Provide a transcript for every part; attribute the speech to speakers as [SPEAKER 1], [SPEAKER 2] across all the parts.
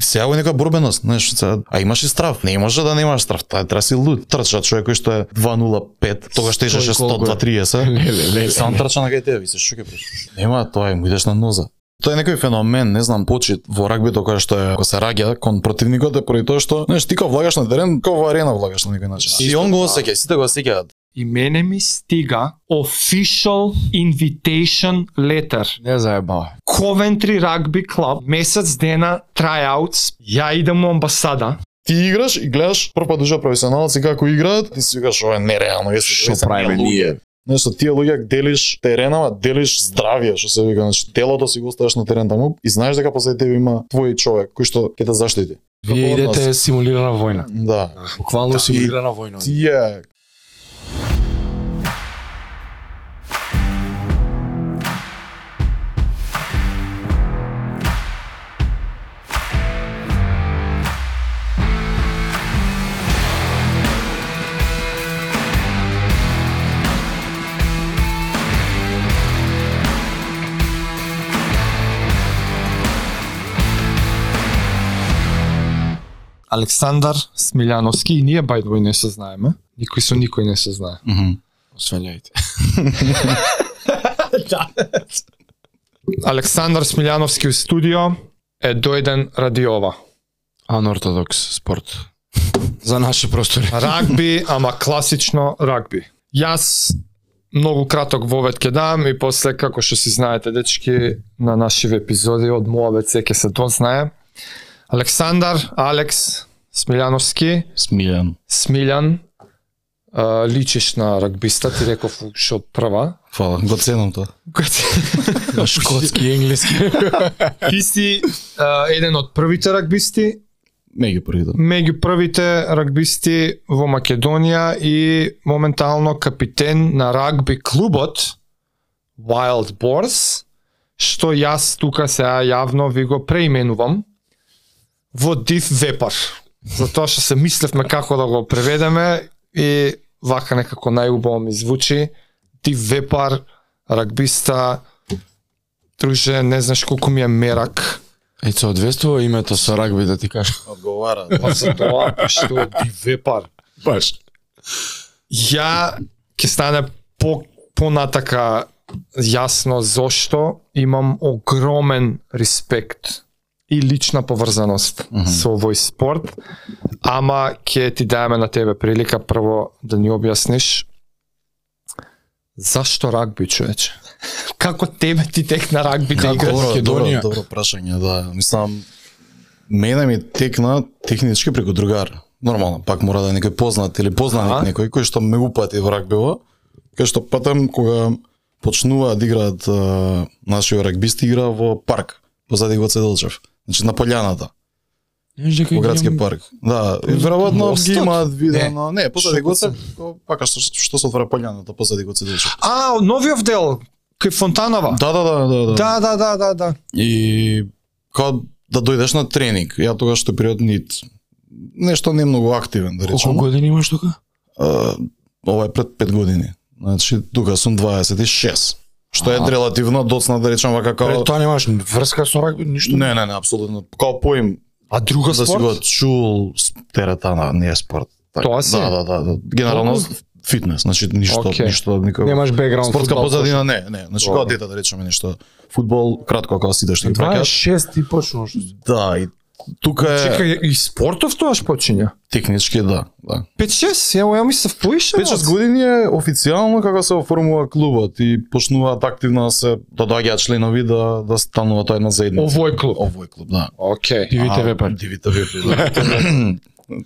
[SPEAKER 1] Сега овој нека борбеност, знаеш, сега, а имаш и страв. Не може да немаш страв. Таа треба си луд. Трча човек кој што е 205, тогаш тежеше
[SPEAKER 2] Стој колку е?
[SPEAKER 1] 100-230.
[SPEAKER 2] леле, леле.
[SPEAKER 1] Сам трча на гај тебе, ви се шуке преш. Нема тоа, е, му идеш на ноза. Тоа е некој феномен, не знам, почит во рагбито кога што е кога се раѓа кон противникот е поради тоа што, знаеш, ти кога влагаш на терен, кога во арена влагаш на некој начин. И он го
[SPEAKER 2] така.
[SPEAKER 1] осеќа, сите го осеќаат.
[SPEAKER 3] И мене ми стига official invitation letter.
[SPEAKER 2] Не заебава.
[SPEAKER 3] Coventry Rugby Club, месец дена tryouts, ја идам у амбасада.
[SPEAKER 1] Ти играш и гледаш прва дужа професионалци како играат, ти си викаш ова е нереално, вие сте-
[SPEAKER 2] Што
[SPEAKER 1] вие сте
[SPEAKER 2] правиме
[SPEAKER 1] нелуѓе.
[SPEAKER 2] ние?
[SPEAKER 1] Знаеш, со тие луѓе ги делиш терена, ма делиш здравје, што се вика, значи телото си го оставаш на терен таму и знаеш дека после тебе има твој човек кој што ќе те заштити.
[SPEAKER 2] Вие
[SPEAKER 1] Како
[SPEAKER 2] идете симулирана војна.
[SPEAKER 1] Да.
[SPEAKER 2] Буквално симулирана војна.
[SPEAKER 1] Тие
[SPEAKER 3] Александар Смилјановски и ние бајдвој не се знаеме. Никој со никој не се знае.
[SPEAKER 2] Освењајте.
[SPEAKER 3] Александар Смилјановски у студио е дојден ради ова.
[SPEAKER 2] Анортодокс спорт. За наши простори.
[SPEAKER 3] Рагби, ама класично рагби. Јас многу краток вовет ќе дам и после како што си знаете дечки на нашиве епизоди од Моабет се ќе се дознае. Александар, Алекс, Смилјановски,
[SPEAKER 1] Смилен.
[SPEAKER 3] Смилјан, а, личиш на рагбиста, ти реков што прва.
[SPEAKER 1] Фала, го ценам тоа.
[SPEAKER 2] Шкотски, енглески.
[SPEAKER 3] Ти си а, еден од првите рагбисти
[SPEAKER 1] Меѓу првите.
[SPEAKER 3] меѓу првите рагбисти во Македонија и моментално капитен на рагби клубот Wild Boars, што јас тука сега јавно ви го преименувам во Див Вепар. Затоа што се мислевме како да го преведеме и вака некако најубаво ми звучи Див Вепар, рагбиста, друже, не знаеш колку ми е мерак.
[SPEAKER 2] Е, се одвествува името со рагби да ти кажам.
[SPEAKER 1] Одговара.
[SPEAKER 3] Па за тоа, што Див Вепар.
[SPEAKER 2] Баш.
[SPEAKER 3] ја ќе стане по понатака јасно зошто имам огромен респект и лична поврзаност mm
[SPEAKER 1] Мгм.
[SPEAKER 3] -hmm. со овој спорт, ама ќе ти даеме на тебе прилика прво да ни објасниш зашто рагби, човече? Како тебе ти текна рагби да играш?
[SPEAKER 1] Добро, добро,
[SPEAKER 2] Македонија.
[SPEAKER 1] добро прашање, да. Мислам, мене ми текна технички преку другар. Нормално, пак мора да е некој познат или познаник
[SPEAKER 3] Аха.
[SPEAKER 1] некој кој што многу пати во рагбиво, кај што патам кога почнуваат да играат а, нашиот рагбист игра во парк, позади го Цеделчев. Значи на полјаната, во градски парк. Да, и веројатно ги
[SPEAKER 2] Мостот?
[SPEAKER 1] имаат видено. Не, позади
[SPEAKER 2] Што
[SPEAKER 1] го се, пака што што се отвара полјаната позади го Цеделчев.
[SPEAKER 3] А, новиот дел, кај Фонтанова.
[SPEAKER 1] Да, да, да, да, да.
[SPEAKER 3] да, да, да, да. да.
[SPEAKER 1] И кога да дојдеш на тренинг, ја тогаш тој период нит нешто не многу активен, да
[SPEAKER 2] Колку
[SPEAKER 1] речем.
[SPEAKER 2] години имаш тука?
[SPEAKER 1] А, ова е пред 5 години. Значи, тука сум 26. Што е
[SPEAKER 2] Аха.
[SPEAKER 1] релативно доцна да речем
[SPEAKER 2] Пред
[SPEAKER 1] вака како
[SPEAKER 2] тоа немаш врска со рагби, ништо.
[SPEAKER 1] Не, не, не, апсолутно. Као поим
[SPEAKER 3] А друга
[SPEAKER 1] да си
[SPEAKER 3] спорт?
[SPEAKER 1] го чул с- теретана, не е спорт. Така,
[SPEAKER 3] Тоа си е?
[SPEAKER 1] Да, да, да, да. Генерално
[SPEAKER 3] Тоа
[SPEAKER 1] фитнес, значи ништо,
[SPEAKER 3] Океј.
[SPEAKER 1] okay. ништо никакво.
[SPEAKER 2] Немаш бекграунд
[SPEAKER 1] Спортска
[SPEAKER 2] фудбал,
[SPEAKER 1] позадина не, не. Значи
[SPEAKER 2] Добро.
[SPEAKER 1] кога дете да речеме нешто фудбал кратко кога си идеш ти праќаш.
[SPEAKER 2] 26 ти почнуваш.
[SPEAKER 1] Да, и тука е
[SPEAKER 3] Чекај, и спортов тогаш почиња?
[SPEAKER 1] Технички да, да.
[SPEAKER 3] 5-6, ја ја ми се впоиша.
[SPEAKER 1] 5-6 години е официјално како се оформува клубот и почнуваат активно да се да доаѓаат членови да да станува тоа една заедница.
[SPEAKER 3] Овој клуб.
[SPEAKER 1] Овој клуб, да.
[SPEAKER 3] Океј.
[SPEAKER 2] Дивите
[SPEAKER 1] А,
[SPEAKER 2] вепар.
[SPEAKER 1] Дивите вепар. да.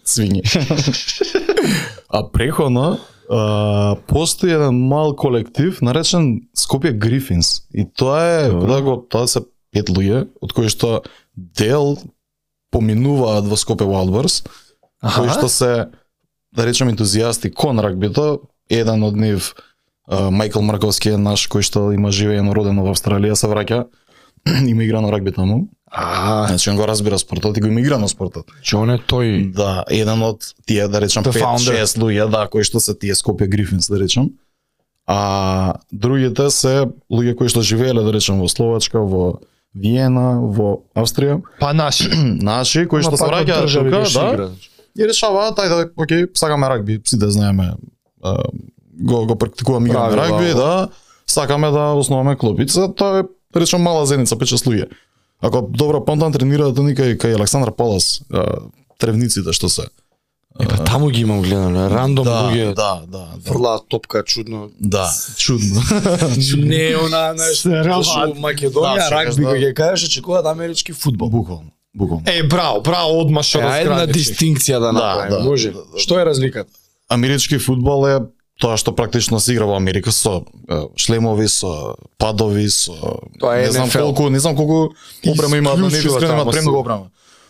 [SPEAKER 1] Свињи. а преходно а, постои еден мал колектив наречен Скопје Грифинс и тоа е да го тоа се пет луѓе од кои што дел поминуваат во Скопје Wildbirds кои што се да речем ентузијасти кон рагбито, еден од нив а, Майкл Марковски е наш кој што има живеено родено во Австралија се враќа има играно рагби таму.
[SPEAKER 2] А,
[SPEAKER 1] Значи он го разбира спортот и го има играно спортот.
[SPEAKER 2] Џон е тој.
[SPEAKER 1] Да, еден од тие да речем
[SPEAKER 2] The
[SPEAKER 1] 5
[SPEAKER 2] founder.
[SPEAKER 1] 6 луѓе да кои што се тие Скопје Грифинс да речем. А другите се луѓе кои што живееле да речем во Словачка, во Виена, во Австрија,
[SPEAKER 4] Па наши.
[SPEAKER 1] наши значи, кои
[SPEAKER 3] Па
[SPEAKER 1] што се враќаат тука, да, и решаваат, ајде, така да, окей, сакаме рагби, сите да знаеме, а, го, го практикуваме играме
[SPEAKER 3] Правила,
[SPEAKER 1] рагби, да, сакаме да основаме клубица, тоа е, речем, мала зеница, пече слуѓе. Ако добро понтан тренираат они кај, кај Александр Палас, а, тревниците што се.
[SPEAKER 3] Е, па таму ги имам гледано, рандом
[SPEAKER 1] да,
[SPEAKER 3] луѓе.
[SPEAKER 1] да, да, да,
[SPEAKER 3] Фрлаат топка чудно.
[SPEAKER 1] да, чудно.
[SPEAKER 3] Не е она нешто што Македонија
[SPEAKER 1] Да,
[SPEAKER 3] рагби
[SPEAKER 1] да.
[SPEAKER 3] го ќе кажеш че кога амерички фудбал.
[SPEAKER 1] Буквално, буквално.
[SPEAKER 4] Е, браво, браво, одма што
[SPEAKER 3] Е, една
[SPEAKER 4] разграничих.
[SPEAKER 3] дистинкција да направиме,
[SPEAKER 1] да.
[SPEAKER 3] може. ли? Што е разликата?
[SPEAKER 1] Амерички фудбал е тоа што практично се игра во Америка со е, шлемови, со падови, со
[SPEAKER 3] Тоа е
[SPEAKER 1] не знам
[SPEAKER 3] NFL.
[SPEAKER 1] колку, не знам колку обрема има, но не ви
[SPEAKER 3] Исклучува
[SPEAKER 1] скрена
[SPEAKER 3] таму
[SPEAKER 1] премногу
[SPEAKER 3] се.
[SPEAKER 1] обрама.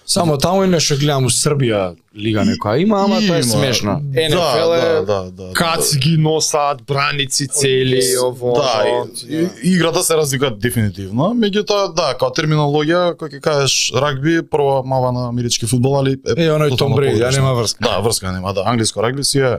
[SPEAKER 3] Само таму е нешто гледам у Србија лига некоја има, ама тоа е
[SPEAKER 1] Има.
[SPEAKER 3] смешно.
[SPEAKER 1] Да,
[SPEAKER 3] NFL е
[SPEAKER 1] да, да, да.
[SPEAKER 4] Каци ги носат, браници цели, ово.
[SPEAKER 1] Да,
[SPEAKER 4] оно.
[SPEAKER 1] и, и, играта се разлика дефинитивно, меѓутоа да, као терминологија, кој ќе кажеш рагби, прва мава на амерички фудбал, али е,
[SPEAKER 3] Е, оној Том
[SPEAKER 1] тотално
[SPEAKER 3] Бреди, ја
[SPEAKER 1] погрешно.
[SPEAKER 3] нема врска.
[SPEAKER 1] Да, врска нема, да. Англиско рагби си е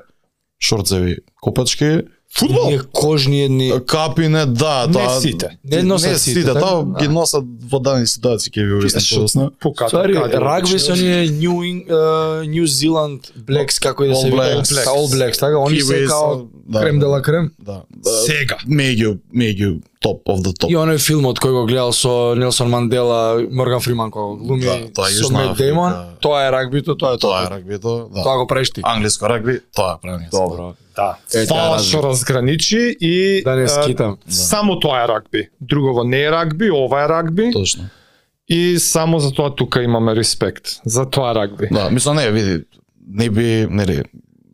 [SPEAKER 1] шорцеви, копачки, фудбал.
[SPEAKER 3] Ние кожни едни
[SPEAKER 1] Капине, да,
[SPEAKER 4] Не
[SPEAKER 1] тоа.
[SPEAKER 4] сите.
[SPEAKER 3] Не носат сите, така?
[SPEAKER 1] тоа
[SPEAKER 3] Да.
[SPEAKER 1] ги носат во дадени ситуации ќе ви објаснам
[SPEAKER 3] Шо-
[SPEAKER 1] подоцна.
[SPEAKER 4] Пука,
[SPEAKER 3] Ствари,
[SPEAKER 4] така,
[SPEAKER 3] рагби да се оние New, Eng- uh, New Zealand Blacks, како и да се
[SPEAKER 1] All
[SPEAKER 3] вика.
[SPEAKER 1] Blacks.
[SPEAKER 3] Са All Blacks, така, они се
[SPEAKER 1] Kiwis,
[SPEAKER 3] као
[SPEAKER 1] да,
[SPEAKER 3] крем
[SPEAKER 1] да.
[SPEAKER 3] дела крем.
[SPEAKER 1] Да.
[SPEAKER 4] Сега.
[SPEAKER 1] Меѓу меѓу топ of the top.
[SPEAKER 3] И оној филмот кој го гледал со Нелсон Мандела, Морган Фриман кој го глуми
[SPEAKER 1] Да, тоа е
[SPEAKER 3] со
[SPEAKER 1] Јужна
[SPEAKER 3] Мет
[SPEAKER 1] Африка.
[SPEAKER 3] Деймон, тоа е рагбито, тоа е
[SPEAKER 1] Тоа е
[SPEAKER 3] тоа.
[SPEAKER 1] рагбито, да.
[SPEAKER 3] Тоа го пречти.
[SPEAKER 1] Англиско рагби, тоа е правилно.
[SPEAKER 4] Да.
[SPEAKER 3] Е, тоа е
[SPEAKER 4] Фала
[SPEAKER 3] разлика.
[SPEAKER 4] што разграничи и
[SPEAKER 3] Да
[SPEAKER 4] е,
[SPEAKER 3] не скитам.
[SPEAKER 4] само тоа е рагби. Другово не е рагби, ова е рагби
[SPEAKER 1] Точно.
[SPEAKER 4] и само за тоа тука имаме респект. За тоа е рагби.
[SPEAKER 1] Да, мислам не, види, не би, нели,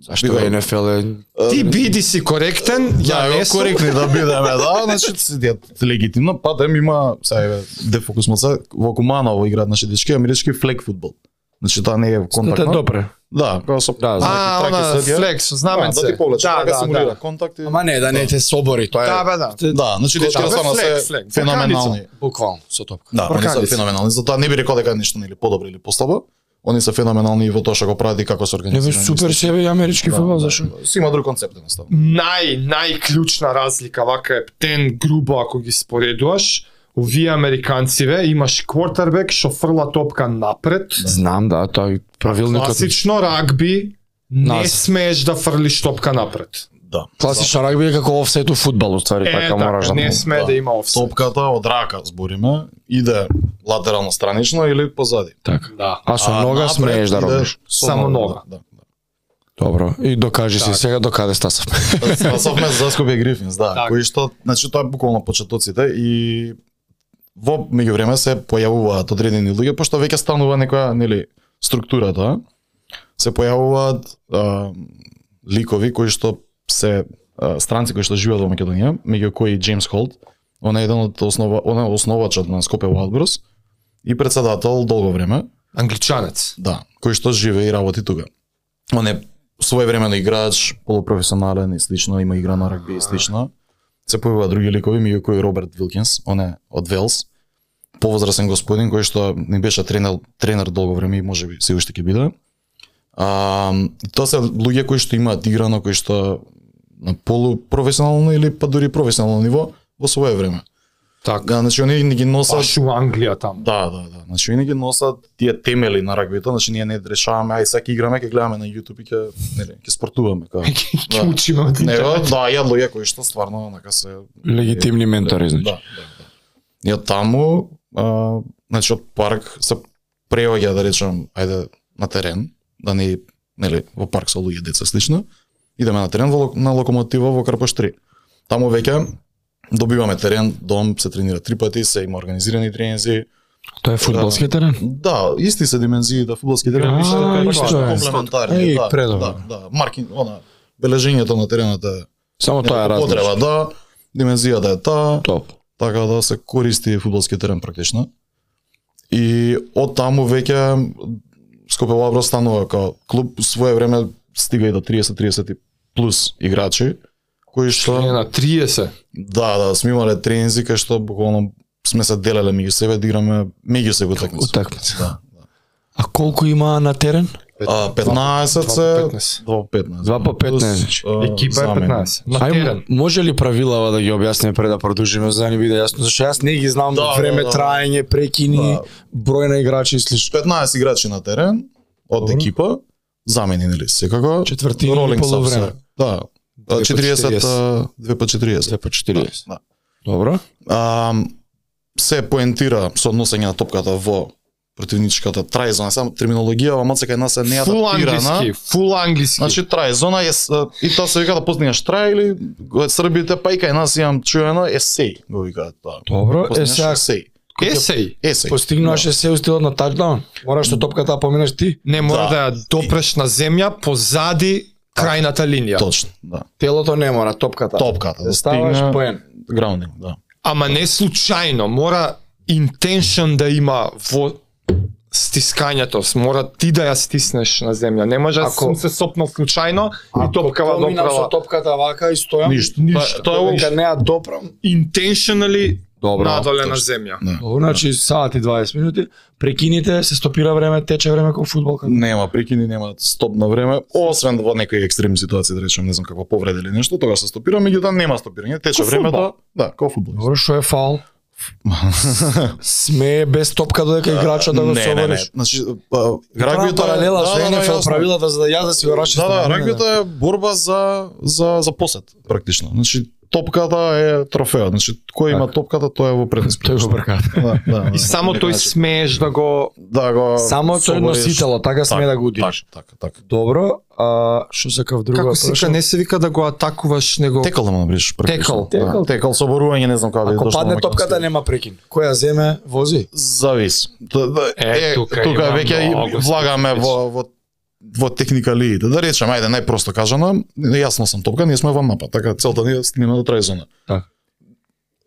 [SPEAKER 3] Зашто
[SPEAKER 1] Бива.
[SPEAKER 3] НФЛ е
[SPEAKER 4] Ти биди си коректен,
[SPEAKER 1] Да,
[SPEAKER 4] ја
[SPEAKER 1] ја
[SPEAKER 4] не сум.
[SPEAKER 1] коректни да бидеме, да, значи се дијат легитимно, па да има, сега е, дефокус моца, во Куманово играат наши дечки, амерички флек фудбал. Значи тоа не е
[SPEAKER 3] Тоа е
[SPEAKER 1] контактно.
[SPEAKER 3] добре.
[SPEAKER 1] Да, кога со
[SPEAKER 3] Да, знаки,
[SPEAKER 4] А, она флекс, знаменце.
[SPEAKER 1] Да, да ти повлече, да, да, симулира да. контакт и...
[SPEAKER 3] Ама не, да не те собори, тоа е.
[SPEAKER 4] Да, бе, да.
[SPEAKER 1] Да, значи
[SPEAKER 4] Кога
[SPEAKER 1] дечките
[SPEAKER 4] бе,
[SPEAKER 1] стана
[SPEAKER 4] флек,
[SPEAKER 1] се
[SPEAKER 4] флек,
[SPEAKER 1] феноменални.
[SPEAKER 3] Буквално, со топка.
[SPEAKER 1] Да, они се
[SPEAKER 4] Брканица.
[SPEAKER 1] феноменални, затоа не би рекол дека е нешто нели подобро или послабо. Они се феноменални и во тоа што го прават и како се
[SPEAKER 3] Не
[SPEAKER 1] организирани.
[SPEAKER 3] бе супер
[SPEAKER 1] мислам.
[SPEAKER 3] себе амерички
[SPEAKER 1] Да,
[SPEAKER 3] фудбал
[SPEAKER 1] да,
[SPEAKER 3] зашо.
[SPEAKER 1] да. Си има друг концепт едноставно.
[SPEAKER 4] нај најклучна разлика вака е птен грубо ако ги споредуваш овие американциве имаш квартербек што фрла топка напред
[SPEAKER 3] Знам, да, тоа е правилникот.
[SPEAKER 4] класично рагби не
[SPEAKER 3] Назад.
[SPEAKER 4] смееш да фрлиш топка напред
[SPEAKER 1] Да.
[SPEAKER 3] Класичен рагби е како офсет у фудбал, уствари,
[SPEAKER 4] е
[SPEAKER 3] така мораш
[SPEAKER 4] така
[SPEAKER 3] да.
[SPEAKER 4] не
[SPEAKER 3] му-
[SPEAKER 4] сме
[SPEAKER 1] да.
[SPEAKER 4] да има офсайд
[SPEAKER 1] Топката од рака збориме, иде латерално странично или позади.
[SPEAKER 3] Така.
[SPEAKER 4] да
[SPEAKER 3] А со нога
[SPEAKER 1] напред
[SPEAKER 3] смееш да
[SPEAKER 1] иде
[SPEAKER 3] робиш.
[SPEAKER 1] со
[SPEAKER 4] Само
[SPEAKER 1] Да.
[SPEAKER 3] Добро. И докажи си
[SPEAKER 4] Така.
[SPEAKER 3] сега докаде стасавме.
[SPEAKER 1] да. Спасовме за Скопје Грифинс, да.
[SPEAKER 4] Така.
[SPEAKER 1] Кои што, значи тоа е буквално почетоците и во меѓувреме се појавуваат одредени луѓе пошто веќе станува некоја, нели, структура тоа. Се појавуваат а, ликови кои што се а, странци кои што живеат во Македонија, меѓу кои Джеймс Холт, он е еден од основа, он е основачот на Скопје Wildbros и председател долго време.
[SPEAKER 4] англичанец
[SPEAKER 1] Да, кој што живе и работи тука. Он е своевремено играч, полупрофесионален и слично, има игра на рагби и слично. Се појавува други ликови, меѓу кои Роберт Вилкинс, он е од Велс, повозрасен господин кој што не беше тренер, тренер долго време и можеби се уште ќе биде. А, тоа се луѓе кои што имаат играно, кои што на полупрофесионално или па дури професионално ниво во свое време.
[SPEAKER 4] така
[SPEAKER 1] Да, значи они ни ги носат
[SPEAKER 4] баш у Англија таму
[SPEAKER 1] Да, да, да. Значи винаги носат тие темели на рагбито, значи ние не решаваме, ај сега ќе играме, ќе гледаме на YouTube и ќе, нели, ќе спортуваме како.
[SPEAKER 4] ќе учиме од
[SPEAKER 1] Не,
[SPEAKER 4] интернет.
[SPEAKER 1] да, ја луѓе кои што стварно онака се
[SPEAKER 3] Легитимни ментори, значи.
[SPEAKER 1] да, да, да. И од таму, а, значи од парк се преоѓа да речем, ајде на терен, да не нели во парк со луѓе деца слично. Идеме на терен во, лок- на локомотива во Карпош 3. Таму веќе добиваме терен, дом, се тренира три пати, се има организирани тренинзи,
[SPEAKER 3] Тоа е фудбалски терен.
[SPEAKER 1] Да, исти се димензиите фудбалски
[SPEAKER 4] Да,
[SPEAKER 1] терен, вишто
[SPEAKER 3] а,
[SPEAKER 1] е
[SPEAKER 3] исто е.
[SPEAKER 1] комплементарни,
[SPEAKER 3] Еј,
[SPEAKER 1] да,
[SPEAKER 3] предобро.
[SPEAKER 1] да, да, маркин, она бележењето на теренот е
[SPEAKER 3] Само Па тоа е
[SPEAKER 1] некако
[SPEAKER 3] разлика.
[SPEAKER 1] потреба, да, димензијата е таа,
[SPEAKER 3] Топ.
[SPEAKER 1] така да се користи фудбалски терен практично. И од таму веќе Скопје Лабро станува како клуб свое време стига и до 30-30 плюс играчи кои што
[SPEAKER 4] Не, на 30
[SPEAKER 1] да да сме имале тренинзи кај што буквално сме се делеле меѓу себе да играме меѓу себе утакмици.
[SPEAKER 3] Утакмица.
[SPEAKER 1] Да, да.
[SPEAKER 3] А колку има на терен?
[SPEAKER 1] А, 15
[SPEAKER 4] Два
[SPEAKER 1] се...
[SPEAKER 4] по
[SPEAKER 1] 2
[SPEAKER 4] 15.
[SPEAKER 1] по 15.
[SPEAKER 3] Два по 15.
[SPEAKER 1] Плюс, а,
[SPEAKER 4] Екипа е
[SPEAKER 1] замени.
[SPEAKER 4] 15. На терен.
[SPEAKER 3] Ај, може ли правилава да ги објасниме пред да продолжиме за да ни биде јасно, зашто јас не ги знам
[SPEAKER 1] Да,
[SPEAKER 3] време
[SPEAKER 1] да, да.
[SPEAKER 3] траење, прекини,
[SPEAKER 1] Да.
[SPEAKER 3] број на играчи и слично.
[SPEAKER 1] 15 играчи на терен од
[SPEAKER 4] Добро.
[SPEAKER 1] екипа, замени нели секако.
[SPEAKER 3] Четвртина
[SPEAKER 1] Ролинг
[SPEAKER 3] или полувреме.
[SPEAKER 1] сапсе. Да. А, 40 2 по 40.
[SPEAKER 3] 2 по 40.
[SPEAKER 1] Да.
[SPEAKER 3] Добро.
[SPEAKER 1] А, се поентира со носење на топката во противничката трајзона, само терминологија, ама сека една се не
[SPEAKER 4] Фул
[SPEAKER 1] адаптирана.
[SPEAKER 4] англиски, фул англиски.
[SPEAKER 1] Значи трајзона е с- и тоа се вика да постигнеш трај или го србите па и кај нас имам чуено есеј, го викаат тоа.
[SPEAKER 3] Добро, е
[SPEAKER 1] Постигнеш
[SPEAKER 3] сега
[SPEAKER 1] есеј.
[SPEAKER 4] есеј.
[SPEAKER 1] Есеј.
[SPEAKER 3] постигнуваше се у стилот на тачдаун. Мораш со топката да поминеш ти.
[SPEAKER 4] Не
[SPEAKER 1] Да.
[SPEAKER 4] мора да ја допреш на земја позади крајната линија.
[SPEAKER 1] Точно, да.
[SPEAKER 3] Телото не мора, топката.
[SPEAKER 1] Топката да
[SPEAKER 3] Да ставаш
[SPEAKER 1] стигне
[SPEAKER 3] поен.
[SPEAKER 1] граундинг, да.
[SPEAKER 4] Ама не случајно, мора интеншн да има во стискањето, мора ти да ја стиснеш на земја. Не може
[SPEAKER 3] Ако-
[SPEAKER 4] ако сум се сопнал случајно и топкава
[SPEAKER 3] Поминам со
[SPEAKER 4] допрала.
[SPEAKER 3] топката вака и стојам. Па,
[SPEAKER 1] Ништо.
[SPEAKER 4] Ништо.
[SPEAKER 1] Па, Тоа- тоа е
[SPEAKER 3] Дека не ја допрам.
[SPEAKER 4] Intentionally надоле на
[SPEAKER 1] точно.
[SPEAKER 4] земја.
[SPEAKER 3] Добро, значи саат и 20 минути, прекините, се стопира време, тече време кон фудбалка.
[SPEAKER 1] Нема прикини, нема стоп на време, освен во некои екстрем ситуации, да речем, не знам како повреда или нешто, тогаш се стопира, меѓутоа нема стопирање, тече
[SPEAKER 4] Ко
[SPEAKER 1] времето.
[SPEAKER 4] фудбал.
[SPEAKER 1] Да, ко фудбал.
[SPEAKER 3] Добро, што е фаул? Сме без топка додека играчот да го
[SPEAKER 1] не, не, не.
[SPEAKER 3] собориш.
[SPEAKER 1] Значи, а, рагбиото
[SPEAKER 3] Рагбиото
[SPEAKER 1] е Да,
[SPEAKER 3] паралела со NFL
[SPEAKER 1] јасно.
[SPEAKER 3] правилата за да јас да си го
[SPEAKER 1] Да,
[SPEAKER 3] расчистам.
[SPEAKER 1] да, рагбиото е борба за за за посет практично. Значи топката е трофеот. Значи кој има топката тоа е во предност.
[SPEAKER 3] Тој го брка.
[SPEAKER 1] Да, да, да.
[SPEAKER 4] И само
[SPEAKER 1] Некој
[SPEAKER 4] тој
[SPEAKER 1] начин.
[SPEAKER 4] смееш да го
[SPEAKER 1] да го
[SPEAKER 3] Само тој
[SPEAKER 1] собориш.
[SPEAKER 3] носитело, така сме
[SPEAKER 1] Так,
[SPEAKER 3] да го удириш.
[SPEAKER 1] Така, така.
[SPEAKER 3] Добро, а што сакав друго?
[SPEAKER 4] како сика не се вика да го атакуваш, него
[SPEAKER 1] Текол да му направиш практично.
[SPEAKER 4] Текол.
[SPEAKER 1] Да, Текол соборување, не знам како да
[SPEAKER 3] Ако падне топката нема прекин. Кој ја земе, вози.
[SPEAKER 1] Завис. Т- да,
[SPEAKER 4] Е, тука
[SPEAKER 1] тука
[SPEAKER 4] има
[SPEAKER 1] веќе
[SPEAKER 4] многу
[SPEAKER 1] и влагаме во во во техникалиите. Да речем, ајде најпросто кажано, јасно сам топка, ние сме во напад, така целта ни е да стигнеме до трај зона.
[SPEAKER 3] Така.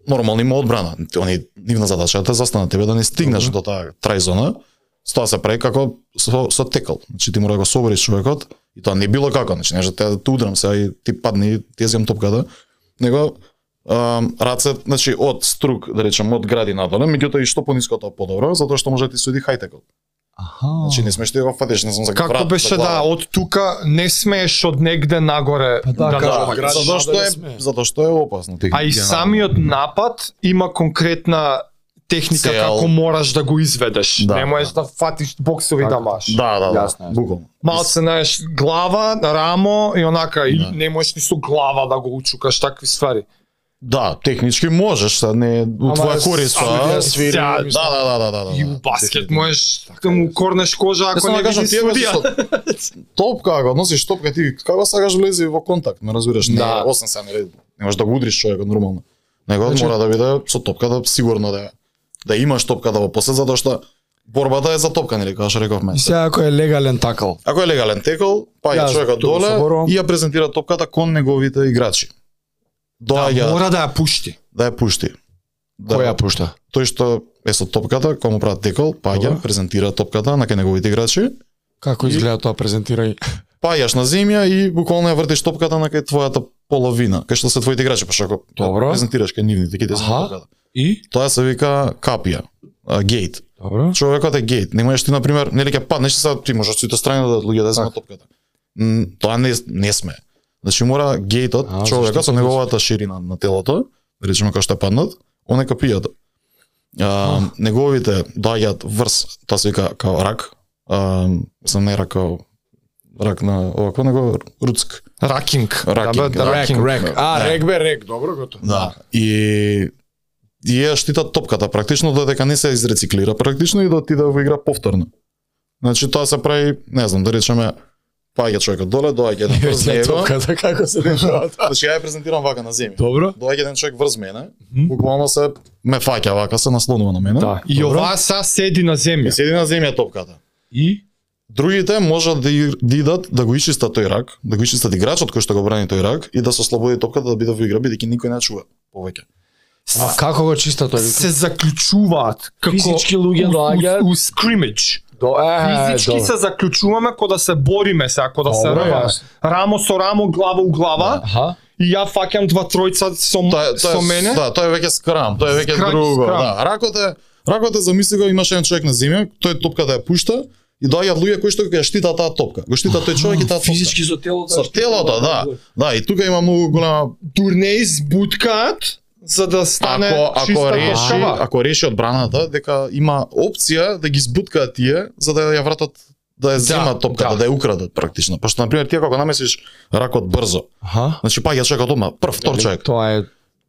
[SPEAKER 1] Нормално има одбрана. Те- Они нивна задача е да застанат тебе да не стигнеш до таа трај зона. С Тоа се прави како со, со текал. Значи ти мора да го собориш човекот и тоа не било како, значи не да те да те удрам сега и ти падни и ти ја земам топката, него ам, раце, значи од струк, да речем, од гради надоле, меѓутоа и што пониско тоа подобро, затоа што може да ти суди хай текол.
[SPEAKER 3] Аха.
[SPEAKER 1] Значи не смеш ти да го фатиш, не знам за
[SPEAKER 4] Како
[SPEAKER 1] врат, за
[SPEAKER 4] беше да,
[SPEAKER 1] глава.
[SPEAKER 4] од тука не смееш од негде нагоре
[SPEAKER 3] Па да,
[SPEAKER 4] да
[SPEAKER 3] кажа,
[SPEAKER 4] нажмеш.
[SPEAKER 1] да,
[SPEAKER 3] градиш,
[SPEAKER 1] затоа што
[SPEAKER 3] надоле
[SPEAKER 1] е
[SPEAKER 3] сме.
[SPEAKER 1] затоа што е опасно ти.
[SPEAKER 4] А и самиот напад има конкретна техника
[SPEAKER 1] Цел.
[SPEAKER 4] како мораш да го изведеш.
[SPEAKER 1] Да.
[SPEAKER 4] не можеш да фатиш боксови
[SPEAKER 3] Така.
[SPEAKER 4] да маш.
[SPEAKER 1] Да, да, да.
[SPEAKER 3] Јасно е.
[SPEAKER 1] Буквално.
[SPEAKER 4] Малце знаеш глава, рамо и онака и
[SPEAKER 1] Да.
[SPEAKER 4] не можеш ни со глава да го учукаш такви ствари.
[SPEAKER 1] Да, технички можеш, са не у твоја корист.
[SPEAKER 4] а?
[SPEAKER 1] Да,
[SPEAKER 3] Ја свири.
[SPEAKER 4] Сега,
[SPEAKER 3] мислам.
[SPEAKER 1] да, да, да, да, да. Така
[SPEAKER 4] И у баскет можеш да му корнеш кожа ако
[SPEAKER 3] да
[SPEAKER 4] не видиш судија.
[SPEAKER 1] топка, ако носиш топка, ти како сакаш влези во контакт, ме разбираш? Не,
[SPEAKER 4] Да.
[SPEAKER 1] 8 се не, не можеш да го удриш човекот нормално. Него
[SPEAKER 3] Значи-
[SPEAKER 1] мора да биде со топката сигурно да да имаш топка да во посет затоа што борбата е за топка, нели како што рековме.
[SPEAKER 3] И сега ако е легален такал.
[SPEAKER 1] Ако е легален текол, па ја
[SPEAKER 3] Јас
[SPEAKER 1] човекот
[SPEAKER 3] тука
[SPEAKER 1] доле
[SPEAKER 3] соборувам.
[SPEAKER 1] и ја презентира топката кон неговите играчи. Доаѓа да,
[SPEAKER 4] мора да ја пушти.
[SPEAKER 1] ја пушти. Да,
[SPEAKER 3] Кој ја пушта?
[SPEAKER 1] тој што е со топката, кој му прават текол, паѓа,
[SPEAKER 3] Добро.
[SPEAKER 1] презентира топката на кај неговите играчи,
[SPEAKER 3] Како
[SPEAKER 1] И-
[SPEAKER 3] изгледа тоа презентирање?
[SPEAKER 1] паѓаш на земја и буквално ја вртиш топката на кај твојата половина, кај што се твоите играчи, пошто ако ја
[SPEAKER 3] Добро.
[SPEAKER 1] презентираш кај нивните, ќе ти
[SPEAKER 3] Аха.
[SPEAKER 1] топката.
[SPEAKER 3] И?
[SPEAKER 1] Тоа се вика капија, а, гейт.
[SPEAKER 3] Добро.
[SPEAKER 1] човекот е гейт. Не можеш ти на пример, нели ќе паднеш и сега ти можеш од сите страни да луѓе да земат топката. М, Тоа не не сме. Значи мора гейтот,
[SPEAKER 3] А,
[SPEAKER 1] човекот
[SPEAKER 3] зашто
[SPEAKER 1] со
[SPEAKER 3] ти
[SPEAKER 1] неговата ширина на телото, да речеме кога што паднат, он е капијата. А, неговите доаѓаат врз, тоа се вика као рак. А, сам не рак, као рак на овако, него руцк.
[SPEAKER 4] Ракинг.
[SPEAKER 1] Ракинг,
[SPEAKER 4] Да, бе,
[SPEAKER 1] да.
[SPEAKER 3] Рек,
[SPEAKER 4] ракинг.
[SPEAKER 3] рек. А,
[SPEAKER 1] Да.
[SPEAKER 3] рек бе, рек. Добро, готово.
[SPEAKER 1] Да. И и ја штитат топката практично додека не се изрециклира практично и да ти да го игра повторно. Значи тоа се прави, не знам, да речеме паѓа човекот доле, доаѓа еден врз
[SPEAKER 3] Врзе
[SPEAKER 1] него.
[SPEAKER 3] топката како се решава тоа.
[SPEAKER 1] Значи ја ја презентирам вака на земја.
[SPEAKER 3] Добро.
[SPEAKER 1] Доаѓа еден човек врз мене,
[SPEAKER 3] Мгм.
[SPEAKER 1] буквално се ме фаќа вака, се наслонува на мене.
[SPEAKER 4] Да. И
[SPEAKER 3] Добро.
[SPEAKER 4] ова са седи на
[SPEAKER 1] И
[SPEAKER 4] земја.
[SPEAKER 1] седи на земја топката.
[SPEAKER 3] И?
[SPEAKER 1] Другите можат да, и- да идат да го исчистат тој рак, да го исчистат играчот кој што го брани тој рак и да се ослободи топката да биде во игра бидејќи никој не ја чува повеќе.
[SPEAKER 3] А како го чиста
[SPEAKER 1] да
[SPEAKER 3] тој?
[SPEAKER 4] се заклучуваат како
[SPEAKER 3] Физички луѓе
[SPEAKER 4] у- у-
[SPEAKER 3] доаѓаат.
[SPEAKER 4] у скримидж.
[SPEAKER 3] До, е,
[SPEAKER 4] Физички се заклучуваме кој да се бориме се, ако да се
[SPEAKER 3] Добро,
[SPEAKER 4] раваме.
[SPEAKER 3] јас.
[SPEAKER 4] Рамо со рамо, глава у глава
[SPEAKER 3] Аха.
[SPEAKER 4] и ја фаќам два тројца со м-
[SPEAKER 1] Да. Тоа е тоа
[SPEAKER 4] со
[SPEAKER 1] е,
[SPEAKER 4] мене.
[SPEAKER 1] Да, тоа е веќе скрам, тоа е веќе
[SPEAKER 4] Скрам,
[SPEAKER 1] друго.
[SPEAKER 4] скрам.
[SPEAKER 1] Да, ракот е Ракот е замисли го имаше еден човек на земја, тој топката ја пушта И доаѓаат луѓе кои што ја штитаат таа топка. Го штитаат тој човек и таа топка.
[SPEAKER 2] Физички со телото.
[SPEAKER 1] Со телото, да. Да, и тука има многу голема
[SPEAKER 4] Турнеи збуткаат за да стане
[SPEAKER 1] ако ако
[SPEAKER 4] чиста
[SPEAKER 1] реши,
[SPEAKER 4] кошава.
[SPEAKER 1] ако реши одбраната дека има опција да ги збуткаат тие за да ја вратат да ја земат топката, да,
[SPEAKER 4] да.
[SPEAKER 1] да ја украдат практично. Пошто на пример ти ако го намесиш ракот брзо,
[SPEAKER 2] Аха.
[SPEAKER 1] значи паѓа човекот одма, прв втор човек.
[SPEAKER 4] Тоа е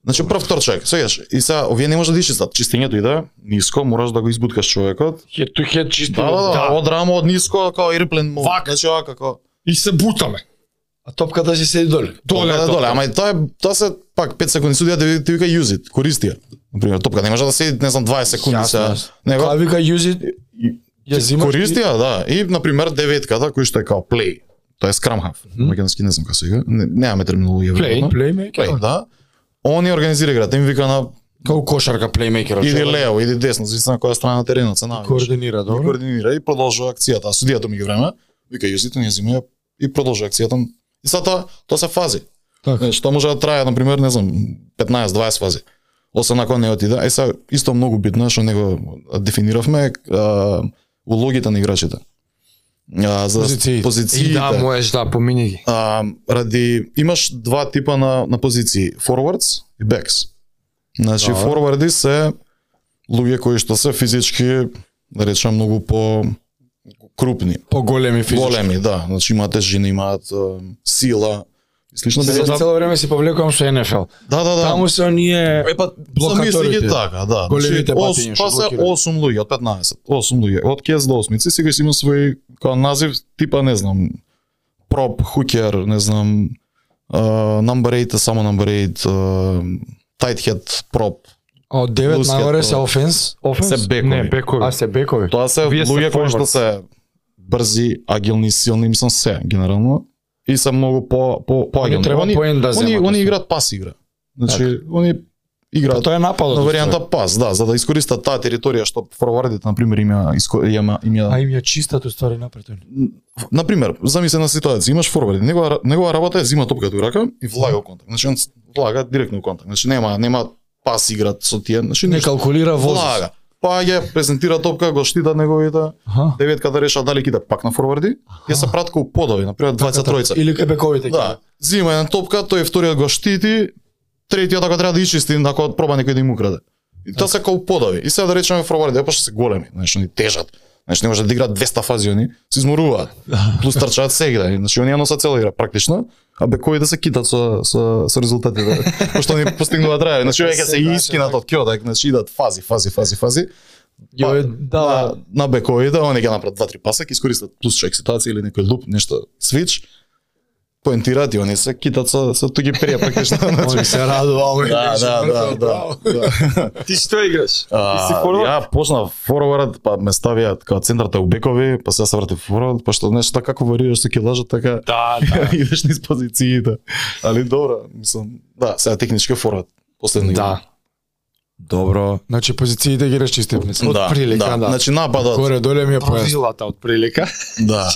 [SPEAKER 1] Значи прв втор човек, сеќаваш. И сега овие не може да чистат. Чистењето иде ниско, мораш да го избуткаш човекот.
[SPEAKER 2] Хед ту хед чисто.
[SPEAKER 1] Да, да, да, од рамо од ниско, као airplane move.
[SPEAKER 4] Вака.
[SPEAKER 1] Значи вака како
[SPEAKER 4] и се бутаме.
[SPEAKER 2] А топката си седи доле.
[SPEAKER 1] Доле, доле, доле, ама и тоа е тоа се пак 5 секунди судија ти, ти вика use it, користи ја. Например, топка не може да седи не знам 20 секунди
[SPEAKER 2] Јасно,
[SPEAKER 1] се.
[SPEAKER 2] јасно.
[SPEAKER 1] Него
[SPEAKER 2] Кај вика use it.
[SPEAKER 1] И-
[SPEAKER 2] Ја
[SPEAKER 1] Имаш
[SPEAKER 2] зимаш.
[SPEAKER 1] Користи ја, да. И, например, деветката, кој што е као play, тоа е Scrum Half, македонски не знам како се вика, не, немаме терминологија.
[SPEAKER 4] Play,
[SPEAKER 1] веројатно.
[SPEAKER 2] Плеймейкер.
[SPEAKER 1] play, да. Он ја организира играта, им вика на
[SPEAKER 2] Како кошарка плеймейкер.
[SPEAKER 1] иди лево, иди десно, зависи на која страна на теренот се наоѓаш.
[SPEAKER 2] Координира,
[SPEAKER 1] Ги
[SPEAKER 2] добро.
[SPEAKER 1] координира и продолжува акцијата. А судијата ми ги време, вика јузите не зима и продолжува акцијата. И сега тоа, тоа се фази.
[SPEAKER 2] Така.
[SPEAKER 1] Е, Што може да трае, на пример, не знам, 15-20 фази. Освен ако не отиде. Е, сега, исто многу битно е што него дефиниравме а, улогите на играчите. А, за
[SPEAKER 2] Позициите.
[SPEAKER 1] позициите.
[SPEAKER 4] И да, можеш да помини ги.
[SPEAKER 1] а, ради имаш два типа на на позиции, forwards и backs. Значи
[SPEAKER 2] Добро.
[SPEAKER 1] форварди се луѓе кои што се физички, да речам, многу по крупни,
[SPEAKER 2] Поголеми физички.
[SPEAKER 1] големи, да, значи имаат тежина, имаат а, сила и слично.
[SPEAKER 2] Се-
[SPEAKER 1] Да,
[SPEAKER 2] Значи, Цело време си повлекувам со NFL.
[SPEAKER 1] да, да.
[SPEAKER 2] Таму се оние
[SPEAKER 1] Епа,
[SPEAKER 2] блокаторите.
[SPEAKER 1] замисли ги па, така, да.
[SPEAKER 2] Големите
[SPEAKER 1] Значи,
[SPEAKER 2] патиња
[SPEAKER 1] ос-
[SPEAKER 2] што
[SPEAKER 1] Па се
[SPEAKER 2] блокираат.
[SPEAKER 1] 8 луѓе од 15, 8 луѓе. Од кез до 8, сега си има свој као назив типа не знам prop, hooker, не знам uh, number 8, е само number 8, uh, tight head prop.
[SPEAKER 2] од 9
[SPEAKER 1] Лускијат
[SPEAKER 2] нагоре
[SPEAKER 1] тоа.
[SPEAKER 2] се офенс, офенс.
[SPEAKER 1] Се бекови.
[SPEAKER 4] Не, бекови.
[SPEAKER 2] А се бекови.
[SPEAKER 1] Тоа се
[SPEAKER 4] Вие сте
[SPEAKER 1] луѓе кои што
[SPEAKER 4] forwards.
[SPEAKER 1] се брзи, агилни, силни, мислам се генерално и се многу по по по
[SPEAKER 2] Они треба поен да
[SPEAKER 1] Они,
[SPEAKER 2] земат.
[SPEAKER 1] они играат пас игра. Значи, они
[SPEAKER 2] Па
[SPEAKER 1] играат
[SPEAKER 2] Тоа е нападот.
[SPEAKER 1] на варијанта пас, да, за да искористат таа територија што форвардите на пример им ја иско- им ја им
[SPEAKER 2] А
[SPEAKER 1] ја
[SPEAKER 2] им ја чистат у ствари напред. они.
[SPEAKER 1] на пример, замислена ситуација, имаш форвард, негова негова работа е зима топката во рака и влага во контакт. Значи он с- влага директно во контакт. Значи нема нема пас играт со тие, значи
[SPEAKER 2] Не
[SPEAKER 1] нешто.
[SPEAKER 2] калкулира воз.
[SPEAKER 1] влага. Па ја презентира топка, го штитат неговите
[SPEAKER 2] Аха.
[SPEAKER 1] деветката решава дали кида пак на форварди, ја се прат кај подови, на пример
[SPEAKER 3] Така,
[SPEAKER 1] 23
[SPEAKER 2] Или кај бековите.
[SPEAKER 1] Да, зима една топка, тој вториот го штити, третиот ако треба да исчисти, ако проба некој да им украде. И тоа се како подови. И сега да речеме форварди, па што се големи, знаеш, они тежат. Знаеш, не може да играат 200 фази они, се изморуваат. Плюс трчаат сега, значи они ја носат цела игра практично, а бековите се китат со со со резултатите, пошто они постигнуваат раја. Значи веќе се искинат од кјотак, значи идат фази, фази, фази, фази
[SPEAKER 2] Ја е
[SPEAKER 1] на,
[SPEAKER 2] дала
[SPEAKER 1] на бековите, они ги направат два-три паса, ќе искористат плюс чек ситуација или некој луп, нешто свич, поентираат и они се китат со, со туги перија практично.
[SPEAKER 2] Ој се радува, ама
[SPEAKER 1] да, да, да, да, да.
[SPEAKER 4] Ти што играш?
[SPEAKER 1] А, ја почнав форвард, па ме ставија како центарта у бекови, па сега се вратив форвард, па што нешто така како варираш со килажот, така
[SPEAKER 4] Да, да.
[SPEAKER 1] идеш низ позициите. Али добро, мислам, да, сега технички форвард последно.
[SPEAKER 2] Да. Добро. Значи позициите ги расчистивме.
[SPEAKER 1] да, да,
[SPEAKER 2] прилика, да.
[SPEAKER 1] Значи нападот,
[SPEAKER 2] Горе доле ми е појас.
[SPEAKER 4] Правилата од прилика.
[SPEAKER 1] Да.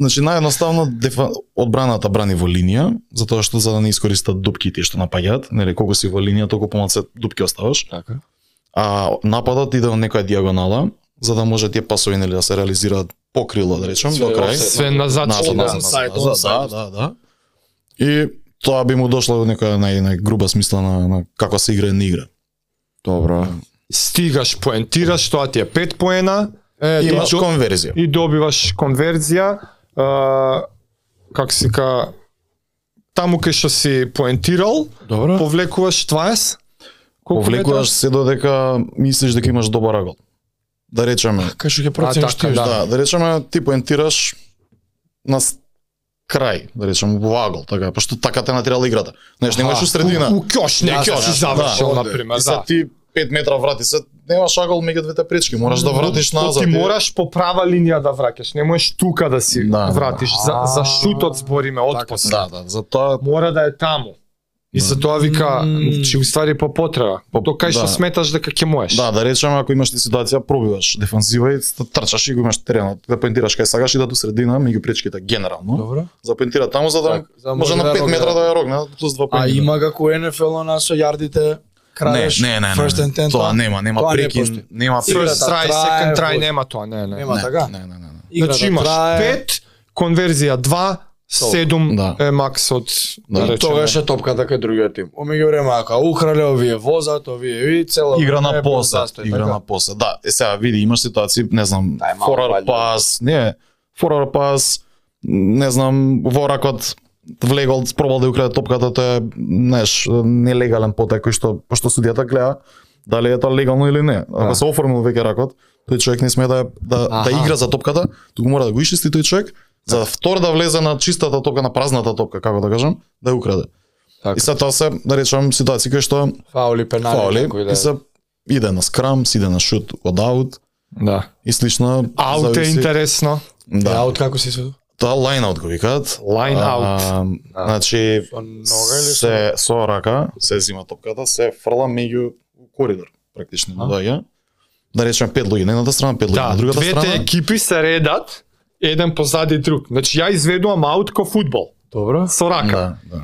[SPEAKER 1] Значи наједноставно дефа... одбраната брани во линија, затоа што за да не искористат дупките што напаѓаат, нели колку си во линија, толку помалку дупки оставаш.
[SPEAKER 2] Така.
[SPEAKER 1] А нападот иде во некоја дијагонала, за да може тие пасови нели да се реализираат покрило, да речем, до крај.
[SPEAKER 4] Све назад,
[SPEAKER 1] Нападот,
[SPEAKER 4] да.
[SPEAKER 1] назад, назад, Да, да, да. И тоа би му дошло во некоја нај, нај груба смисла на, на како се игра и не игра.
[SPEAKER 2] Добро.
[SPEAKER 4] Стигаш, поентираш, тоа ти е 5 поена
[SPEAKER 2] Е,
[SPEAKER 4] И
[SPEAKER 1] Имаш
[SPEAKER 4] до-
[SPEAKER 1] конверзија.
[SPEAKER 4] и добиваш конверзија. А, как се ка таму кај што си поентирал,
[SPEAKER 2] добро.
[SPEAKER 4] повлекуваш 20 Колку
[SPEAKER 1] Повлекуваш се додека мислиш дека имаш добар агол. Да речеме,
[SPEAKER 2] Кај што ќе процениш
[SPEAKER 4] А,
[SPEAKER 2] ти?
[SPEAKER 4] така,
[SPEAKER 2] Да.
[SPEAKER 1] Да, да, да речеме ти поентираш на с- крај, да речеме во агол, така, пошто така те натерала играта. Знаеш, немаш у средина.
[SPEAKER 4] У, у кјош, не
[SPEAKER 1] Да,
[SPEAKER 4] кјош,
[SPEAKER 1] да,
[SPEAKER 4] завршил,
[SPEAKER 1] да,
[SPEAKER 4] на
[SPEAKER 1] и
[SPEAKER 4] пример,
[SPEAKER 1] се
[SPEAKER 4] да.
[SPEAKER 1] ти 5 метра врати се, немаш агол меѓу двете пречки, мораш да вратиш
[SPEAKER 4] Но
[SPEAKER 1] назад.
[SPEAKER 4] Ти
[SPEAKER 1] и-
[SPEAKER 4] мораш по права линија да враќаш, не можеш тука да си
[SPEAKER 1] Да, да.
[SPEAKER 4] вратиш. За, за шутот збориме од
[SPEAKER 2] Така,
[SPEAKER 1] Да, да, за тоа
[SPEAKER 4] Мора да е таму. И за тоа вика,
[SPEAKER 2] Мм.
[SPEAKER 4] че уствари по потреба.
[SPEAKER 1] По-
[SPEAKER 4] До кај што
[SPEAKER 1] да.
[SPEAKER 4] сметаш дека ќе можеш.
[SPEAKER 1] Да, да речеме ако имаш ти ситуација пробиваш дефанзива и ст- трчаш и го имаш теренот, да поентираш кај сакаш и да до средина меѓу пречките генерално.
[SPEAKER 2] Добро.
[SPEAKER 1] За поентира таму за да
[SPEAKER 2] Так, за
[SPEAKER 1] може на 5 метра да ја рогне плюс два
[SPEAKER 2] А
[SPEAKER 1] поентира.
[SPEAKER 2] има како NFL она со јардите
[SPEAKER 1] да. Не,
[SPEAKER 2] крадеш.
[SPEAKER 1] не, не, не.
[SPEAKER 2] First and ten. да?
[SPEAKER 1] Тоа нема, нема
[SPEAKER 2] тоа не
[SPEAKER 1] прекин,
[SPEAKER 2] постои.
[SPEAKER 1] нема
[SPEAKER 2] Играта
[SPEAKER 4] First try,
[SPEAKER 2] да. трае,
[SPEAKER 4] second try,
[SPEAKER 2] вој.
[SPEAKER 4] нема тоа, не, не.
[SPEAKER 2] Нема така.
[SPEAKER 1] Не, не, не, не.
[SPEAKER 2] Играта
[SPEAKER 4] значи имаш
[SPEAKER 2] трае.
[SPEAKER 4] 5, конверзија 2, 7
[SPEAKER 1] Да.
[SPEAKER 4] е макс од
[SPEAKER 1] Да.
[SPEAKER 4] да,
[SPEAKER 2] И
[SPEAKER 4] речеме.
[SPEAKER 2] тогаш е топката кај другиот тим. Омеѓу време, ака украле, овие возат, овие и цело
[SPEAKER 1] Игра
[SPEAKER 2] време
[SPEAKER 1] на
[SPEAKER 2] е
[SPEAKER 1] поса,
[SPEAKER 2] застој,
[SPEAKER 1] игра
[SPEAKER 2] така?
[SPEAKER 1] на поса. Да, е сега види, имаш ситуации, не знам,
[SPEAKER 2] Та е малку
[SPEAKER 1] форар
[SPEAKER 2] валидно.
[SPEAKER 1] пас, не, форар пас, не знам, воракот влегол, спробал да ја украде топката, тоа е, знаеш, нелегален потек кој што пошто судијата гледа дали е тоа легално или не. Ако
[SPEAKER 2] Да.
[SPEAKER 1] се оформил веќе ракот, тој човек не смее да да, да
[SPEAKER 2] Аха. Така.
[SPEAKER 1] игра за топката, туку мора да го исчисти тој човек за да втор да влезе на чистата топка, на празната топка, како да кажам, да ја украде.
[SPEAKER 2] Така.
[SPEAKER 1] И сега тоа се, да речам, ситуации кои што
[SPEAKER 2] Фаули, пенали,
[SPEAKER 1] фаули
[SPEAKER 2] некој да
[SPEAKER 1] и
[SPEAKER 2] е.
[SPEAKER 1] се иде на скрам, си иде на шут од аут
[SPEAKER 4] Да.
[SPEAKER 1] и слична.
[SPEAKER 4] Аут е
[SPEAKER 1] зависи-
[SPEAKER 4] интересно.
[SPEAKER 1] Да,
[SPEAKER 2] Аут како се суди?
[SPEAKER 1] тоа лайн аут го викаат.
[SPEAKER 4] Лайн аут.
[SPEAKER 1] А,
[SPEAKER 2] Да.
[SPEAKER 1] Значи
[SPEAKER 2] Со нога или со...
[SPEAKER 1] се со рака се зима топката, се фрла меѓу коридор практично
[SPEAKER 2] А.
[SPEAKER 1] доаѓа. Да речеме пет луѓе на едната страна, пет луѓе
[SPEAKER 4] Да,
[SPEAKER 1] на другата
[SPEAKER 4] двете
[SPEAKER 1] страна.
[SPEAKER 4] екипи се редат, еден позади друг. Значи ја изведувам аут ко фудбал
[SPEAKER 2] Добро.
[SPEAKER 4] со рака.
[SPEAKER 1] Да, да.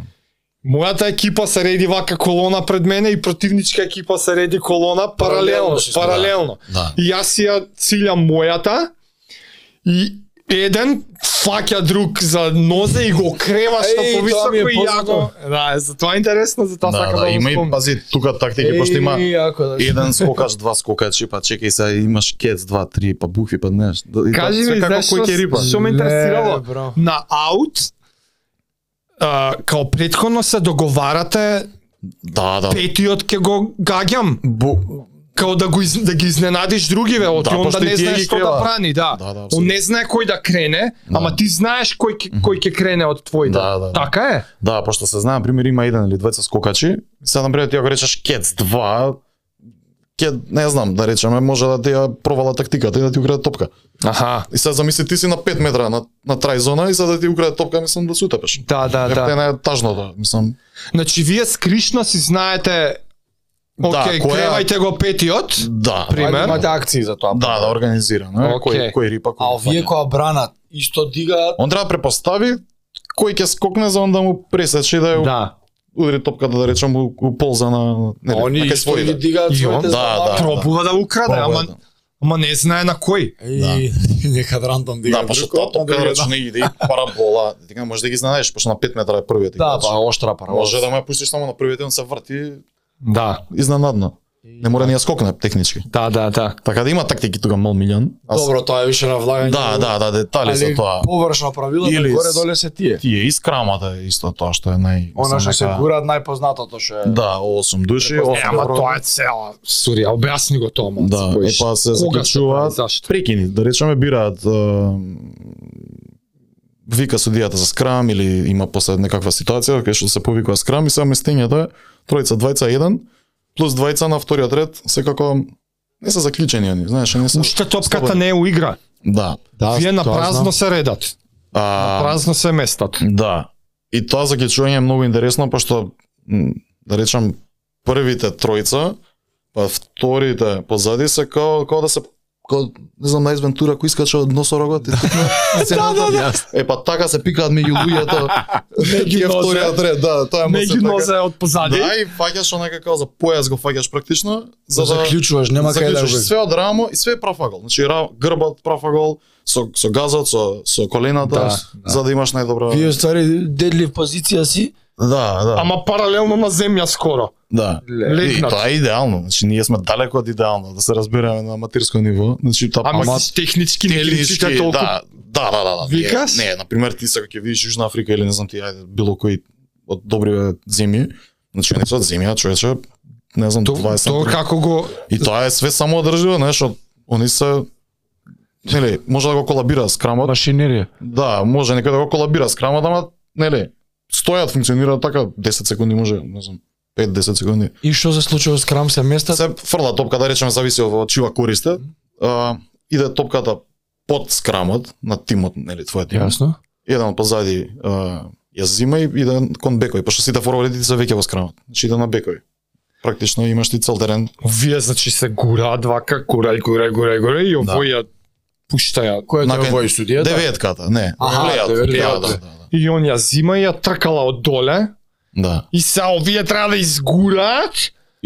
[SPEAKER 4] Мојата екипа се реди вака колона пред мене и противничка екипа се реди колона паралелно,
[SPEAKER 2] Паралелно си се, да.
[SPEAKER 4] паралелно.
[SPEAKER 1] Да.
[SPEAKER 4] И јас си ја цилјам мојата и еден фаќа друг за нозе и го крева што
[SPEAKER 2] Еј, тоа
[SPEAKER 4] повисоко
[SPEAKER 2] ми е
[SPEAKER 4] и ја го... Да, е, за тоа е интересно, за тоа
[SPEAKER 1] Да,
[SPEAKER 4] сакам
[SPEAKER 1] да,
[SPEAKER 4] да,
[SPEAKER 1] има
[SPEAKER 4] го
[SPEAKER 1] и
[SPEAKER 4] спомнам.
[SPEAKER 1] пази тука тактики, пошто има
[SPEAKER 2] Ако да
[SPEAKER 1] еден скокач, два скокачи, па чекај сега имаш кец, два, три, па букви, па знаеш. да- и
[SPEAKER 4] Кажи
[SPEAKER 1] тоа
[SPEAKER 4] ми,
[SPEAKER 1] се како
[SPEAKER 4] знаеш
[SPEAKER 1] кој
[SPEAKER 4] што-
[SPEAKER 1] ќе рипа.
[SPEAKER 4] што ме
[SPEAKER 2] Не,
[SPEAKER 4] интересирало?
[SPEAKER 2] бро.
[SPEAKER 4] На аут, а, као предходно се договарате,
[SPEAKER 1] Да, да.
[SPEAKER 4] петиот ќе го гаѓам.
[SPEAKER 1] Бу...
[SPEAKER 4] Као да го из, да ги изненадиш другиве, от
[SPEAKER 1] Да,
[SPEAKER 4] да, он
[SPEAKER 1] пошто
[SPEAKER 4] да
[SPEAKER 1] и
[SPEAKER 4] не
[SPEAKER 1] тие
[SPEAKER 4] знае
[SPEAKER 1] ги
[SPEAKER 4] што
[SPEAKER 1] креваат.
[SPEAKER 4] да брани, да.
[SPEAKER 1] Да, да,
[SPEAKER 4] он
[SPEAKER 1] абсолютно.
[SPEAKER 4] не знае кој да крене,
[SPEAKER 1] Да.
[SPEAKER 4] ама ти знаеш кој ке- кој ќе крене од твој.
[SPEAKER 1] Да, да, да.
[SPEAKER 4] Така е.
[SPEAKER 1] Да, пошто се знае, на пример, има еден или двајца скокачи, сега на пример ти ако речеш кец 2, ке, не знам, да речеме, може да ти ја провала тактиката и да ти украде топка.
[SPEAKER 4] Аха.
[SPEAKER 1] И сега замисли ти си на 5 метра на, на трај зона и сега да ти украде топка, мислам да се утепеш.
[SPEAKER 4] Да, да,
[SPEAKER 1] Ефте
[SPEAKER 4] да.
[SPEAKER 1] не е тажно да, мислам.
[SPEAKER 4] Значи вие скришно си знаете
[SPEAKER 1] Да,
[SPEAKER 4] Океј,
[SPEAKER 1] која-
[SPEAKER 4] кревајте го петиот.
[SPEAKER 1] Да,
[SPEAKER 4] Пример.
[SPEAKER 2] Ајде,
[SPEAKER 1] да,
[SPEAKER 2] Имате акции за тоа.
[SPEAKER 1] да, да организирано. е, Кој
[SPEAKER 4] Океј.
[SPEAKER 1] кој рипа, кој
[SPEAKER 2] А
[SPEAKER 1] го
[SPEAKER 2] овие
[SPEAKER 1] фаќа.
[SPEAKER 2] која бранат, исто дигаат,
[SPEAKER 1] Он треба да препостави кој ќе скокне за он да му пресече и да ја
[SPEAKER 4] Да.
[SPEAKER 1] удари топката да речем у, у полза на
[SPEAKER 2] а
[SPEAKER 1] нели,
[SPEAKER 2] они
[SPEAKER 1] на кај
[SPEAKER 2] исто
[SPEAKER 1] своите.
[SPEAKER 2] ги дигаат
[SPEAKER 4] И он,
[SPEAKER 2] своите
[SPEAKER 1] да, да.
[SPEAKER 2] забави.
[SPEAKER 4] Пробува да украде,
[SPEAKER 1] Пробува
[SPEAKER 4] ама
[SPEAKER 1] да.
[SPEAKER 4] ама не знае на кој.
[SPEAKER 2] И некад рандом дигаат.
[SPEAKER 1] Да, па што
[SPEAKER 2] друг,
[SPEAKER 1] тоа топка
[SPEAKER 2] на другиот.
[SPEAKER 1] рече не иде и парабола. Дека може да ги знаеш, пошто на 5 метра е првиот
[SPEAKER 2] Да,
[SPEAKER 1] играч.
[SPEAKER 2] па оштра пара.
[SPEAKER 1] Може да ме пуштиш само на првиот и он се врти
[SPEAKER 4] Да.
[SPEAKER 1] изненадно. Не мора ни ја скокне технички.
[SPEAKER 4] Да, да, да.
[SPEAKER 1] Така да има тактики тука мал милион. Аз-
[SPEAKER 2] Добро, тоа е више на влагање.
[SPEAKER 1] Да, да, да, детали за тоа.
[SPEAKER 2] Површно правило,
[SPEAKER 1] Или
[SPEAKER 2] Или...
[SPEAKER 1] с-
[SPEAKER 2] горе доле се тие.
[SPEAKER 1] Тие и скрамата е исто тоа што е нај
[SPEAKER 2] Она што
[SPEAKER 1] мислам,
[SPEAKER 2] се
[SPEAKER 1] нека-
[SPEAKER 2] гурат најпознатото што е.
[SPEAKER 1] Да, 8 души,
[SPEAKER 2] Препознат.
[SPEAKER 4] Е,
[SPEAKER 1] 8
[SPEAKER 4] ама тоа е цела сурија. Објасни го тоа, момци.
[SPEAKER 1] Да,
[SPEAKER 4] кој
[SPEAKER 1] е,
[SPEAKER 4] ш-
[SPEAKER 1] па се
[SPEAKER 4] кога се прави,
[SPEAKER 1] заклучуваат
[SPEAKER 4] зашто?
[SPEAKER 1] прекини, да речеме бираат е, вика судијата за скрам или има после некаква ситуација кај што се повикува скрам и само местењето е тројца, двајца, еден плюс двајца на вториот ред, секако не се заклучени они, знаеш, не се.
[SPEAKER 4] Уште топката
[SPEAKER 1] Слободни.
[SPEAKER 4] не е у игра.
[SPEAKER 1] Да.
[SPEAKER 2] Да,
[SPEAKER 4] Вие на празно се редат. На
[SPEAKER 1] А,
[SPEAKER 4] празно се местат.
[SPEAKER 1] да. И тоа заклучување е многу интересно пошто м, да речам првите тројца, па вторите позади се као као да се као не знам на Вентура кој искача од носорогот. да, да, да. Е па така се пикаат меѓу луѓето.
[SPEAKER 4] Меѓу
[SPEAKER 1] Е, вториот ред, да, тоа е
[SPEAKER 4] Меѓу нозе од позади.
[SPEAKER 1] Да, и фаќаш онака како за појас го фаќаш практично, за
[SPEAKER 2] За
[SPEAKER 1] да
[SPEAKER 2] заклучуваш, нема кај да
[SPEAKER 1] заклучиш
[SPEAKER 2] го.
[SPEAKER 1] све од рамо и све е прав агол. Значи ра, грбот прав агол со со газот, со со колената,
[SPEAKER 2] Да,
[SPEAKER 1] за да имаш најдобра.
[SPEAKER 2] Вие ствари дедлив позиција си.
[SPEAKER 1] Да, да.
[SPEAKER 4] Ама паралелно на земја скоро.
[SPEAKER 1] Да. И,
[SPEAKER 4] Легнат.
[SPEAKER 1] тоа е идеално. Значи ние сме далеку од идеално, да се разбереме на аматерско ниво. Значи та
[SPEAKER 4] Ама си технички не личите толку.
[SPEAKER 1] да, да, да, да, да.
[SPEAKER 4] Викаш?
[SPEAKER 1] Не, не, на пример ти сега ќе видиш Јужна Африка или не знам ти ајде било кој од добри земји, значи не се од земја, човече, не знам,
[SPEAKER 4] То,
[SPEAKER 1] 20
[SPEAKER 4] то
[SPEAKER 1] см.
[SPEAKER 4] како го
[SPEAKER 1] И тоа е све само одржливо, знаеш, од- они се нели, може да го колабира скрамот.
[SPEAKER 2] Машинерија.
[SPEAKER 1] Да, може некој да го колабира скрамот, ама нели, стојат, функционира така 10 секунди може, не знам, 5-10 секунди.
[SPEAKER 2] И што се случува скрам се местат?
[SPEAKER 1] Се фрла топка, да речеме, зависи од од чива користе. А, иде топката под скрамот на тимот, нели, твојот тим.
[SPEAKER 2] Јасно.
[SPEAKER 1] Еден позади а, ја зима и иде кон бекови, пошто сите форвардите се веќе во скрамот. Значи иде на бекови. Практично имаш ти цел терен.
[SPEAKER 4] вие значи се гураат вака, гурај, гурај, гурај, гурај и
[SPEAKER 1] Да.
[SPEAKER 4] овој ја пушта ја. Да,
[SPEAKER 2] Кој е
[SPEAKER 1] На
[SPEAKER 2] тој
[SPEAKER 1] кај-
[SPEAKER 2] вој судијата?
[SPEAKER 1] Деветката, не.
[SPEAKER 2] Аха,
[SPEAKER 1] влејат,
[SPEAKER 2] деветката.
[SPEAKER 1] влејат, да, да, да.
[SPEAKER 4] И он ја зима и ја тркала од доле
[SPEAKER 1] Да.
[SPEAKER 4] и се овие треба да изгураат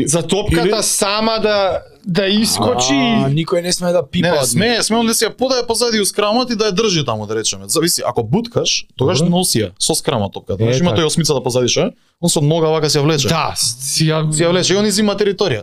[SPEAKER 4] За топката
[SPEAKER 1] Или-
[SPEAKER 4] сама да да искочи.
[SPEAKER 2] А, никој не сме да пипа.
[SPEAKER 1] Не, не,
[SPEAKER 2] од
[SPEAKER 1] сме, сме он да си ја подаде позади у скрамот и да ја држи таму, да речеме. Зависи, ако буткаш, тогаш
[SPEAKER 2] Добро.
[SPEAKER 1] носи ја со скрама топката.
[SPEAKER 2] Е,
[SPEAKER 1] Значи има
[SPEAKER 2] така.
[SPEAKER 1] тој осмицата позади ше, он со нога вака се ја влече.
[SPEAKER 4] Да, си ја
[SPEAKER 1] Се ја влече и он изима територија.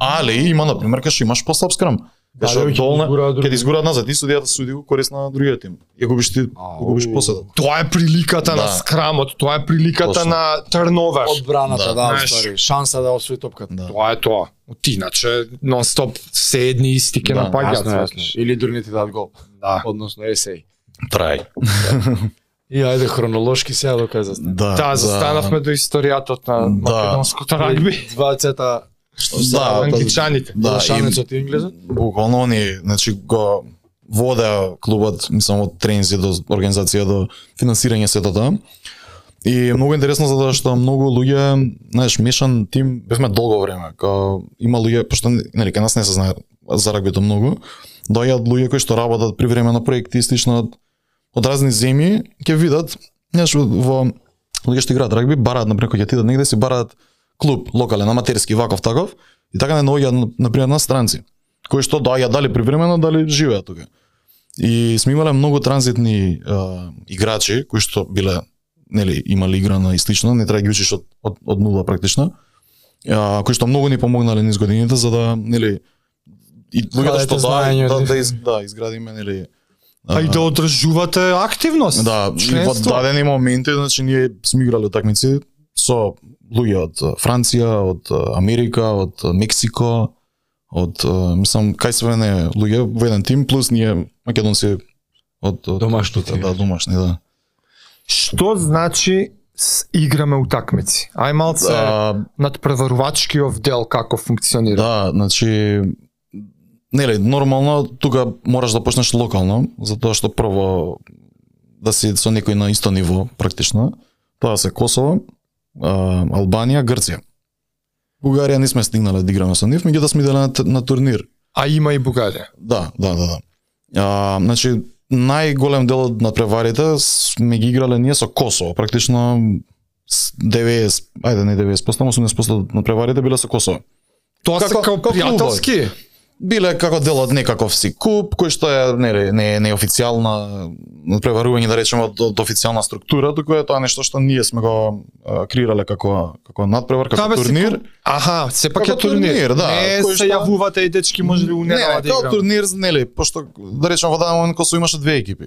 [SPEAKER 1] Але и има на пример каш имаш послаб скрам.
[SPEAKER 2] Да,
[SPEAKER 1] Каш
[SPEAKER 2] бе, ќе
[SPEAKER 1] долна,
[SPEAKER 2] изгураат други.
[SPEAKER 1] ќе ти изгураат назад и судијата суди у корист на другиот тим. Ја губиш ти, ја губиш поседот.
[SPEAKER 4] Тоа е приликата
[SPEAKER 1] Да.
[SPEAKER 4] на скрамот, тоа е приликата
[SPEAKER 1] Точно.
[SPEAKER 4] на turnover.
[SPEAKER 2] одбраната, да,
[SPEAKER 1] Да,
[SPEAKER 4] знаеш.
[SPEAKER 2] устари. Шанса да освои топката.
[SPEAKER 1] Да.
[SPEAKER 4] Тоа е тоа. Ти иначе нон стоп се едни исти ќе
[SPEAKER 1] Да,
[SPEAKER 4] напаѓаат.
[SPEAKER 2] Или другите дадат гол,
[SPEAKER 4] Да.
[SPEAKER 2] односно есеј.
[SPEAKER 1] Трај.
[SPEAKER 2] И ајде хронолошки сега доказа.
[SPEAKER 1] Да.
[SPEAKER 4] Да, застанавме до историјата на
[SPEAKER 1] Да.
[SPEAKER 4] македонското рагби.
[SPEAKER 2] Двајцата
[SPEAKER 1] Да,
[SPEAKER 4] За англичаните.
[SPEAKER 1] Да,
[SPEAKER 2] шанецот и инглезот.
[SPEAKER 1] буквално они, значи го воде клубот, мислам од тренинзи до организација до финансирање сето тоа. И многу интересно затоа што многу луѓе, знаеш, мешан тим бевме долго време. Као, има луѓе пошто нели кај нас не се знае за рагбито многу. Доаѓаат луѓе кои што работат при време на проекти и слично од, од разни земји, ќе видат, знаеш, во луѓе што играат рагби, бараат на пример кога ќе отидат негде си бараат клуб локален, аматерски, ваков таков, и така не наоѓаат на пример на странци кои што доаѓа дали привремено, дали живеат тука. И сме имале многу транзитни а, играчи кои што биле нели имале играно и слично, не треба да ги учиш од од, од нула практично. А, кои што многу ни помогнале низ годините за да нели и луѓето што
[SPEAKER 2] Хвалете
[SPEAKER 1] да
[SPEAKER 2] знаење
[SPEAKER 1] да,
[SPEAKER 2] од
[SPEAKER 1] да, из, да изградиме нели
[SPEAKER 4] А
[SPEAKER 3] Па
[SPEAKER 4] и да одржувате активност.
[SPEAKER 1] Да, и во
[SPEAKER 4] членство.
[SPEAKER 1] дадени моменти, значи ние сме играле такмици со луѓе од а, Франција, од а, Америка, од а, Мексико, од а, мислам кај све не луѓе во еден тим плюс ние македонци од, од
[SPEAKER 2] Домашни ти.
[SPEAKER 1] да домашни да.
[SPEAKER 4] Што значи с- играме утакмици? Ај малце
[SPEAKER 1] А,
[SPEAKER 4] надпреварувачкиов дел како функционира.
[SPEAKER 1] Да, значи нели нормално тука мораш да почнеш локално, затоа што прво да си со некој на исто ниво практично. Тоа се Косово, а, Албанија, Грција. Бугарија не сме стигнале да играме со нив, меѓутоа сме иделе на, т- на турнир.
[SPEAKER 4] А има и Бугарија.
[SPEAKER 1] Да, да, да, да. А, значи најголем дел од надпреварите сме ги играле ние со Косово, практично с 90, ајде не 90%, ама 80% од надпреварите биле со Косово
[SPEAKER 4] Тоа се
[SPEAKER 1] Како-
[SPEAKER 4] како
[SPEAKER 1] како
[SPEAKER 4] пријателски.
[SPEAKER 1] биле како дел од некаков си куп кој што е нели не не официјална преварување да речеме од, од официјална структура, туку е тоа нешто што ние сме го а, креирале како како надпревар, како
[SPEAKER 4] Кабе си
[SPEAKER 1] турнир.
[SPEAKER 4] кон- Аха, сепак е
[SPEAKER 1] Како
[SPEAKER 4] турнир.
[SPEAKER 1] турнир, да,
[SPEAKER 4] Не
[SPEAKER 1] кој
[SPEAKER 4] се
[SPEAKER 1] што-
[SPEAKER 4] јавувате и дечки може ли у
[SPEAKER 1] Не,
[SPEAKER 4] недела
[SPEAKER 1] не,
[SPEAKER 4] да
[SPEAKER 1] како
[SPEAKER 4] играме.
[SPEAKER 1] турнир, нели, пошто да речеме во даден момент Косово имаше две екипи.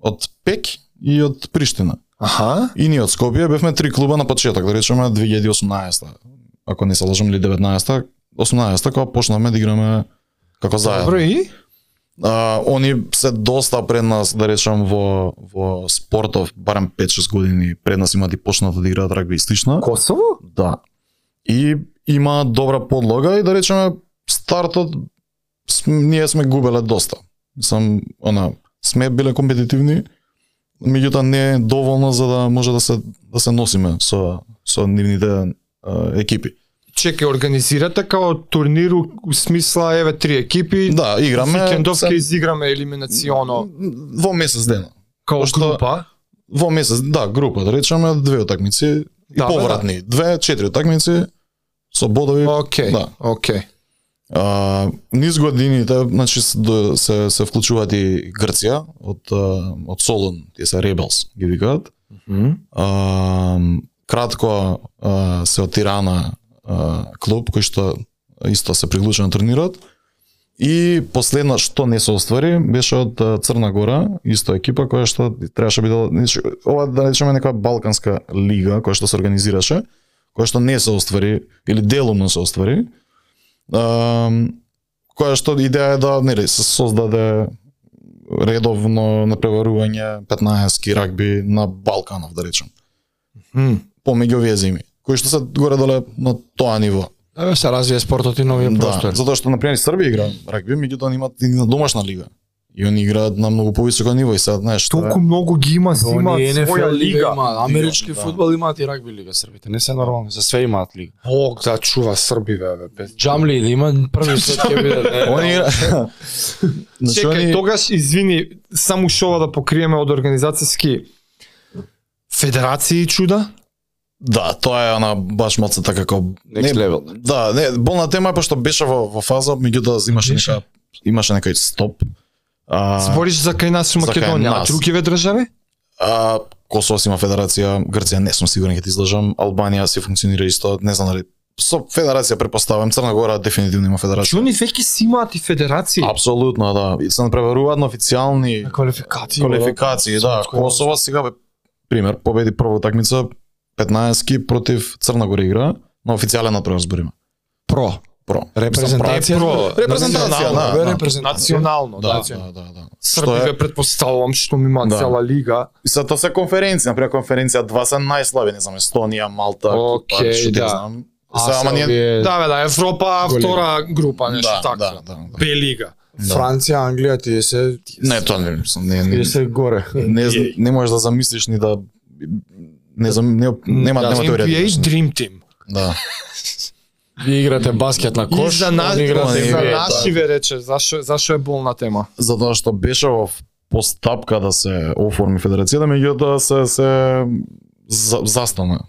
[SPEAKER 1] Од Пек и од Приштина.
[SPEAKER 4] Аха.
[SPEAKER 1] И ние од Скопје бевме три клуба на почеток, да речеме 2018 ако не се лажам или 19 18 кога почнавме да играме како заедно.
[SPEAKER 4] Добро и?
[SPEAKER 1] а, они се доста пред нас, да речам, во, во спортов, барем 5-6 години пред нас имат и почнат да играат рагби и слично.
[SPEAKER 4] Косово?
[SPEAKER 1] Да. И има добра подлога и да речеме стартот см- ние сме губеле доста. Сам она сме биле компетитивни, меѓутоа не е доволно за да може да се да се носиме со со нивните а, екипи.
[SPEAKER 4] Чекај, организирате како турнир у у смисла еве три екипи.
[SPEAKER 1] Да, играме
[SPEAKER 4] Викендовка
[SPEAKER 1] се-
[SPEAKER 4] изиграме елиминационо
[SPEAKER 1] во месец дена.
[SPEAKER 4] како
[SPEAKER 1] Пошто-
[SPEAKER 4] група.
[SPEAKER 1] во месец, да, група, да речеме, две утакмици и
[SPEAKER 4] Да,
[SPEAKER 1] да,
[SPEAKER 4] бе,
[SPEAKER 1] повратни. Да. Две, четири утакмици со бодови.
[SPEAKER 4] Океј,
[SPEAKER 1] Да.
[SPEAKER 4] океј.
[SPEAKER 1] А, низ годините, значи се, до- се, се вклучуваат и Грција од а, од Солун, тие се Ребелс, ги викаат. А, кратко а, се од Тирана а, клуб кој што исто се приклучи на турнирот. И последно што не се оствари беше од а, Црна Гора, исто екипа која што требаше биде значи, ова да речеме некоја балканска лига која што се организираше, која што не се оствари или делумно се оствари. А, која што идеја е да нели се создаде редовно напреварување 15 рагби на Балканов да речем,
[SPEAKER 4] Мгм.
[SPEAKER 1] помеѓу овие земји кои што се горе-доле на тоа ниво.
[SPEAKER 2] Да бе, се развие спортот и новија
[SPEAKER 1] Да,
[SPEAKER 2] простор.
[SPEAKER 1] затоа што на пример Србија игра рагби, меѓутоа они имаат и на домашна лига. И они играат на многу повисоко ниво и сега знаеш тоа е-
[SPEAKER 4] Толку многу ги има, си имаат
[SPEAKER 2] Они
[SPEAKER 4] своја
[SPEAKER 2] NFL лига,
[SPEAKER 4] лига.
[SPEAKER 2] има, амерички
[SPEAKER 1] Да.
[SPEAKER 2] фудбал имаат и рагби лига србите, не се нормални, за све имаат лига.
[SPEAKER 4] Бог да чува Срби, бе, бе. без-
[SPEAKER 2] Джамли да има први сет ќе биде. да, не,
[SPEAKER 1] Они игра... Значи,
[SPEAKER 4] Чекај,
[SPEAKER 1] они-
[SPEAKER 4] тогаш извини, само шова да покриеме од организацијски федерации и чуда.
[SPEAKER 1] Да, тоа е она баш моцата како
[SPEAKER 3] Next
[SPEAKER 1] не,
[SPEAKER 3] level.
[SPEAKER 1] Да, не, болна тема е пошто беше во, во фаза, меѓутоа имаше
[SPEAKER 2] Беше.
[SPEAKER 1] нека имаше некој стоп. А,
[SPEAKER 4] Збориш за кај нас у
[SPEAKER 1] За кај
[SPEAKER 4] Македонија, а
[SPEAKER 1] нас.
[SPEAKER 4] другиве држави?
[SPEAKER 1] а Косово си има федерација, Грција не сум сигурен ќе ти излажам, Албанија си функционира исто, не знам дали со федерација препоставам, Црна Гора дефинитивно има федерација.
[SPEAKER 4] Чуни веќе си имаат и федерации.
[SPEAKER 1] Апсолутно, да. И се преваруваат на официјални
[SPEAKER 4] На квалификации.
[SPEAKER 1] квалификации, да. Косово сега бе пример, победи прва утакмица 15-ки против Црна Гора игра на официјален натпревар збориме.
[SPEAKER 2] Про.
[SPEAKER 1] Про.
[SPEAKER 2] Репрезентација.
[SPEAKER 4] Про.
[SPEAKER 1] Репрезентација, да,
[SPEAKER 2] бе,
[SPEAKER 1] да.
[SPEAKER 2] Репрезентација.
[SPEAKER 4] Национално,
[SPEAKER 1] Да,
[SPEAKER 4] да.
[SPEAKER 1] да, да, да. Што е?
[SPEAKER 4] Србиве предпоставувам што ми има
[SPEAKER 1] Да.
[SPEAKER 4] цела лига.
[SPEAKER 1] И Са тоа се конференци, на пример конференција 2 се најслаби, не знам, Естонија, Малта, Кипар,
[SPEAKER 4] Океј,
[SPEAKER 1] што ти
[SPEAKER 4] да.
[SPEAKER 1] знам. Се, ама ние
[SPEAKER 4] Да, бе, да, Европа
[SPEAKER 2] Големи.
[SPEAKER 4] втора група, нешто
[SPEAKER 1] да, да,
[SPEAKER 4] така.
[SPEAKER 1] да. да.
[SPEAKER 4] Б лига.
[SPEAKER 2] Франција, Англија, тие се...
[SPEAKER 1] Не, тоа не, мислам, не, не,
[SPEAKER 2] Тие се горе.
[SPEAKER 1] не, зн- не можеш да замислиш ни да не знам, не, нема,
[SPEAKER 2] Да,
[SPEAKER 1] нема теорија. да
[SPEAKER 4] NBA
[SPEAKER 1] кажеш.
[SPEAKER 4] Dream Team.
[SPEAKER 1] Да.
[SPEAKER 2] Вие играте баскет на
[SPEAKER 4] И
[SPEAKER 2] кош,
[SPEAKER 4] за нас,
[SPEAKER 2] они играат
[SPEAKER 1] они
[SPEAKER 2] NBA,
[SPEAKER 4] за
[SPEAKER 1] играат,
[SPEAKER 2] да.
[SPEAKER 4] нашиве рече, зашо зашо е болна тема.
[SPEAKER 1] затоа што беше во постапка да се оформи федерацијата, меѓутоа се се за, застана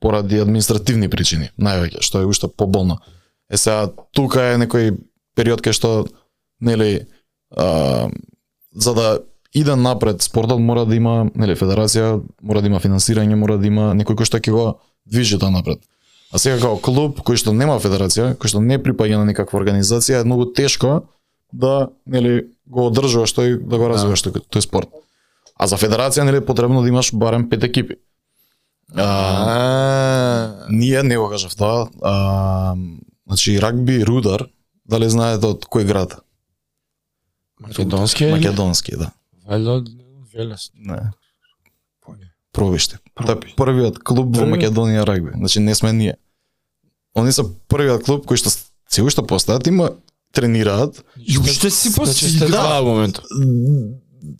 [SPEAKER 1] поради административни причини, највеќе, што е уште поболно. Е сега тука е некој период кај што нели а, за да иде напред спортот мора да има нели федерација, мора да има финансирање, мора да има некој кој што ќе го движи тоа напред. А сега како клуб кој што нема федерација, кој што не припаѓа на никаква организација, е многу тешко да нели го одржуваш тој да го развиваш тој, тој спорт. А за федерација нели е потребно да имаш барем пет екипи. А, ние не го кажав тоа, а, значи рагби Рудар, дали знаете од кој град?
[SPEAKER 2] Македонски е?
[SPEAKER 1] Македонски, да.
[SPEAKER 2] Валјо, Велес.
[SPEAKER 1] Не. Пробиште. Тоа е првиот клуб во Македонија рагби. Значи не сме ние. Они се првиот клуб кој што се уште постојат, има тренираат
[SPEAKER 4] И уште си
[SPEAKER 2] Значи сте два во моментот.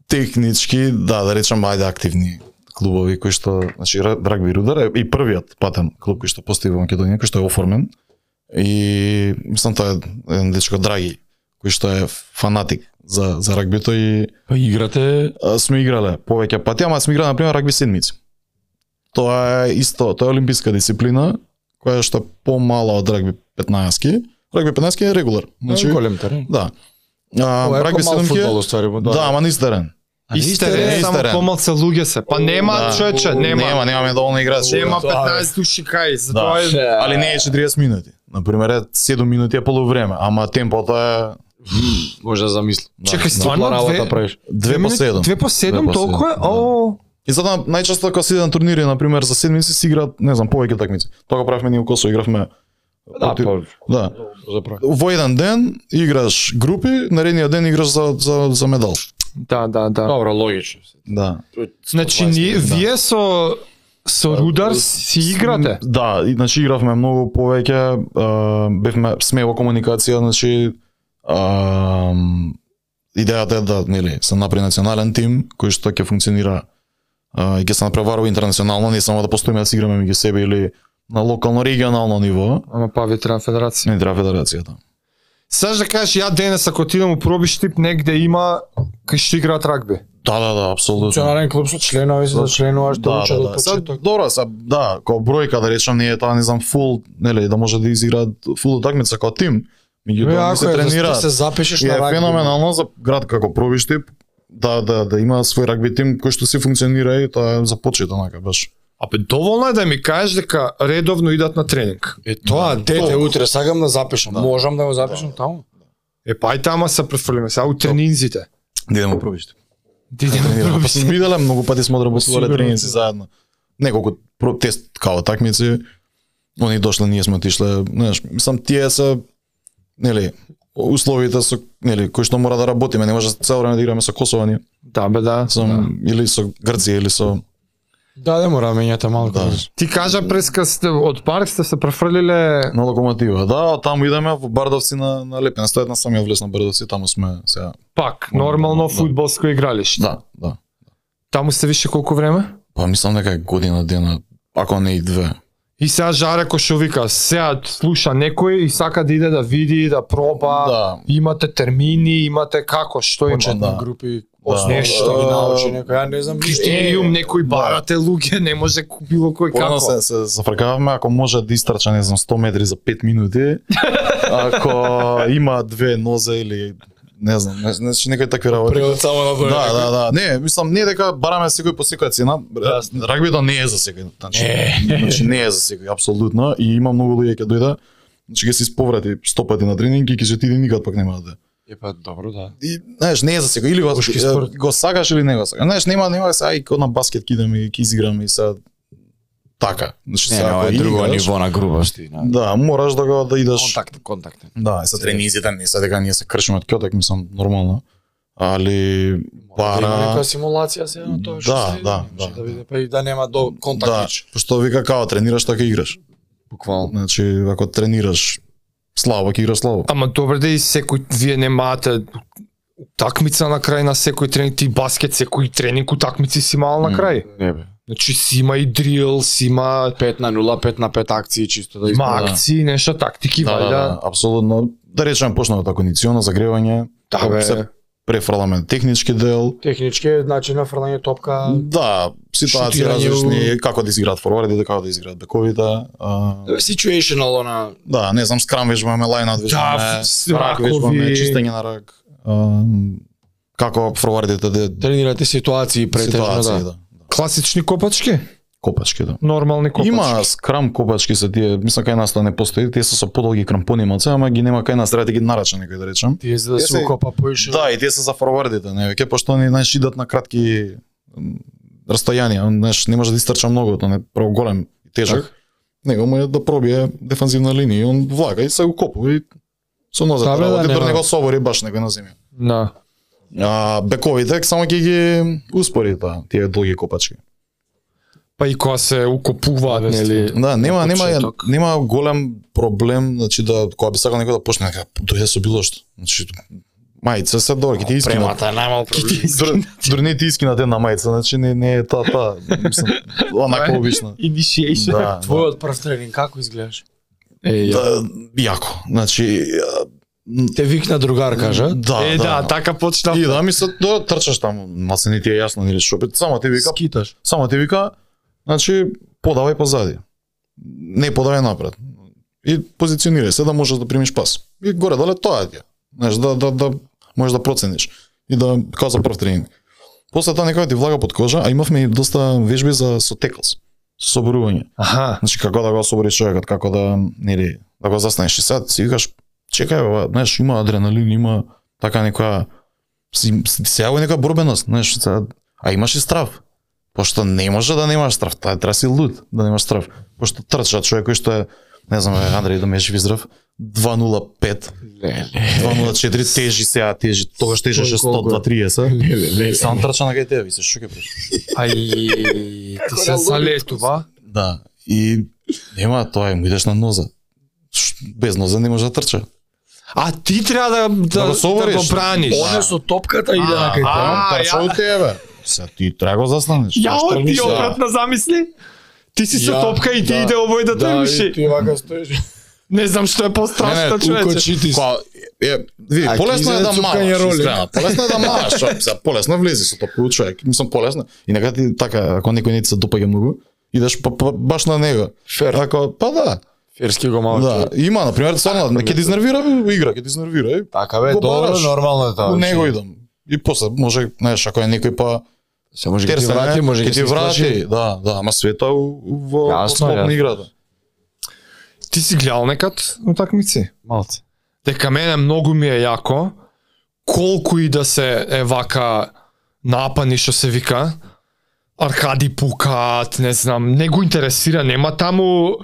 [SPEAKER 1] технички, да, да речам, ајде активни клубови кои што, значи Ра- Рагби Рудар е и првиот патен клуб кој што постои во Македонија, кој што е оформен. И мислам тоа е еден дечко драги кој што е фанатик за за рагбито и
[SPEAKER 2] Па играте
[SPEAKER 1] а, сме играле повеќе пати, ама сме играле на пример рагби седмици. Тоа е исто, тоа е олимписка дисциплина која што е помала од рагби 15-ки. Рагби 15-ки е регулар. Значи,
[SPEAKER 2] голем терен.
[SPEAKER 1] да. А, рагби 7-ки е-
[SPEAKER 2] оствари, да.
[SPEAKER 1] Да, ама низ терен.
[SPEAKER 4] Истерен, само
[SPEAKER 1] Истерен.
[SPEAKER 4] помалце луѓе се. Па нема,
[SPEAKER 1] Да.
[SPEAKER 4] човече, нема.
[SPEAKER 1] Нема, немаме доволно играчи.
[SPEAKER 4] Нема
[SPEAKER 2] Тоа е.
[SPEAKER 4] 15 души кај,
[SPEAKER 1] Да.
[SPEAKER 4] затоа е
[SPEAKER 1] Али не е 40 минути. Например, е 7 минути е полувреме, ама темпото е
[SPEAKER 3] Може да замисли.
[SPEAKER 1] да,
[SPEAKER 4] Чекај,
[SPEAKER 1] да.
[SPEAKER 4] стварно
[SPEAKER 2] Стварно
[SPEAKER 4] две-
[SPEAKER 2] работа правиш.
[SPEAKER 1] 2 по 7.
[SPEAKER 4] Две по
[SPEAKER 1] Две
[SPEAKER 4] седум,
[SPEAKER 1] по
[SPEAKER 4] толку е?
[SPEAKER 1] седум, да.
[SPEAKER 4] О,
[SPEAKER 1] И затоа најчесто кога се иде на турнири, например, за седмици се играат, не знам, повеќе такмици. Тоа го правевме ние у Косово, игравме
[SPEAKER 2] Да,
[SPEAKER 1] против-
[SPEAKER 2] па,
[SPEAKER 1] да.
[SPEAKER 2] за прави.
[SPEAKER 1] Во еден ден играш групи, наредниот ден играш за за за медал.
[SPEAKER 4] да, да, да.
[SPEAKER 2] Добро, логично.
[SPEAKER 1] Да.
[SPEAKER 4] Значи, ни- вие со
[SPEAKER 3] Па,
[SPEAKER 4] со
[SPEAKER 3] да.
[SPEAKER 4] Рудар си играте.
[SPEAKER 1] Да, и, значи игравме многу повеќе, а, бевме сме во комуникација, значи а, идејата е да нели се направи национален тим кој што ќе функционира а, и ќе се направува интернационално, не само да постоиме да се играме меѓу себе или на локално регионално ниво,
[SPEAKER 4] Ама па ви треба федерација.
[SPEAKER 1] не треба федерацијата.
[SPEAKER 4] Саш да кажеш, ја денес ако отидам у пробиштип, негде има кај што играат рагби.
[SPEAKER 1] Да, да, да, апсолутно. Да,
[SPEAKER 2] Национален клуб со членови се за членува што учат од
[SPEAKER 1] Сега,
[SPEAKER 2] почеток.
[SPEAKER 1] добро, са, да, као бројка да речам не е таа не знам фул, нели, да може да изиграат фул утакмица како тим.
[SPEAKER 2] Бе,
[SPEAKER 1] Меѓутоа не
[SPEAKER 2] ако
[SPEAKER 1] се
[SPEAKER 2] е, да
[SPEAKER 1] тренираат.
[SPEAKER 2] се запишеш
[SPEAKER 1] И
[SPEAKER 2] на
[SPEAKER 1] е
[SPEAKER 2] рагби.
[SPEAKER 1] феноменално за град како Провиштип да да да има свој рагби тим кој што си функционира и тоа е за почет онака баш.
[SPEAKER 4] Абе, доволно е да ми кажеш дека редовно идат на тренинг.
[SPEAKER 2] Е тоа, дете утре сакам да запишам. Можам да го запишам таму.
[SPEAKER 4] Е, па и тама се префрлиме, сега у тренинзите.
[SPEAKER 1] Дидем во Провиштип.
[SPEAKER 4] Дидем
[SPEAKER 2] Да.
[SPEAKER 4] на
[SPEAKER 1] Па сме виделе многу пати сме одработувале
[SPEAKER 2] Сигурно.
[SPEAKER 1] тренинци заедно. Неколку про- тест као такмици. Они дошле, ние сме отишле, знаеш, мислам тие се нели условите со нели кои што мора да работиме, не може цело време да играме со Косово ние,
[SPEAKER 4] Да, бе, да.
[SPEAKER 1] со или со Грција или со
[SPEAKER 2] Да, да мора мењата
[SPEAKER 3] Така
[SPEAKER 2] малку.
[SPEAKER 1] Да.
[SPEAKER 4] Ти кажа преска сте, од парк сте се префрлиле
[SPEAKER 1] на локомотива. Да, таму идеме во Бардовци на на Лепен, стојат на самиот влез на Бардовци, таму сме сега
[SPEAKER 4] пак, нормално
[SPEAKER 1] Да.
[SPEAKER 4] фудбалско игралиште.
[SPEAKER 1] Да, да.
[SPEAKER 4] Таму сте више колку време?
[SPEAKER 1] Па мислам дека е година дена, ако не и две.
[SPEAKER 4] И сега Жаре Кошовика, сега слуша некој и сака да иде да види, да проба,
[SPEAKER 1] да.
[SPEAKER 4] имате термини, имате како, што има.
[SPEAKER 1] Почетна
[SPEAKER 2] групи
[SPEAKER 1] Да.
[SPEAKER 2] Основно,
[SPEAKER 4] Нешто.
[SPEAKER 2] ги научи некој, ја не знам ништо.
[SPEAKER 4] Стадиум некој барате луѓе, не може ку- било кој
[SPEAKER 1] Порано
[SPEAKER 4] како.
[SPEAKER 1] да. се, се зафркаваме, ако може да истрача, не знам, 100 метри за 5 минути, ако има две нозе или не знам, не, не, значи некои такви работи.
[SPEAKER 2] Превод само на тоа.
[SPEAKER 1] Да, да, да. Не, мислам, не дека бараме секој по секоја цена.
[SPEAKER 2] Јасно.
[SPEAKER 1] Рагбито не е за секој. Значи, значи не е за секој, апсолутно. И има многу луѓе ќе дојда, значи ќе се исповрати 100 пати на тренинг и ќе ќе отиде никад пак нема да. е.
[SPEAKER 3] Е, па, добро, да.
[SPEAKER 1] И, знаеш, не е за секој. Или го,
[SPEAKER 2] Мушки
[SPEAKER 1] е,
[SPEAKER 2] спорт.
[SPEAKER 1] го сакаш или не го сакаш. Знаеш, нема, нема, сега ај, ко на баскет кидам и ќе изиграм и сега така. Значи,
[SPEAKER 3] Не,
[SPEAKER 1] сега,
[SPEAKER 3] ова
[SPEAKER 1] ако
[SPEAKER 3] е друго
[SPEAKER 1] играш,
[SPEAKER 3] ниво на грубости. на-
[SPEAKER 1] Да, мораш да го да идеш.
[SPEAKER 3] Контакт, контакт.
[SPEAKER 1] Да, и со тренизите не се дека ние се кршиме од Кјотек, мислам, нормално. Али
[SPEAKER 2] Да има
[SPEAKER 1] бара...
[SPEAKER 2] некоја симулација се на тоа што
[SPEAKER 1] Да,
[SPEAKER 2] се
[SPEAKER 1] да,
[SPEAKER 2] имаше,
[SPEAKER 1] да.
[SPEAKER 2] да биде па и да нема до
[SPEAKER 1] Да,
[SPEAKER 2] контактич.
[SPEAKER 1] што вика као тренираш така играш.
[SPEAKER 3] Буквално.
[SPEAKER 1] Значи ако тренираш слабо ќе играш слабо.
[SPEAKER 4] Ама добре да и секој вие немате такмица на крај на секој тренинг, ти баскет секој тренинг утакмици си имал на
[SPEAKER 1] Мм.
[SPEAKER 4] крај.
[SPEAKER 3] Не бе.
[SPEAKER 4] Значи си има и дрил, си има
[SPEAKER 3] 5 на 0, 5 на 5 акции чисто да
[SPEAKER 4] Има
[SPEAKER 3] изгледа.
[SPEAKER 4] акции, нешто тактики,
[SPEAKER 1] Да, да, да,
[SPEAKER 4] вајда.
[SPEAKER 1] апсолутно. Да речем почнаме од кондициона, загревање,
[SPEAKER 4] Да, бе.
[SPEAKER 1] се префрламе технички дел.
[SPEAKER 2] Технички е начин на фрлање топка.
[SPEAKER 1] Да, ситуации
[SPEAKER 2] Шутирање
[SPEAKER 1] различни, како да изиграат форвардите, како да изиграат бековите. а,
[SPEAKER 2] Да. Situational она
[SPEAKER 1] Да, не знам, скрам вежбаме, лајнаут
[SPEAKER 4] Да,
[SPEAKER 1] вежбаме,
[SPEAKER 4] с-
[SPEAKER 1] рак вежбаме,
[SPEAKER 4] ракови.
[SPEAKER 1] чистење на рак. а, Како форвардите да
[SPEAKER 2] тренирате ситуации претежно
[SPEAKER 1] ситуации,
[SPEAKER 2] да.
[SPEAKER 1] да.
[SPEAKER 4] Класични копачки,
[SPEAKER 1] Копачки, да.
[SPEAKER 4] нормални копачки.
[SPEAKER 1] Има скрам копачки се тие, мислам кај нас тоа не постои, тие се со подолги крампони маце, ама ги нема кај нас, треба да ги нарача некој да речам.
[SPEAKER 2] Тие за да
[SPEAKER 1] Е,
[SPEAKER 2] се
[SPEAKER 1] се-
[SPEAKER 2] укопа поише.
[SPEAKER 1] Да, и тие се за форвардите, не веќе, пошто они знаеш идат на кратки м, разстојанија, знаеш, не може да истрча многу, тоа не прво голем и тежак. Него му е да пробие дефанзивна линија и он влага и се укопува и со ноза
[SPEAKER 4] Да, бе,
[SPEAKER 1] да,
[SPEAKER 4] да,
[SPEAKER 1] до
[SPEAKER 4] нема.
[SPEAKER 1] него собори баш некој на земја.
[SPEAKER 4] Да.
[SPEAKER 1] А бековите само ќе ги успори таа, тие долги копачки.
[SPEAKER 4] Па и кога се укопуваат, нели?
[SPEAKER 1] Да, нема
[SPEAKER 4] на
[SPEAKER 1] нема
[SPEAKER 4] почеток.
[SPEAKER 1] нема голем проблем, значи да кога би сакал некој да почне да дојде со било што. Значи мајца се добро, ќе ти искина.
[SPEAKER 2] Премата е најмал проблем.
[SPEAKER 1] Дур- Дури не ти искина една мајца, значи не не е та та, мислам, онака обична.
[SPEAKER 4] Initiation.
[SPEAKER 1] Да, да.
[SPEAKER 2] Твојот прв тренинг како изгледаш?
[SPEAKER 4] Е, ја.
[SPEAKER 1] Да, Јако, значи а, м,
[SPEAKER 2] Те викна другар кажа.
[SPEAKER 1] да,
[SPEAKER 4] е, да, така почна.
[SPEAKER 1] И да ми се да трчаш таму, ма се не ти е јасно нели што, бе, само ти вика,
[SPEAKER 2] Скиташ.
[SPEAKER 1] само ти вика, значи подавај позади. Не подавај напред. И позиционирај се да можеш да примиш пас. И горе доле тоа ти. е. Знаеш, да да да можеш да процениш и да како за прв тренинг. После тоа некој ти влага под кожа, а имавме и доста вежби за со теклс, со соборување.
[SPEAKER 4] Аха.
[SPEAKER 1] Значи како да го собориш човекот, како да нели да го застанеш и сад си викаш чекај ова, знаеш, има адреналин, има така некоја си- си- сега го е некоја борбеност, знаеш, сега, а имаш и страв. Пошто не може да немаш страв, таа треба си луд да немаш страв. Пошто трча човек кој што е не знам, е, да Андреј Домеш Виздрав, 205,
[SPEAKER 3] Не,
[SPEAKER 1] 204 тежи сега, тежи, тогаш тежеше 130.
[SPEAKER 3] не, не, не.
[SPEAKER 1] Сам трча на кај тебе, и се шуке преш.
[SPEAKER 4] Ај, ти се салетува.
[SPEAKER 1] Да. И нема тоа, е, му идеш на ноза. Ш- Без ноза не може да трча.
[SPEAKER 4] А ти треба да да,
[SPEAKER 1] Да го
[SPEAKER 4] да
[SPEAKER 1] собереш.
[SPEAKER 4] го браниш.
[SPEAKER 1] Оне
[SPEAKER 2] со топката иде на
[SPEAKER 1] Кај
[SPEAKER 4] А,
[SPEAKER 1] тоа трча
[SPEAKER 4] ја-
[SPEAKER 1] од тебе. Се ти треба
[SPEAKER 2] да
[SPEAKER 1] го застанеш.
[SPEAKER 4] Ја
[SPEAKER 1] Што
[SPEAKER 4] ти
[SPEAKER 1] мислиш?
[SPEAKER 4] обратно замисли. Ти си со
[SPEAKER 2] Ја,
[SPEAKER 4] топка и ти
[SPEAKER 2] да.
[SPEAKER 4] иде овој да те
[SPEAKER 2] Да, и
[SPEAKER 4] миши.
[SPEAKER 2] ти вака стоиш.
[SPEAKER 4] Не знам што е
[SPEAKER 1] Не,
[SPEAKER 4] по-страшно,
[SPEAKER 1] не,
[SPEAKER 4] човече.
[SPEAKER 2] Кочи ти.
[SPEAKER 1] Па, е, види,
[SPEAKER 2] А,
[SPEAKER 1] полесно е
[SPEAKER 2] кизе
[SPEAKER 1] да
[SPEAKER 2] цукање
[SPEAKER 1] маваш,
[SPEAKER 2] роли.
[SPEAKER 1] искрено. Полесно е да маваш, шо, сега, полесно влези со топка у човек. Мислам, полесно. И нека ти така, ако некој не ти се допаѓа многу, идеш па, па, баш на него.
[SPEAKER 3] Фер.
[SPEAKER 1] Ако, па да,
[SPEAKER 3] Ферски го малко.
[SPEAKER 1] да. Има, например, стvarno, не ќе ти изнервира бе, игра, ќе ти изнервира. Е,
[SPEAKER 3] Така бе,
[SPEAKER 1] Го
[SPEAKER 3] добро,
[SPEAKER 1] бараш.
[SPEAKER 3] нормално е
[SPEAKER 1] у
[SPEAKER 3] тоа.
[SPEAKER 1] него идам. И после може, знаеш, ако е некој па
[SPEAKER 3] Се може ќе ти
[SPEAKER 1] терсен,
[SPEAKER 3] врати, може
[SPEAKER 1] ќе
[SPEAKER 3] ќе
[SPEAKER 1] ти врати, да, да, ама света у- во во
[SPEAKER 3] Јасно,
[SPEAKER 1] склоп на
[SPEAKER 3] јасно.
[SPEAKER 1] играта.
[SPEAKER 4] Ти си гледал некад утакмици?
[SPEAKER 3] Малце.
[SPEAKER 4] дека мене многу ми е јако колку и да се е вака напани што се вика аркади пукаат, не знам, не го интересира, нема таму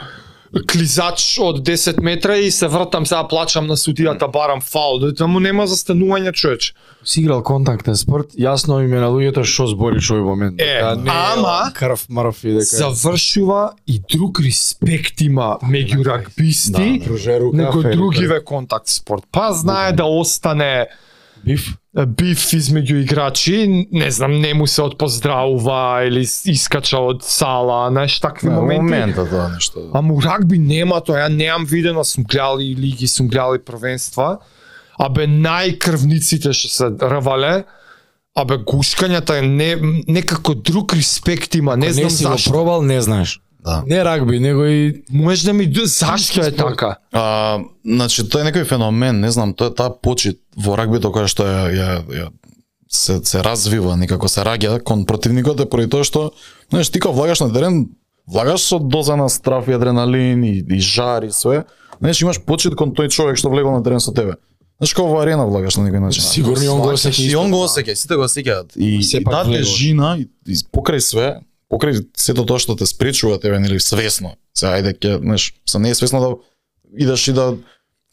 [SPEAKER 4] клизач од 10 метра и се вртам сега плачам на судијата, барам фаул, Д- таму нема застанување човеч.
[SPEAKER 3] Си играл контактен спорт, јасно им е на луѓето што збориш овој момент.
[SPEAKER 4] Е,
[SPEAKER 3] Дека Така, не е
[SPEAKER 4] ама-
[SPEAKER 3] крв мрв и дека
[SPEAKER 4] Завршува и друг респект има меѓу
[SPEAKER 3] Така
[SPEAKER 4] рагбисти,
[SPEAKER 3] пруже Да, рука.
[SPEAKER 4] некој
[SPEAKER 3] фери, фери.
[SPEAKER 4] другиве контакт спорт. Па знае да остане
[SPEAKER 3] биф.
[SPEAKER 4] биф измеѓу играчи, не знам, не му се отпоздравува или с- искача од сала, знаеш такви
[SPEAKER 1] Да, во
[SPEAKER 4] моменти.
[SPEAKER 1] момента тоа нешто.
[SPEAKER 4] Ама у рагби нема тоа, ја немам видено, сум гледал и лиги, сум гледал и првенства. Абе најкрвниците што се рвале, Абе, гушкањата е не, некако друг респект има, не,
[SPEAKER 3] Па, Не,
[SPEAKER 4] знам
[SPEAKER 3] си го
[SPEAKER 4] зашто.
[SPEAKER 3] пробал, не знаеш.
[SPEAKER 1] Да.
[SPEAKER 3] Не рагби, него и
[SPEAKER 4] Можеш да ми д- зашто е така?
[SPEAKER 1] А, значи, тоа е некој феномен, не знам, тоа е таа почит во рагбито која што ја, ја, ја се, се развива, некако се раѓа кон противникот е поради тоа што, знаеш, ти кога влагаш на терен, влагаш со доза на страф и адреналин и, и жар и све, знаеш, имаш почит кон тој човек што влегол на терен со тебе. Знаеш, како во арена влагаш на некој начин.
[SPEAKER 3] сигурно и он го
[SPEAKER 1] Сеќа,
[SPEAKER 3] осеќа.
[SPEAKER 1] и он го осеќа, сите го осеќаат. И, и
[SPEAKER 3] Сепак
[SPEAKER 1] таа
[SPEAKER 3] влегува.
[SPEAKER 1] тежина, и, и покрај све, покрај сето тоа што те спречува тебе, нели, свесно. Се, ајде, ке, знаеш, се не е свесно да идеш и да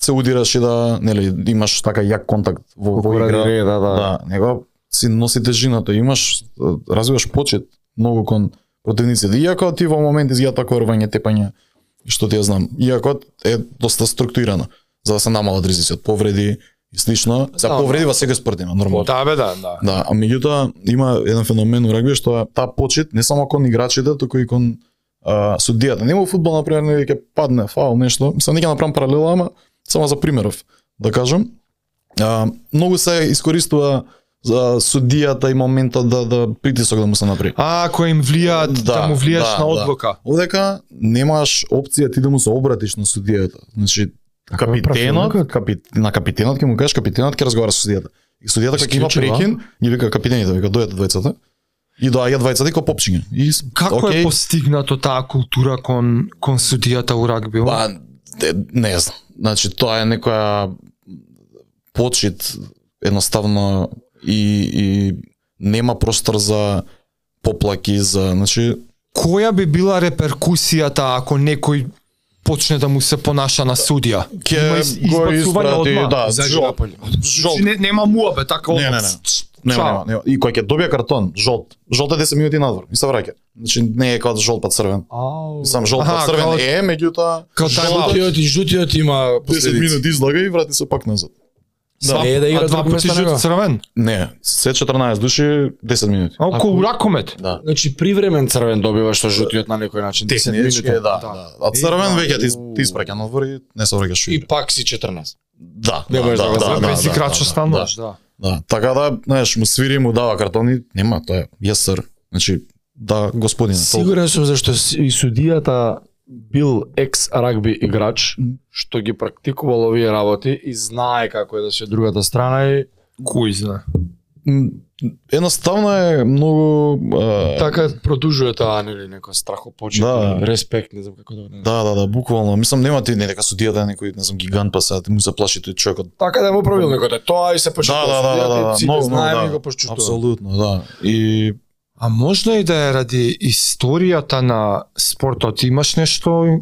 [SPEAKER 1] се удираш и да, нели, имаш така јак контакт во, во игра.
[SPEAKER 3] Ради ре, да, да.
[SPEAKER 1] Да, него си носи тежината, имаш, е, развиваш почет многу кон противниците. Иако ти во момент изгледа такво рвање, тепање, што ти ја знам, иако е доста структурирано, за да се намалат ризици од повреди и слично. Се
[SPEAKER 3] Да,
[SPEAKER 1] повреди во секој спорт има, нормално.
[SPEAKER 4] Да, бе, да, да.
[SPEAKER 1] Да, а меѓутоа има еден феномен у рагби што е таа почит не само кон играчите, туку и кон а, судијата. Нема во фудбал на пример нели ќе падне фаул нешто. Се не ќе направам паралела, ама само за примеров да кажам. А, многу се искористува за судијата и моментот да да притисок да му се направи.
[SPEAKER 4] А, кој им влијаат, да,
[SPEAKER 1] Да,
[SPEAKER 4] му влијаш
[SPEAKER 1] да,
[SPEAKER 4] на
[SPEAKER 1] да.
[SPEAKER 4] одлука.
[SPEAKER 1] Одека немаш опција ти да му се обратиш на судијата. Значи
[SPEAKER 4] Така
[SPEAKER 3] е
[SPEAKER 1] капитенот,
[SPEAKER 3] правилникот?
[SPEAKER 1] капит, на капитенот ќе му кажеш капитенот ќе разговара со судијата. И судијата кога ќе има
[SPEAKER 3] Исклучува.
[SPEAKER 1] прекин, ги вика капитените, вика дојдете двајцата. И доаѓа двајцата и ко попчиња. И с-
[SPEAKER 4] Како
[SPEAKER 1] окей,
[SPEAKER 4] е постигнато таа култура кон кон судијата у рагби?
[SPEAKER 1] Па, е, не знам. Значи, тоа е некоја почит, едноставно, и, и нема простор за поплаки, за, значи,
[SPEAKER 4] Која би била реперкусијата ако некој почне да му се понаша на судија?
[SPEAKER 1] ќе
[SPEAKER 4] Има из- избацување одма.
[SPEAKER 1] да, жол, жол,
[SPEAKER 4] Значи, Не, нема муабе, така
[SPEAKER 1] Не, не, не. Нема,
[SPEAKER 4] Чао.
[SPEAKER 1] нема, нема. И кој ќе добие картон, жолт. Жолт е 10 минути надвор и се враќа. Значи не е како жолт па црвен.
[SPEAKER 3] Ау.
[SPEAKER 1] Сам жолт
[SPEAKER 4] Аха,
[SPEAKER 1] па црвен
[SPEAKER 4] као-
[SPEAKER 1] е, меѓутоа
[SPEAKER 4] Као тајм-аут.
[SPEAKER 1] жолтиот
[SPEAKER 3] Жутиот и жутиот има
[SPEAKER 1] 10
[SPEAKER 3] последици.
[SPEAKER 1] минути излага и врати се пак назад.
[SPEAKER 3] Да, не е да
[SPEAKER 4] А
[SPEAKER 3] игра
[SPEAKER 4] два
[SPEAKER 3] два
[SPEAKER 4] пати
[SPEAKER 3] места него.
[SPEAKER 4] жут црвен.
[SPEAKER 1] Не, се 14 души 10 минути.
[SPEAKER 4] А
[SPEAKER 3] Ако-
[SPEAKER 4] околу ракомет.
[SPEAKER 1] Да.
[SPEAKER 3] Значи привремен црвен добива што жутиот на некој начин 10
[SPEAKER 1] Технички, да,
[SPEAKER 3] минути.
[SPEAKER 1] да. А црвен
[SPEAKER 3] И-
[SPEAKER 1] веќе ти ти испраќа надвор и не се враќаш. у игра.
[SPEAKER 3] И пак си 14.
[SPEAKER 1] Да,
[SPEAKER 3] не можеш да го
[SPEAKER 4] Да,
[SPEAKER 3] да,
[SPEAKER 4] без
[SPEAKER 3] да,
[SPEAKER 4] играч остануваш, да.
[SPEAKER 1] Да, така да, знаеш, му свири му дава картон и нема, тоа е јесер. Значи, да, господин.
[SPEAKER 3] Сигурен сум зашто с- и судијата бил екс рагби играч што ги практикувал овие работи и знае како е да се од другата страна и
[SPEAKER 4] Кој знае.
[SPEAKER 1] М, едноставно е многу а,
[SPEAKER 3] така продужува таа нели некој страхопочит,
[SPEAKER 1] Да.
[SPEAKER 3] респект, не знам како да. го-
[SPEAKER 1] Да, да, да, буквално. Мислам нема ти не дека судијата да е некој, не знам, гигант па сега ти му се плаши тој човекот.
[SPEAKER 3] Така да му правил некој да тоа и се почитува.
[SPEAKER 1] Да, да, да, да, да, да.
[SPEAKER 3] Сите
[SPEAKER 1] Много,
[SPEAKER 3] знаеме
[SPEAKER 1] да.
[SPEAKER 3] и го почитува.
[SPEAKER 1] Апсолутно, да. И
[SPEAKER 4] А можна и да е ради историјата на спортот. Имаш нешто,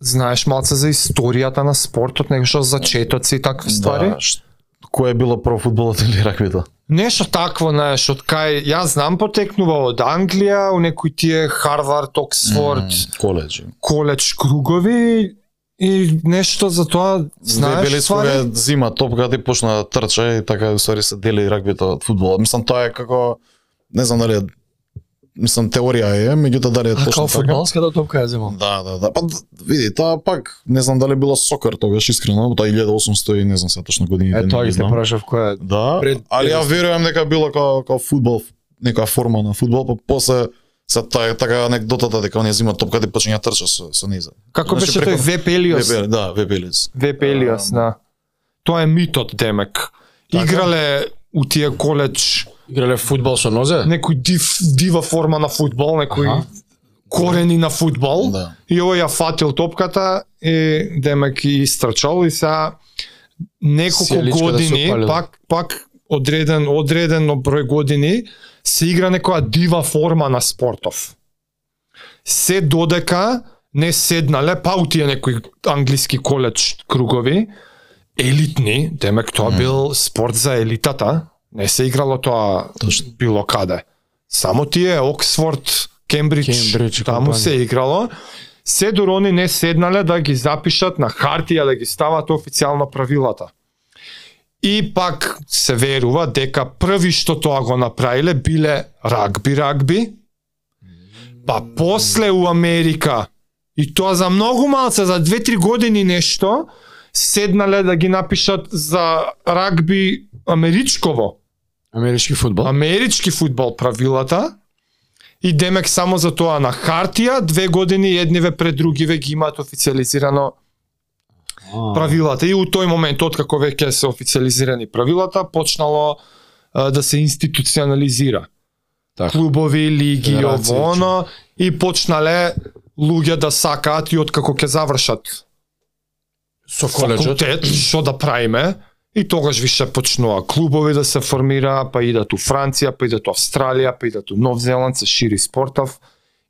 [SPEAKER 4] знаеш малце за историјата на спортот, нешто за четоци и такви ствари?
[SPEAKER 1] да, ш- кое било да про фудбалот или раквито?
[SPEAKER 4] Нешто такво, знаеш, од кај, ја знам потекнува од Англија, у некои тие Харвард, Оксфорд,
[SPEAKER 1] колеџ.
[SPEAKER 4] коледж кругови и нешто за тоа, знаеш,
[SPEAKER 1] Знаеш,
[SPEAKER 4] ствари?
[SPEAKER 1] кога зима топката и почна да трча и така у ствари се дели раквито од фудбалот. Мислам тоа е како не знам дали е мислам теорија е, меѓутоа дали е
[SPEAKER 3] А
[SPEAKER 1] точно
[SPEAKER 3] како
[SPEAKER 1] така.
[SPEAKER 3] фудбалската топка ја земал.
[SPEAKER 1] Да, да, да. Па д- види, тоа пак не знам дали било сокар тогаш искрено, тоа 1800 и не знам сега точно годините.
[SPEAKER 3] Е
[SPEAKER 1] не
[SPEAKER 3] тоа
[SPEAKER 1] ги
[SPEAKER 3] ги те
[SPEAKER 1] знам.
[SPEAKER 3] прашав која е.
[SPEAKER 1] Да,
[SPEAKER 3] Пред-
[SPEAKER 1] али ја верувам дека било као, као фудбал, нека форма на фудбал, па после се таа така анекдотата дека оние зима топката и почиња трча со со низа.
[SPEAKER 4] Како
[SPEAKER 1] Значи,
[SPEAKER 4] беше
[SPEAKER 1] преко-
[SPEAKER 4] тој Вепелиос?
[SPEAKER 1] Вебе- Да, Вебелец.
[SPEAKER 4] Вепелиос, да. Тоа е митот, демек.
[SPEAKER 1] Така.
[SPEAKER 4] Играле у тие коледж
[SPEAKER 3] Играле фудбал со нозе?
[SPEAKER 4] некој див, дива форма на фудбал, некој
[SPEAKER 3] Аха.
[SPEAKER 4] корени на фудбал.
[SPEAKER 1] Да.
[SPEAKER 4] И овој ја фатил топката и демек и истрчал и сега неколку
[SPEAKER 3] Сијаличка да се
[SPEAKER 4] години,
[SPEAKER 3] опалила.
[SPEAKER 4] пак пак одреден одреден број години се игра некоја дива форма на спортов. Се додека не седнале, па у тие некои англиски коледж кругови, елитни, демек тоа бил спорт за елитата, не се играло тоа
[SPEAKER 1] Точно.
[SPEAKER 4] било каде. Само тие Оксфорд, Кембридж,
[SPEAKER 3] Кембридж и
[SPEAKER 4] таму
[SPEAKER 3] компанија.
[SPEAKER 4] се играло. Се дур они не седнале да ги запишат на хартија да ги стават официјално правилата. И пак се верува дека први што тоа го направиле биле рагби рагби. Па после у Америка и тоа за многу малце за 2-3 години нешто седнале да ги напишат за рагби америчково
[SPEAKER 3] Амерички фудбал.
[SPEAKER 4] Амерички фудбал правилата и демек само за тоа на хартија, две години едниве пред другиве ги имаат официализирано правилата и у тој момент откако веќе се официализирани правилата почнало а, да се институционализира.
[SPEAKER 3] Така.
[SPEAKER 4] Клубови, лиги,
[SPEAKER 3] Федерации,
[SPEAKER 4] ово, оно, и почнале луѓе да сакаат и откако ќе завршат со
[SPEAKER 3] коледжот.
[SPEAKER 4] факултет, што да правиме, и тогаш више почнува клубови да се формира, па идат у Франција, па идат у Австралија, па идат у Нов Зеланд, се шири спортов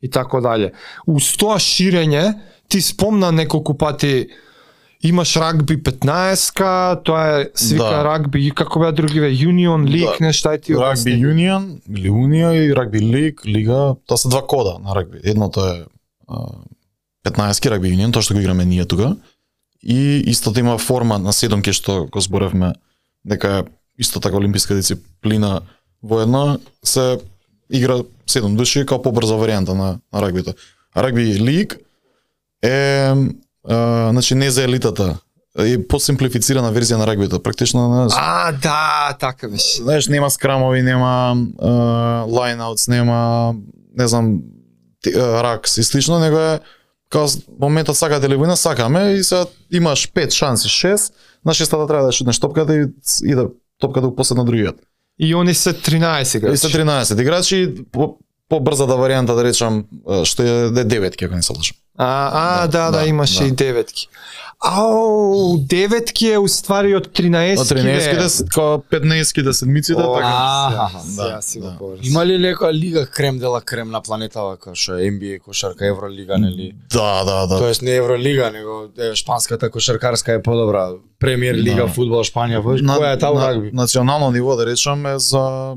[SPEAKER 4] и така дале. Уз тоа ширење, ти спомна неколку пати имаш рагби 15-ка, тоа е свика
[SPEAKER 1] Да.
[SPEAKER 4] да. рагби, како беа другиве, Union League, да. нешта и ти
[SPEAKER 1] Rugby Union, или Unija и Rugby League, лига, тоа се два кода на рагби. Едното е а, 15-ки Rugby Union, тоа што го играме ние тука. И истото има форма на седомки што го зборевме, дека е исто така олимписка дисциплина во една се игра седом души како побрза варијанта на, на рагбито. А Rugby League е а, значи не за елитата, е посимплифицирана верзија на рагбито, практично на
[SPEAKER 4] А, да, така беше.
[SPEAKER 1] знаеш, нема скрамови, нема лайнаутс, нема, не знам, ти- а, ракс и слично, него е као с- моментот сакате ли војна, сакаме и сега имаш пет шанси, шест, на шестата треба да шутнеш топката и ц- и да топката у посет на другиот.
[SPEAKER 4] И они се 13
[SPEAKER 1] И
[SPEAKER 4] играчи.
[SPEAKER 1] се 13 играчи, по, побрзата варијанта да речам, а, што е де- девет, ако не се лажам.
[SPEAKER 4] А, а, да, да,
[SPEAKER 1] да,
[SPEAKER 4] да имаше
[SPEAKER 1] да.
[SPEAKER 4] да. и деветки. Ау, деветки е уствари од 13
[SPEAKER 1] Од да 13-ките, као 15-ките, седмиците,
[SPEAKER 4] О,
[SPEAKER 1] така.
[SPEAKER 3] Аха.
[SPEAKER 1] Да,
[SPEAKER 4] Да, си
[SPEAKER 1] да.
[SPEAKER 4] го поврз.
[SPEAKER 3] Има ли некоја лига крем дела крем на планетава како што е NBA кошарка, Евролига нели?
[SPEAKER 1] Да, да, да.
[SPEAKER 3] Тоест не Евролига, него е, шпанската кошаркарска е подобра. Премиер лига
[SPEAKER 1] Да.
[SPEAKER 3] фудбал Шпанија, во
[SPEAKER 1] на,
[SPEAKER 3] која е таа во
[SPEAKER 1] на-
[SPEAKER 3] рагби?
[SPEAKER 1] национално ниво да речам е за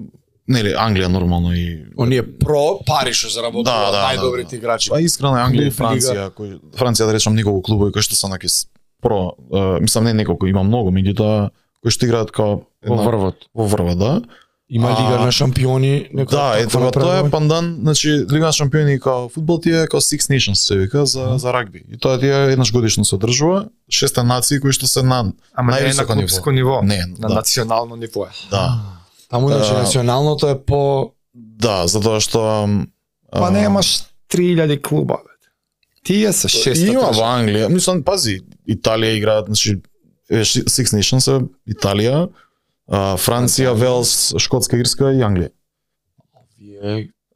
[SPEAKER 1] нели Англија нормално и
[SPEAKER 3] Оние про пари што заработуваат
[SPEAKER 1] Да, да, да,
[SPEAKER 3] најдобрите
[SPEAKER 1] да.
[SPEAKER 3] играчи.
[SPEAKER 1] па искрено е Англија и
[SPEAKER 3] Клуб, лига.
[SPEAKER 1] Франција кои Франција да речам неколку клубови кои што се наки про е, мислам не неколку има многу меѓутоа кои што играат како
[SPEAKER 4] Па,
[SPEAKER 3] Во
[SPEAKER 1] една-
[SPEAKER 3] врвот.
[SPEAKER 1] во врва да
[SPEAKER 3] Има
[SPEAKER 1] А,
[SPEAKER 3] лига на шампиони, така некоја
[SPEAKER 1] да
[SPEAKER 3] таква
[SPEAKER 1] ето ба,
[SPEAKER 3] направена.
[SPEAKER 1] тоа е пандан значи лига на шампиони како фудбал ти е како Six Nations се вика за за рагби и тоа ти е еднаш годишно се одржува шеста нации кои што се на
[SPEAKER 4] Ама не е на
[SPEAKER 1] највисоко
[SPEAKER 4] клубско ниво,
[SPEAKER 1] не
[SPEAKER 4] на
[SPEAKER 1] да,
[SPEAKER 4] национално ниво. е.
[SPEAKER 1] да
[SPEAKER 3] Таму значи
[SPEAKER 1] Да.
[SPEAKER 3] националното е по
[SPEAKER 1] да затоа што
[SPEAKER 4] Па
[SPEAKER 1] а,
[SPEAKER 4] немаш 3000 клуба, бе. Тие се
[SPEAKER 1] И
[SPEAKER 4] 600.
[SPEAKER 1] Има во Англија, мислам, пази, Италија играат, значи е, ши- Six Nations е Италија, а, Франција, Велс, Шкотска, Ирска и Англија.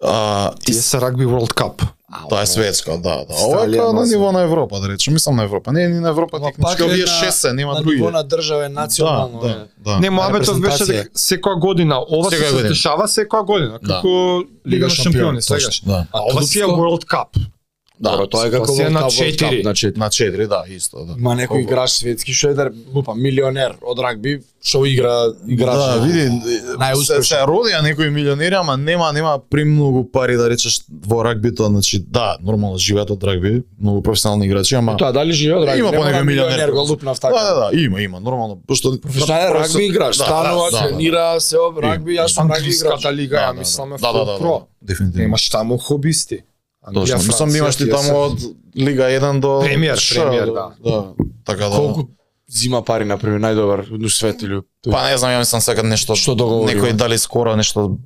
[SPEAKER 1] А, и,
[SPEAKER 4] Тие се рагби World Cup.
[SPEAKER 1] тоа е светско, да, да. Ова е као на ниво на Европа, да речем, мислам на Европа. Не, ни на Европа
[SPEAKER 3] Ама
[SPEAKER 1] технички,
[SPEAKER 3] пак е
[SPEAKER 1] овие
[SPEAKER 3] на-
[SPEAKER 1] шест се, нема
[SPEAKER 3] на
[SPEAKER 1] други.
[SPEAKER 3] ниво на држава е национално. е.
[SPEAKER 1] да, да.
[SPEAKER 4] Не, моабетот беше
[SPEAKER 3] репрезентација.
[SPEAKER 4] дека секоја година, ова
[SPEAKER 1] Секоја
[SPEAKER 4] се
[SPEAKER 1] година.
[SPEAKER 4] дешава секоја година,
[SPEAKER 1] Да.
[SPEAKER 4] како Лига на шампиони,
[SPEAKER 1] Точно,
[SPEAKER 4] сегаш.
[SPEAKER 1] Да.
[SPEAKER 3] А
[SPEAKER 4] А ова си е
[SPEAKER 3] клубско?
[SPEAKER 4] World Cup.
[SPEAKER 3] Добро,
[SPEAKER 1] Да,
[SPEAKER 3] тоа е како
[SPEAKER 4] Тоа си е
[SPEAKER 3] World
[SPEAKER 4] на
[SPEAKER 3] Cup, значи. World Cup,
[SPEAKER 4] четири.
[SPEAKER 3] на четири.
[SPEAKER 1] на четири, да, исто, да.
[SPEAKER 3] Има некој играч светски што е да лупа милионер од рагби што игра играч.
[SPEAKER 1] да,
[SPEAKER 3] на-
[SPEAKER 1] види,
[SPEAKER 3] најуспешен.
[SPEAKER 1] се, се родија некои милионери, ама нема нема премногу пари да речеш во рагбито, значи да, нормално живеат од рагби, многу професионални играчи, ама
[SPEAKER 3] Тоа дали живеот рагби?
[SPEAKER 1] Има
[SPEAKER 3] Нема
[SPEAKER 1] понекој
[SPEAKER 3] да
[SPEAKER 1] милионер.
[SPEAKER 3] го лупнав
[SPEAKER 1] Да,
[SPEAKER 3] така.
[SPEAKER 1] да, да, има, има, нормално, пошто
[SPEAKER 3] Професионален
[SPEAKER 1] Да,
[SPEAKER 3] рагби играч,
[SPEAKER 1] да,
[SPEAKER 3] станува,
[SPEAKER 1] да, да,
[SPEAKER 3] тренира се об рагби, јас сум рагби играч.
[SPEAKER 4] Англиската лига, ја мислам е
[SPEAKER 1] да, да, да,
[SPEAKER 4] full pro.
[SPEAKER 1] да, дефинитивно.
[SPEAKER 4] Немаш таму хобисти. Англија,
[SPEAKER 1] Точно, мислам
[SPEAKER 4] Франција,
[SPEAKER 1] имаш ти
[SPEAKER 4] тие се-
[SPEAKER 1] таму од Лига 1 до
[SPEAKER 4] Премиер,
[SPEAKER 1] Ш,
[SPEAKER 4] премиер, да.
[SPEAKER 1] Да, така да.
[SPEAKER 3] Колку зима пари на пример најдобар од свет или
[SPEAKER 1] Па не знам, ја мислам сега нешто
[SPEAKER 3] Што да договор
[SPEAKER 1] Некој
[SPEAKER 3] има?
[SPEAKER 1] дали скоро нешто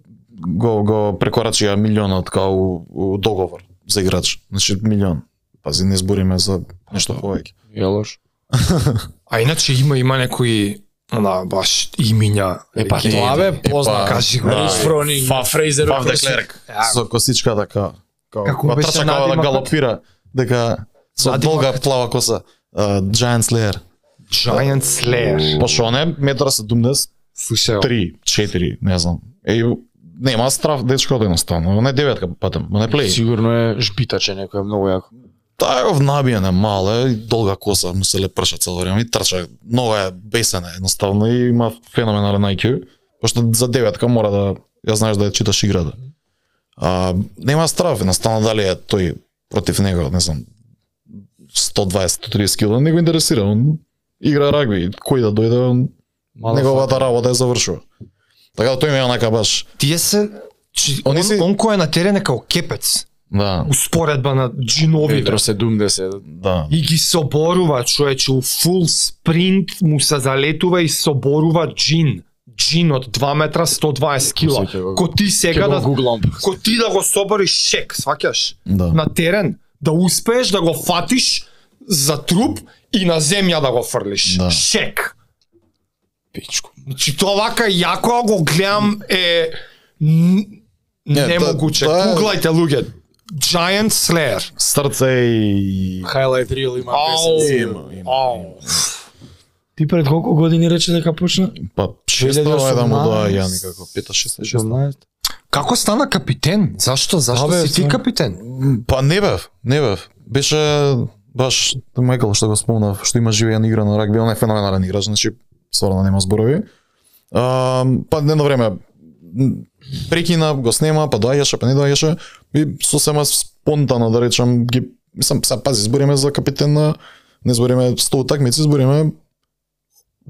[SPEAKER 1] го го прекорачија милионот као у, у договор за играч. Значи милион. Пази, не збориме за нешто повеќе.
[SPEAKER 3] е лош.
[SPEAKER 4] А иначе има има некои она баш имиња.
[SPEAKER 3] Е па
[SPEAKER 1] Легенда.
[SPEAKER 3] тоа бе
[SPEAKER 1] Е,
[SPEAKER 3] позна.
[SPEAKER 1] па,
[SPEAKER 4] кажи го.
[SPEAKER 1] да.
[SPEAKER 3] Риш Фронинг, Фрейзер,
[SPEAKER 1] Фав де
[SPEAKER 4] значи,
[SPEAKER 3] Кросик.
[SPEAKER 1] Клерк.
[SPEAKER 3] Ја,
[SPEAKER 1] Со косичка така. Као,
[SPEAKER 4] Како
[SPEAKER 1] како
[SPEAKER 4] беше
[SPEAKER 1] трча као да
[SPEAKER 4] надимакот?
[SPEAKER 1] галопира, дека со
[SPEAKER 4] Надимакот.
[SPEAKER 1] долга плава коса. Uh, Giant Slayer.
[SPEAKER 4] Giant Slayer.
[SPEAKER 1] Пошто он е Па метра 70,
[SPEAKER 4] Слушај,
[SPEAKER 1] 3, 4, не знам. Е, нема страв дечкото едноставно. Он е деветка патем, он е плей.
[SPEAKER 3] Сигурно е жбитаче некој е многу јако.
[SPEAKER 1] Таа е навиена мала, и долга коса му се лепрша цело време и трча. Много е бесена едноставно и има феноменален IQ. Пошто за деветка мора да ја знаеш да ја читаш играта. А, нема страв едноставно дали е тој против него, не знам, 120-130 кило, не го интересира. Он игра рагби, кој да дојде, он неговата работа е завршува. Така да тој има онака баш.
[SPEAKER 4] тие се Чи,
[SPEAKER 1] Они
[SPEAKER 4] он,
[SPEAKER 1] си-
[SPEAKER 4] он кој е на терен е као кепец.
[SPEAKER 1] Да,
[SPEAKER 4] Успоредба на джинови.
[SPEAKER 3] Петро 70.
[SPEAKER 1] да.
[SPEAKER 4] И ги соборува човече у фул спринт, му се залетува и соборува джин. джин од 2 метра 120 кила.
[SPEAKER 3] Сеќа го.
[SPEAKER 4] Ко ти сега
[SPEAKER 3] Ќе
[SPEAKER 4] да
[SPEAKER 3] го гуглам.
[SPEAKER 4] ко ти да го собориш шек, сваќаш?
[SPEAKER 1] Да.
[SPEAKER 4] На терен да успееш да го фатиш за труп и на земја да го фрлиш.
[SPEAKER 1] Да.
[SPEAKER 4] Шек.
[SPEAKER 3] Пичко.
[SPEAKER 4] Значи тоа вака јако а го гледам е н-
[SPEAKER 1] Не,
[SPEAKER 4] немогуче.
[SPEAKER 1] тоа- тоа е-
[SPEAKER 4] Гуглајте луѓе. Giant Slayer.
[SPEAKER 1] Срце и...
[SPEAKER 3] Highlight Reel има
[SPEAKER 4] Ау.
[SPEAKER 3] песен.
[SPEAKER 4] Ау.
[SPEAKER 2] Ти пред колку години рече дека почна?
[SPEAKER 1] Па, шестава е да му доа ја никако. Пета, шеста, шеста.
[SPEAKER 2] 16.
[SPEAKER 4] Како стана капитен? Зашто? Зашто
[SPEAKER 2] Абе,
[SPEAKER 4] си ти
[SPEAKER 2] тоа-
[SPEAKER 4] капитен?
[SPEAKER 1] Па не бев, не бев. Беше баш Майкл што го спомнав, што има живеен игра на рагби, он е феноменален играч, значи стварно нема зборови. А, па едно време м, прекина, го снема, па доаѓаше, па не доаѓаше и сосема спонтано да речам ги сам се пази збориме за капитен на не збориме 100 такмици, збориме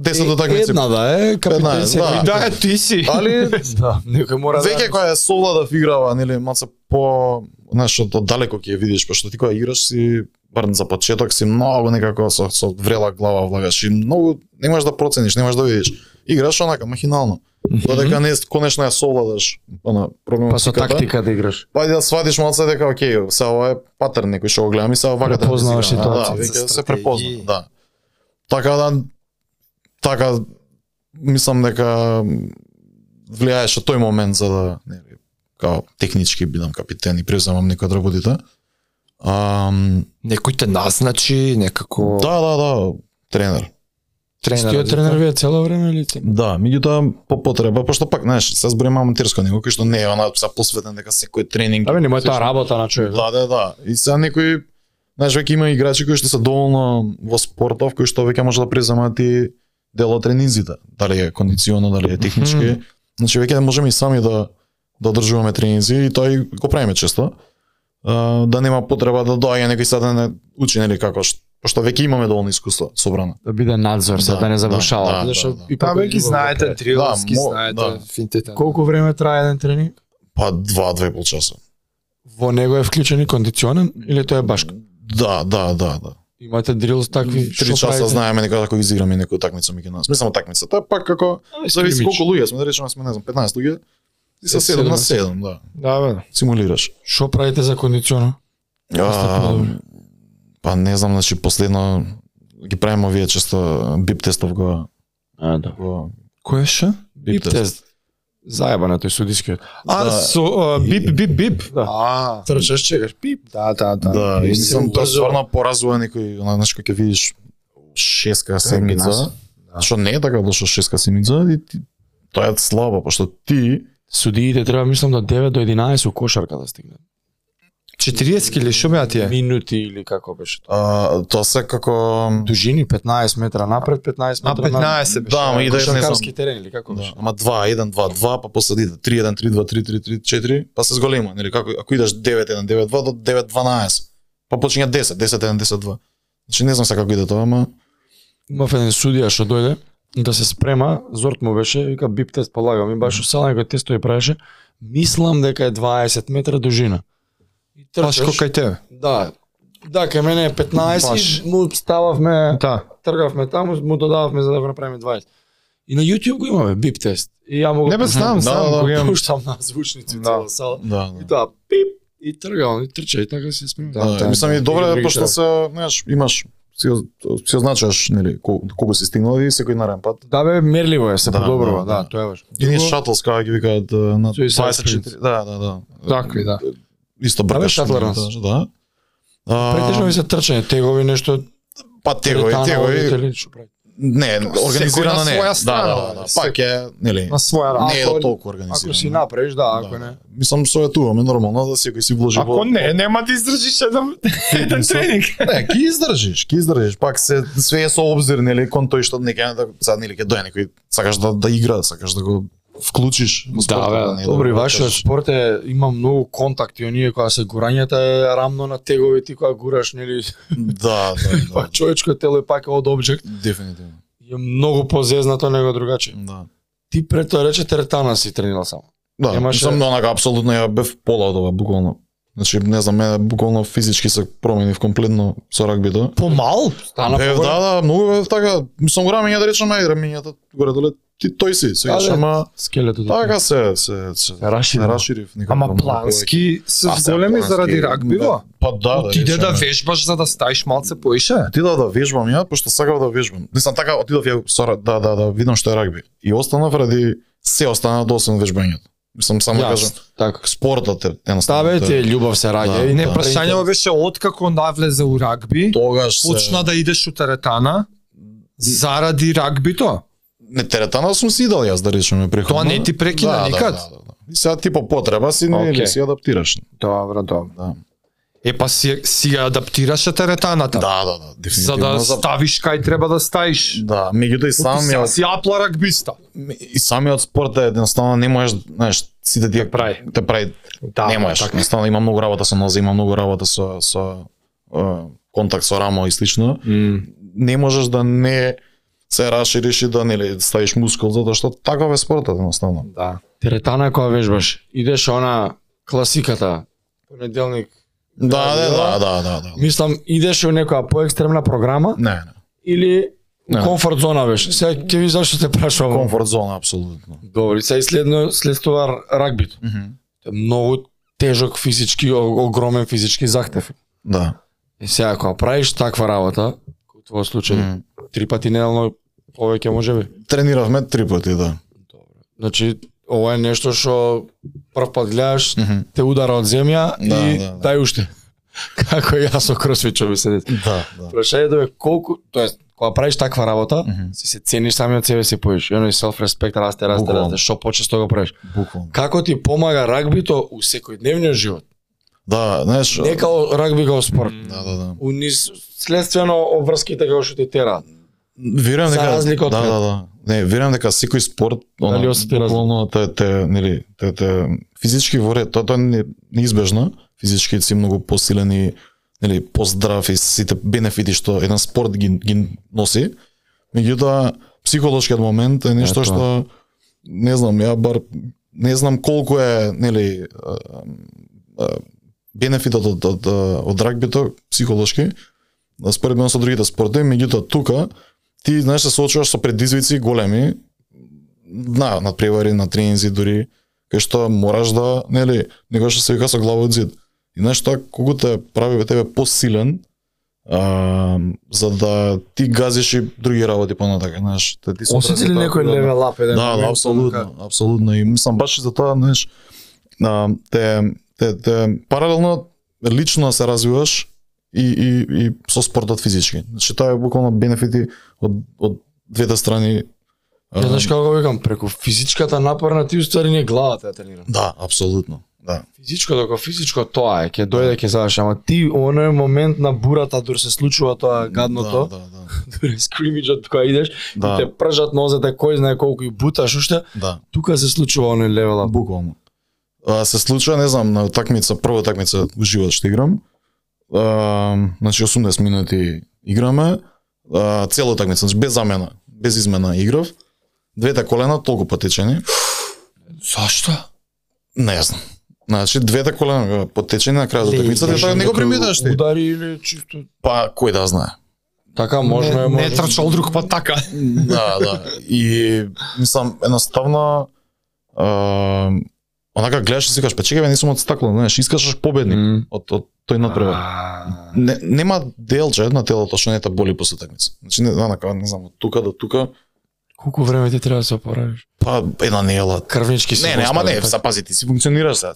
[SPEAKER 1] 10 такмици.
[SPEAKER 3] Една да е,
[SPEAKER 1] така Една е,
[SPEAKER 3] капитен се.
[SPEAKER 1] да.
[SPEAKER 4] Да, е, ти си.
[SPEAKER 1] Али
[SPEAKER 3] Да, некој мора да...
[SPEAKER 1] Веќе која е совлада играва, нели, маца по знаеш од далеко ќе ја видиш, пошто ти кога играш си барем за почеток си многу некако со, со врела глава влагаш и многу не можеш да процениш, не можеш да видиш. Играш онака махинално. Додека не конечно ја совладаш она проблемот.
[SPEAKER 3] Па со тактика да играш.
[SPEAKER 1] Па и да сватиш малце дека окей, сега ова е патерн некој што го гледам и сега вака да
[SPEAKER 3] Препознаваш
[SPEAKER 1] се игра. Да,
[SPEAKER 3] ситуацијата.
[SPEAKER 1] веќе се
[SPEAKER 4] Стратегии.
[SPEAKER 1] препозна, да. Така да така мислам дека влијаеше тој момент за да нели као технички бидам капитен и преземам некој од работите. Ам,
[SPEAKER 4] Некој те назначи, некако
[SPEAKER 1] да, да, да, тренер.
[SPEAKER 4] тренер.
[SPEAKER 3] да
[SPEAKER 2] Стиот тренер вие цело време или ти?
[SPEAKER 1] Да, меѓутоа по потреба, пошто пак, знаеш, се збориме аматерско него, кој што не е она се посветен дека секој тренинг
[SPEAKER 3] Абе, нема е таа работа значи, на човек.
[SPEAKER 1] Да, да, да. И сега некои, знаеш, веќе има играчи кои што се доволно во спортов, кои што веќе може да преземат и дел од тренинзите, дали е кондиционно, дали е технички. Mm. Значи веќе можеме и сами да да одржуваме тренинзи и тоа и го правиме често. А, да нема потреба да доаѓа некој сега да не учи нели како што пошто веќе имаме доволно искуство собрано.
[SPEAKER 3] Да биде надзор, за
[SPEAKER 1] Да,
[SPEAKER 3] да не
[SPEAKER 1] да, да,
[SPEAKER 3] завршава. Зашто
[SPEAKER 1] да, да.
[SPEAKER 3] и
[SPEAKER 4] Па
[SPEAKER 3] колку
[SPEAKER 4] веќе
[SPEAKER 3] љубов
[SPEAKER 4] знаете
[SPEAKER 3] веќе.
[SPEAKER 4] дрилски,
[SPEAKER 1] Да, мо- да.
[SPEAKER 4] знаете финтите.
[SPEAKER 2] Колку време трае еден тренинг?
[SPEAKER 1] Па два, два и пол часа.
[SPEAKER 2] Во него е вклучен и кондиционен или тоа е башка?
[SPEAKER 1] Да, да, да, да.
[SPEAKER 2] Имате дрил такви
[SPEAKER 1] Три часа знаеме некој како изиграме некоја такмица меѓу нас. Мислам такмица, тоа е пак како зависи колку луѓе сме, да речеме сме не знам 15 луѓе. И со 7 на 7, да.
[SPEAKER 4] Да, бе.
[SPEAKER 1] Симулираш.
[SPEAKER 2] Што правите за кондиционер?
[SPEAKER 1] А, па не знам, значи последно ги правиме овие често бип тестов го
[SPEAKER 3] А, да.
[SPEAKER 1] го
[SPEAKER 4] Кој е ше?
[SPEAKER 1] бип тест.
[SPEAKER 3] тест. Заебана тој судискиот.
[SPEAKER 4] А,
[SPEAKER 1] Да.
[SPEAKER 4] со а, бип, бип, бип.
[SPEAKER 3] Да.
[SPEAKER 4] А,
[SPEAKER 3] Трчаш, чекаш, пип.
[SPEAKER 4] да, да, да.
[SPEAKER 1] Да, и сам тоа
[SPEAKER 3] брзо.
[SPEAKER 1] стварно поразува некој, она, знаеш кога ќе видиш шеска седмица, што не е така лошо шеска седмица и ти- тоа е слабо, пошто ти
[SPEAKER 3] Судиите треба мислам да 9 до 11 у кошарка да стигнат.
[SPEAKER 4] 40 или што беа тие?
[SPEAKER 3] Минути или како беше тоа?
[SPEAKER 1] а, тоа се како
[SPEAKER 3] Дужини 15 метра напред, 15
[SPEAKER 4] А
[SPEAKER 3] метра
[SPEAKER 4] 15 беше.
[SPEAKER 1] Да, ама и да е, не знам.
[SPEAKER 3] Кошаркарски терен или како
[SPEAKER 1] Да,
[SPEAKER 3] беше?
[SPEAKER 1] ама 2, 1, 2, 2, па после иде 3, 1, 3, 2, 3, 3, 3, 4, па се зголема, нели како ако идеш 9, 1, 9, 2 до 9, 12, па почиња 10, 10, 1, 10, 2. Значи не знам сега како иде тоа, ама
[SPEAKER 3] Имав еден судија што дојде да се спрема, зорт му беше, вика бип тест полагам и баш у сала некој тест тој правеше. Мислам дека е 20 метра дужина. И
[SPEAKER 4] Паш
[SPEAKER 3] трчаш,
[SPEAKER 4] кај тебе.
[SPEAKER 3] да. Да, кај мене е 15,
[SPEAKER 4] Баш.
[SPEAKER 3] му стававме
[SPEAKER 4] Да.
[SPEAKER 3] тргавме таму, му додававме за да го направиме 20. И на YouTube го имаме бип тест. И ја му го
[SPEAKER 4] Не бе, знам,
[SPEAKER 1] Да,
[SPEAKER 4] знам,
[SPEAKER 1] да,
[SPEAKER 4] го имам.
[SPEAKER 3] пуштам на звучници
[SPEAKER 4] Да.
[SPEAKER 3] да. цела сала.
[SPEAKER 1] да,
[SPEAKER 3] И
[SPEAKER 1] да.
[SPEAKER 3] тоа пип и тргам, и трча и така се спрема.
[SPEAKER 1] Да, да, мислам и добре е пошто се, знаеш, имаш си о- си означаш, нели, кол- колку си стигнал и секој нареден пат.
[SPEAKER 3] Да бе, мерливо е, се
[SPEAKER 1] Да,
[SPEAKER 3] подобрува,
[SPEAKER 1] да,
[SPEAKER 3] да,
[SPEAKER 1] да.
[SPEAKER 3] тоа е важно.
[SPEAKER 1] И ние шатлс како ги викаат е, на
[SPEAKER 3] Suicide
[SPEAKER 1] 24. Да, да, да.
[SPEAKER 4] Такви, да.
[SPEAKER 1] Исто
[SPEAKER 3] Да, бе,
[SPEAKER 1] бркаш.
[SPEAKER 3] шатлер
[SPEAKER 1] нели,
[SPEAKER 3] нас.
[SPEAKER 1] Да. А,
[SPEAKER 3] Претежно ви се трчање, тегови нешто,
[SPEAKER 1] па тегови,
[SPEAKER 3] третана, одите
[SPEAKER 1] тегови.
[SPEAKER 3] ли, што правите?
[SPEAKER 1] Не, организирано
[SPEAKER 4] на
[SPEAKER 1] не. е.
[SPEAKER 4] своја
[SPEAKER 1] Да,
[SPEAKER 4] страна,
[SPEAKER 1] да, да, да.
[SPEAKER 4] бе,
[SPEAKER 1] Пак е, нели,
[SPEAKER 4] На своја работа.
[SPEAKER 1] не е
[SPEAKER 3] Ако-
[SPEAKER 1] до толку
[SPEAKER 3] Ако
[SPEAKER 1] организирано.
[SPEAKER 3] си направиш, да, ако
[SPEAKER 1] Да.
[SPEAKER 3] не.
[SPEAKER 1] Мислам советуваме нормално да секој си вложи
[SPEAKER 4] Ако не, нема да издржиш еден еден тренинг.
[SPEAKER 1] не, ки издржиш, ки издржиш, пак се све е со обзир нели кон тој што неќе да са нели ќе дое некој сакаш да да игра, сакаш да го вклучиш во спортот. не,
[SPEAKER 3] добри,
[SPEAKER 1] да го
[SPEAKER 3] вашиот
[SPEAKER 1] кажеш.
[SPEAKER 3] спорт е, има многу контакти, оние која се гурањата е рамно на тегови, ти која гураш, нели,
[SPEAKER 1] Да, да,
[SPEAKER 3] па
[SPEAKER 1] да.
[SPEAKER 3] човечко тело е пак од обжект,
[SPEAKER 1] Дефинитивно.
[SPEAKER 3] е многу позезнато него другаче.
[SPEAKER 1] Да.
[SPEAKER 3] Ти пред тоа рече теретана си тренирал само.
[SPEAKER 1] Да,
[SPEAKER 3] Имаше-
[SPEAKER 1] сам онака апсолутно ја бев пола од ова буквално. Значи не знам, мене буквално физички се променив комплетно со рагбито.
[SPEAKER 4] Помал?
[SPEAKER 3] Стана
[SPEAKER 1] Бев,
[SPEAKER 3] поголем.
[SPEAKER 1] да, да, многу бев така, мислам го рамења да речам, ај рамењата горе доле ти тој си, сегаш
[SPEAKER 3] Аде.
[SPEAKER 1] ама
[SPEAKER 3] Скелето.
[SPEAKER 1] така се се се
[SPEAKER 3] Раши.
[SPEAKER 1] се раширив некако.
[SPEAKER 4] Ама
[SPEAKER 1] многу
[SPEAKER 4] Па, плански се
[SPEAKER 1] А, се,
[SPEAKER 4] големи
[SPEAKER 1] Па, плански,
[SPEAKER 4] заради рагби,
[SPEAKER 1] да.
[SPEAKER 4] во?
[SPEAKER 1] Па да, да.
[SPEAKER 4] Отиде да
[SPEAKER 1] речеме.
[SPEAKER 4] вежбаш за да ставиш малце поише.
[SPEAKER 1] Отидов да вежбам ја, пошто сакав да вежбам. Не сам така, отидов ја сора, да, да, да, видам што е рагби. И останав ради, се остана до освен вежбањето. Мислам, само да кажам,
[SPEAKER 3] Така.
[SPEAKER 1] спортот е едноставно.
[SPEAKER 3] Ставете, љубов се
[SPEAKER 1] Да.
[SPEAKER 3] раѓа. и
[SPEAKER 4] Не,
[SPEAKER 1] Да.
[SPEAKER 4] прашањето беше откако навлезе у рагби,
[SPEAKER 1] Тогаш се...
[SPEAKER 4] почна да идеш у теретана, заради рагбито.
[SPEAKER 1] Не теретана сум си идал јас да речеме преходно.
[SPEAKER 4] Тоа не ти прекина
[SPEAKER 1] да,
[SPEAKER 4] никад?
[SPEAKER 1] Да, да, да, да. И сега ти по потреба си не
[SPEAKER 4] Океј.
[SPEAKER 1] okay. си адаптираш.
[SPEAKER 4] Добро, добро.
[SPEAKER 1] Да.
[SPEAKER 4] Е па си, си ја адаптираше теретаната.
[SPEAKER 1] Да, да, да,
[SPEAKER 4] За
[SPEAKER 1] дефинитивно.
[SPEAKER 4] да ставиш кај треба да ставиш.
[SPEAKER 1] Да, меѓутоа и
[SPEAKER 4] Сам
[SPEAKER 1] самиот
[SPEAKER 4] си апла рагбиста.
[SPEAKER 1] и самиот спорт е едноставно не можеш, знаеш, си да ти ја
[SPEAKER 4] прави.
[SPEAKER 1] Те прави.
[SPEAKER 4] Да,
[SPEAKER 1] не можеш.
[SPEAKER 4] така.
[SPEAKER 1] Едноставно има многу работа со нозе, има многу работа со со е, контакт со рамо и слично. Не можеш да не се рашириш и да нели ставиш мускул затоа што таков е спортот едноставно.
[SPEAKER 4] Да.
[SPEAKER 3] Теретана која вежбаш. Идеш она класиката. Понеделник.
[SPEAKER 1] Да,
[SPEAKER 3] Да,
[SPEAKER 1] да,
[SPEAKER 3] да.
[SPEAKER 1] да, да, да, да.
[SPEAKER 3] Мислам, идеш во некоја поекстремна програма
[SPEAKER 1] Не, не.
[SPEAKER 3] или
[SPEAKER 1] Да.
[SPEAKER 3] комфорт зона беше. Сега ќе ви зашто те прашувам.
[SPEAKER 1] Комфорт зона апсолутно.
[SPEAKER 3] Добро, и сега и следно след тоа рагбито.
[SPEAKER 1] Мгм.
[SPEAKER 3] Тоа е Многу тежок физички, о- огромен физички захтев.
[SPEAKER 1] Да.
[SPEAKER 3] И сега кога правиш таква работа, како твој случај,
[SPEAKER 1] Мгм.
[SPEAKER 3] три пати неделно повеќе можеби.
[SPEAKER 1] Трениравме три пати, да.
[SPEAKER 3] Значи, ова е нешто што прв пат гледаш,
[SPEAKER 1] Мгм.
[SPEAKER 3] те удара од земја
[SPEAKER 1] Да,
[SPEAKER 3] и
[SPEAKER 1] да, да.
[SPEAKER 3] дај уште. Како јас со кросфичови седи.
[SPEAKER 1] Да, да.
[SPEAKER 3] Прашањето е колку, тоест кога правиш таква работа,
[SPEAKER 1] Мгм.
[SPEAKER 3] си се цениш самиот себе си поиш. И оној self respect расте, расте,
[SPEAKER 1] Буквално.
[SPEAKER 3] расте, што почесто го правиш.
[SPEAKER 1] Буквално.
[SPEAKER 3] Како ти помага рагбито у секојдневниот живот?
[SPEAKER 1] Да, знаеш.
[SPEAKER 3] Не као рагби као спорт.
[SPEAKER 1] Да, да, да.
[SPEAKER 3] У низ следствено обврските као што те тера.
[SPEAKER 1] Верам
[SPEAKER 3] За
[SPEAKER 1] дека
[SPEAKER 3] разлика од
[SPEAKER 1] да,
[SPEAKER 3] тебе.
[SPEAKER 1] да, да. Не, верам дека секој спорт,
[SPEAKER 3] Дали осети разлика?
[SPEAKER 1] буквално те те нели, те те физички во ред, тоа тоа не неизбежно. Физички си многу посилен и нели поздрав и сите бенефити што еден спорт ги ги носи. Меѓутоа психолошкиот момент е нешто
[SPEAKER 3] Е, тоа.
[SPEAKER 1] што не знам, ја бар не знам колку е нели а, а, бенефитот од од а, од рагбито психолошки според мен со другите спортови, меѓутоа тука ти знаеш се соочуваш со предизвици големи на надпревари, на тренинзи дури кај што мораш да, нели, него што се вика со глава од зид. И знаеш тоа колку те прави бе тебе посилен а, за да ти газиш и други работи понатака, знаеш, те ти сутра
[SPEAKER 3] Осети
[SPEAKER 1] си
[SPEAKER 3] ли
[SPEAKER 1] таа
[SPEAKER 3] некој
[SPEAKER 1] природна-
[SPEAKER 3] левел ап еден?
[SPEAKER 1] Да, да,
[SPEAKER 3] момент? така.
[SPEAKER 1] апсолутно, апсолутно. И мислам баш за тоа, знаеш, а, те, те, те паралелно лично се развиваш и, и, и со спортот физички. Значи тоа е буквално бенефити од, од двете страни.
[SPEAKER 3] Ја знаеш како го викам, преку физичката напорна ти уствари не главата ја тренира.
[SPEAKER 1] Да, апсолутно. Да.
[SPEAKER 3] Физичко, доко физичко тоа е, ќе дојде ќе заврши, ама ти оној момент на бурата дур се случува тоа гадното,
[SPEAKER 1] Да, да,
[SPEAKER 3] дури скримиџот кога идеш,
[SPEAKER 1] да.
[SPEAKER 3] и те пржат нозете, кој знае колку и буташ уште,
[SPEAKER 1] да.
[SPEAKER 3] тука се случува оној левел ап.
[SPEAKER 1] Буквално. А, се случува, не знам, на такмица, прва такмица во живот што играм. А, значи 80 минути играме, а, цела такмица, значи без замена, без измена играв. Двете колена толку потечени.
[SPEAKER 4] Зашто?
[SPEAKER 1] Не знам. Значи двете колена беа потечени на крајот од такмицата,
[SPEAKER 3] Имаше
[SPEAKER 1] тоа така не го
[SPEAKER 3] некој
[SPEAKER 1] примиташ ти.
[SPEAKER 3] Удари или чисто
[SPEAKER 1] Па кој да знае.
[SPEAKER 3] Така може
[SPEAKER 4] не,
[SPEAKER 3] е,
[SPEAKER 4] не
[SPEAKER 3] може.
[SPEAKER 4] е трчал друг
[SPEAKER 3] па-
[SPEAKER 4] пат така.
[SPEAKER 1] да, да. И мислам едноставно а, онака гледаш и си кажеш, па чекај, бе, не сум од стакло, знаеш, искаш победник
[SPEAKER 3] Мм.
[SPEAKER 1] од, од тој надпревар. не, нема делче на телото што не те боли после такмица. Значи не онака, не знам, од тука до тука,
[SPEAKER 3] Колку време ти треба да се оправиш?
[SPEAKER 1] па една нела.
[SPEAKER 3] Крвнички си.
[SPEAKER 1] Не, не, ама не,
[SPEAKER 3] постави,
[SPEAKER 1] са пази, ти си функционираш сега.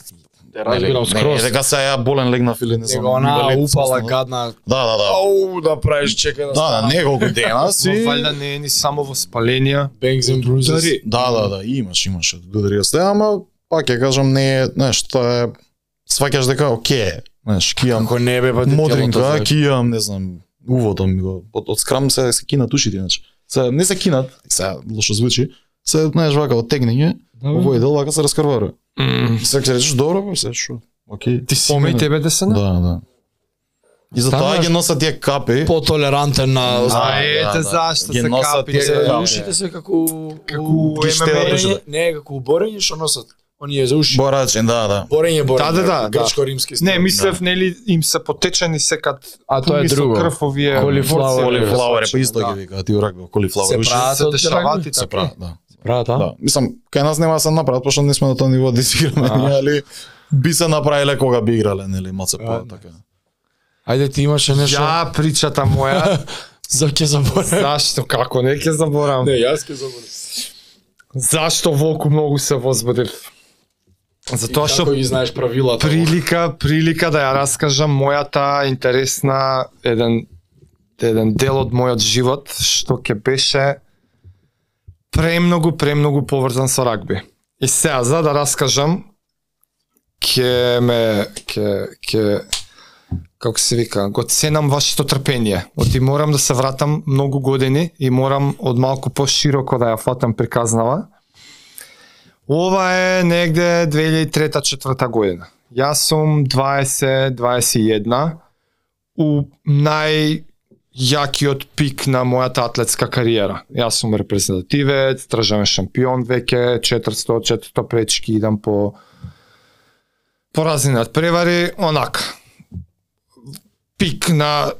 [SPEAKER 3] така. разбирам
[SPEAKER 1] Не, не,
[SPEAKER 3] скроз.
[SPEAKER 1] дека се ја болен легнав или не знам.
[SPEAKER 3] Него она
[SPEAKER 1] инвалид,
[SPEAKER 3] упала
[SPEAKER 1] сосна.
[SPEAKER 3] гадна.
[SPEAKER 1] Да, да, да.
[SPEAKER 3] Ау, да правиш чека да
[SPEAKER 1] Да, да, неколку дена
[SPEAKER 4] Си...
[SPEAKER 1] си.
[SPEAKER 4] Валјда не е ни само воспаленија.
[SPEAKER 3] Bangs and bruises.
[SPEAKER 4] Дари.
[SPEAKER 1] Да, да, да, и имаш, имаш благодарија се, ама пак ја кажам не е, знаеш, тоа е сваќаш дека оке, знаеш, кијам
[SPEAKER 3] Како не бе, па ти
[SPEAKER 1] модринка,
[SPEAKER 3] телото,
[SPEAKER 1] кијам, не знам, уводом ми го од, од скрам се се кинат ушите, значи. Се не се кинат, се лошо звучи. Се знаеш вака оттегнење, овој дел вака се раскрварува. Се ќе речеш добро, бе, се шо. Океј.
[SPEAKER 4] Ти си и тебе десена?
[SPEAKER 1] Да, да. И затоа
[SPEAKER 3] Стануваш-
[SPEAKER 1] ги носат тие капи.
[SPEAKER 3] потолерантен на
[SPEAKER 1] Да,
[SPEAKER 4] А ете
[SPEAKER 1] да, да.
[SPEAKER 4] зашто
[SPEAKER 1] Ги
[SPEAKER 4] се
[SPEAKER 1] носат
[SPEAKER 4] капи.
[SPEAKER 1] тие
[SPEAKER 4] се-
[SPEAKER 1] капи.
[SPEAKER 3] ушите се како
[SPEAKER 4] Да. Како
[SPEAKER 3] у-
[SPEAKER 4] у
[SPEAKER 3] ги
[SPEAKER 4] MMA.
[SPEAKER 3] борење- не како у борење што носат. Оние за уши.
[SPEAKER 1] Борачен, да, да.
[SPEAKER 3] Борење, борење.
[SPEAKER 4] Да, да, да, да.
[SPEAKER 3] Грчко-римски стил.
[SPEAKER 4] Не, мислев, нели им се потечени секад, а
[SPEAKER 3] тоа е друго.
[SPEAKER 4] Крв овие
[SPEAKER 3] Колифлауер.
[SPEAKER 1] Колифлауер, па исто
[SPEAKER 4] Значи,
[SPEAKER 3] да.
[SPEAKER 1] ги вика, ти урак бе, колифлауер.
[SPEAKER 3] Се
[SPEAKER 1] Уште
[SPEAKER 3] прават
[SPEAKER 4] се
[SPEAKER 3] од
[SPEAKER 4] дешавати
[SPEAKER 1] се
[SPEAKER 4] така.
[SPEAKER 1] прават, да.
[SPEAKER 3] Прават, а?
[SPEAKER 1] Да. Мислам, кај нас нема да се направат, пошто не сме на тоа ниво да изиграме,
[SPEAKER 3] А.
[SPEAKER 1] ние, али би се направиле кога би играле, нели, малце по така.
[SPEAKER 3] Ајде ти имаше нешто
[SPEAKER 4] Ја причата моја,
[SPEAKER 3] за ќе заборавам.
[SPEAKER 4] зашто како не ќе заборам.
[SPEAKER 3] јас ќе заборавам.
[SPEAKER 4] Зашто волку многу се возбудив. Затоа што
[SPEAKER 3] Како ги знаеш правилата?
[SPEAKER 4] прилика, прилика да ја раскажам мојата интересна еден еден дел од мојот живот што ќе беше премногу премногу поврзан со рагби. И сега за да раскажам ќе ме ќе ќе како се вика, го ценам вашето трпение. Оти морам да се вратам многу години и морам од малку пошироко да ја фатам приказнава. Ова е негде 2003-2004 година. Јас сум 20-21 у нај јакиот пик на мојата атлетска кариера. Јас сум репрезентативец, државен шампион веќе, 400-400 пречки идам по по разни надпревари, онака. Пик на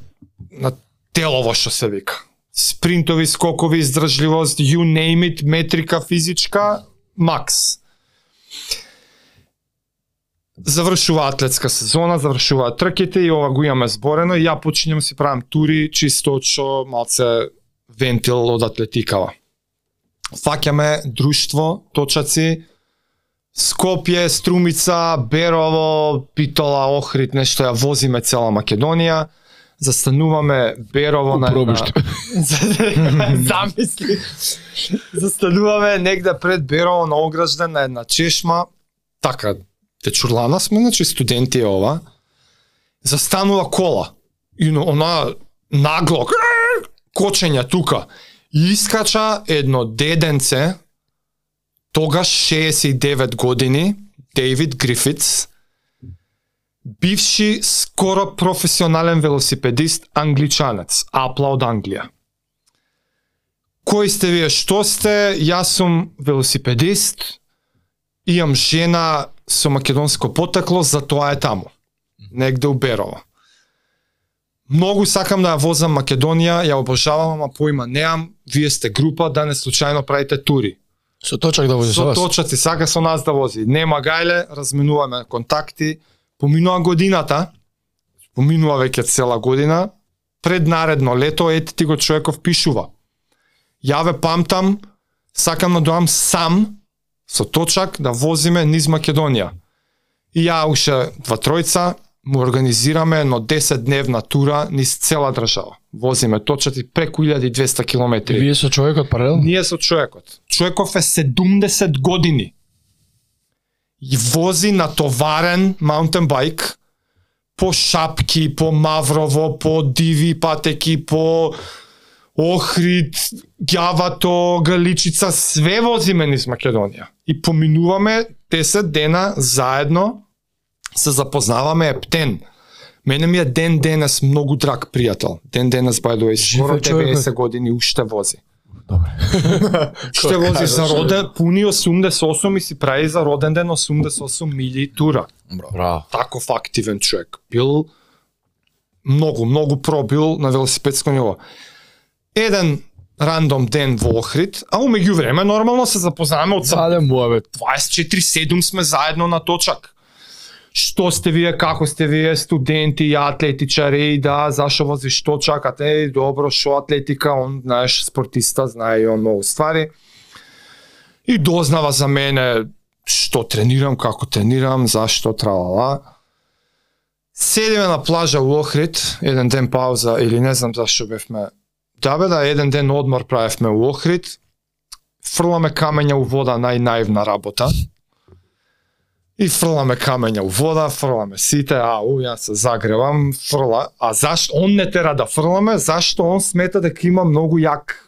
[SPEAKER 4] на телово што се вика. Спринтови, скокови, издржливост, you name it, метрика, физичка, Макс. Завршува атлетска сезона, завршува трките и ова го имаме зборено и ја починјам си правам тури чисто од што малце вентил од атлетикава. Фаќаме друштво, точаци, Скопје, Струмица, Берово, Питола, Охрид, нешто ја возиме цела Македонија. Застануваме Берово на...
[SPEAKER 3] пробиште.
[SPEAKER 4] на- Замисли. Застануваме негде пред Берово на огражден на една чешма. Така, Течурлана сме, значи студенти е ова. Застанува кола. И но- она нагло кочења тука. И искача едно деденце, тогаш 69 години, Дейвид Грифитс, бивши скоро професионален велосипедист, англичанец, апла од Англија. Кој сте вие, што сте? Јас сум велосипедист, имам жена со македонско потекло, затоа е таму. Негде у Берово. Многу сакам да ја возам Македонија, ја обожавам, ама поима неам, вие сте група, да не случајно правите тури.
[SPEAKER 3] Со точак да возиш со
[SPEAKER 4] Со
[SPEAKER 3] вас.
[SPEAKER 4] точаци, сака со нас да вози. Нема гајле, разменуваме контакти. Поминува годината, поминува веќе цела година, пред наредно лето, ете ти го човеков пишува. Ја ве памтам, сакам да доам сам, со точак, да возиме низ Македонија. И ја уште два тројца, му организираме едно 10-дневна тура низ цела држава. Возиме точати преку 1200 километри.
[SPEAKER 3] И Вие со човекот паралелно?
[SPEAKER 4] Ние со човекот. Човеков е 70 години. И вози натоварен маунтен байк по шапки, по Маврово, по диви патеки, по Охрид, Гјавато, Галичица, све возиме низ Македонија. И поминуваме 10 дена заедно, се запознаваме ептен. Мене ми е ден денес многу драг пријател. Ден денес, by the way, скоро
[SPEAKER 3] е човекот.
[SPEAKER 4] 90 години уште вози.
[SPEAKER 3] Добре.
[SPEAKER 4] Ще возиш за роден, пуни 88 и си прави за роден ден 88 мили и тура.
[SPEAKER 3] Браво.
[SPEAKER 4] Таков активен човек. Бил многу, многу пробил на велосипедско ниво. Еден рандом ден во Охрид, а умеѓу време нормално се запознаваме од
[SPEAKER 3] Цале муавет.
[SPEAKER 4] 24-7 сме заедно на точак. Што сте вие, како сте вие, студенти, ја атлетичари, да, зашо вози, што чакате, е, добро, шо атлетика, он, знаеш, спортиста, знае и он многу ствари. И дознава за мене што тренирам, како тренирам, зашто, тралала. Седиме на плажа у Охрид, еден ден пауза, или не знам зашо бевме. Да бе, да, еден ден одмор правевме у Охрид, фрламе камења у вода, најнаивна работа. И фрламе камења у вода, фрламе сите, ау, ја се загревам, фрла. А зашто он не тера да фрламе, зашто он смета дека има многу јак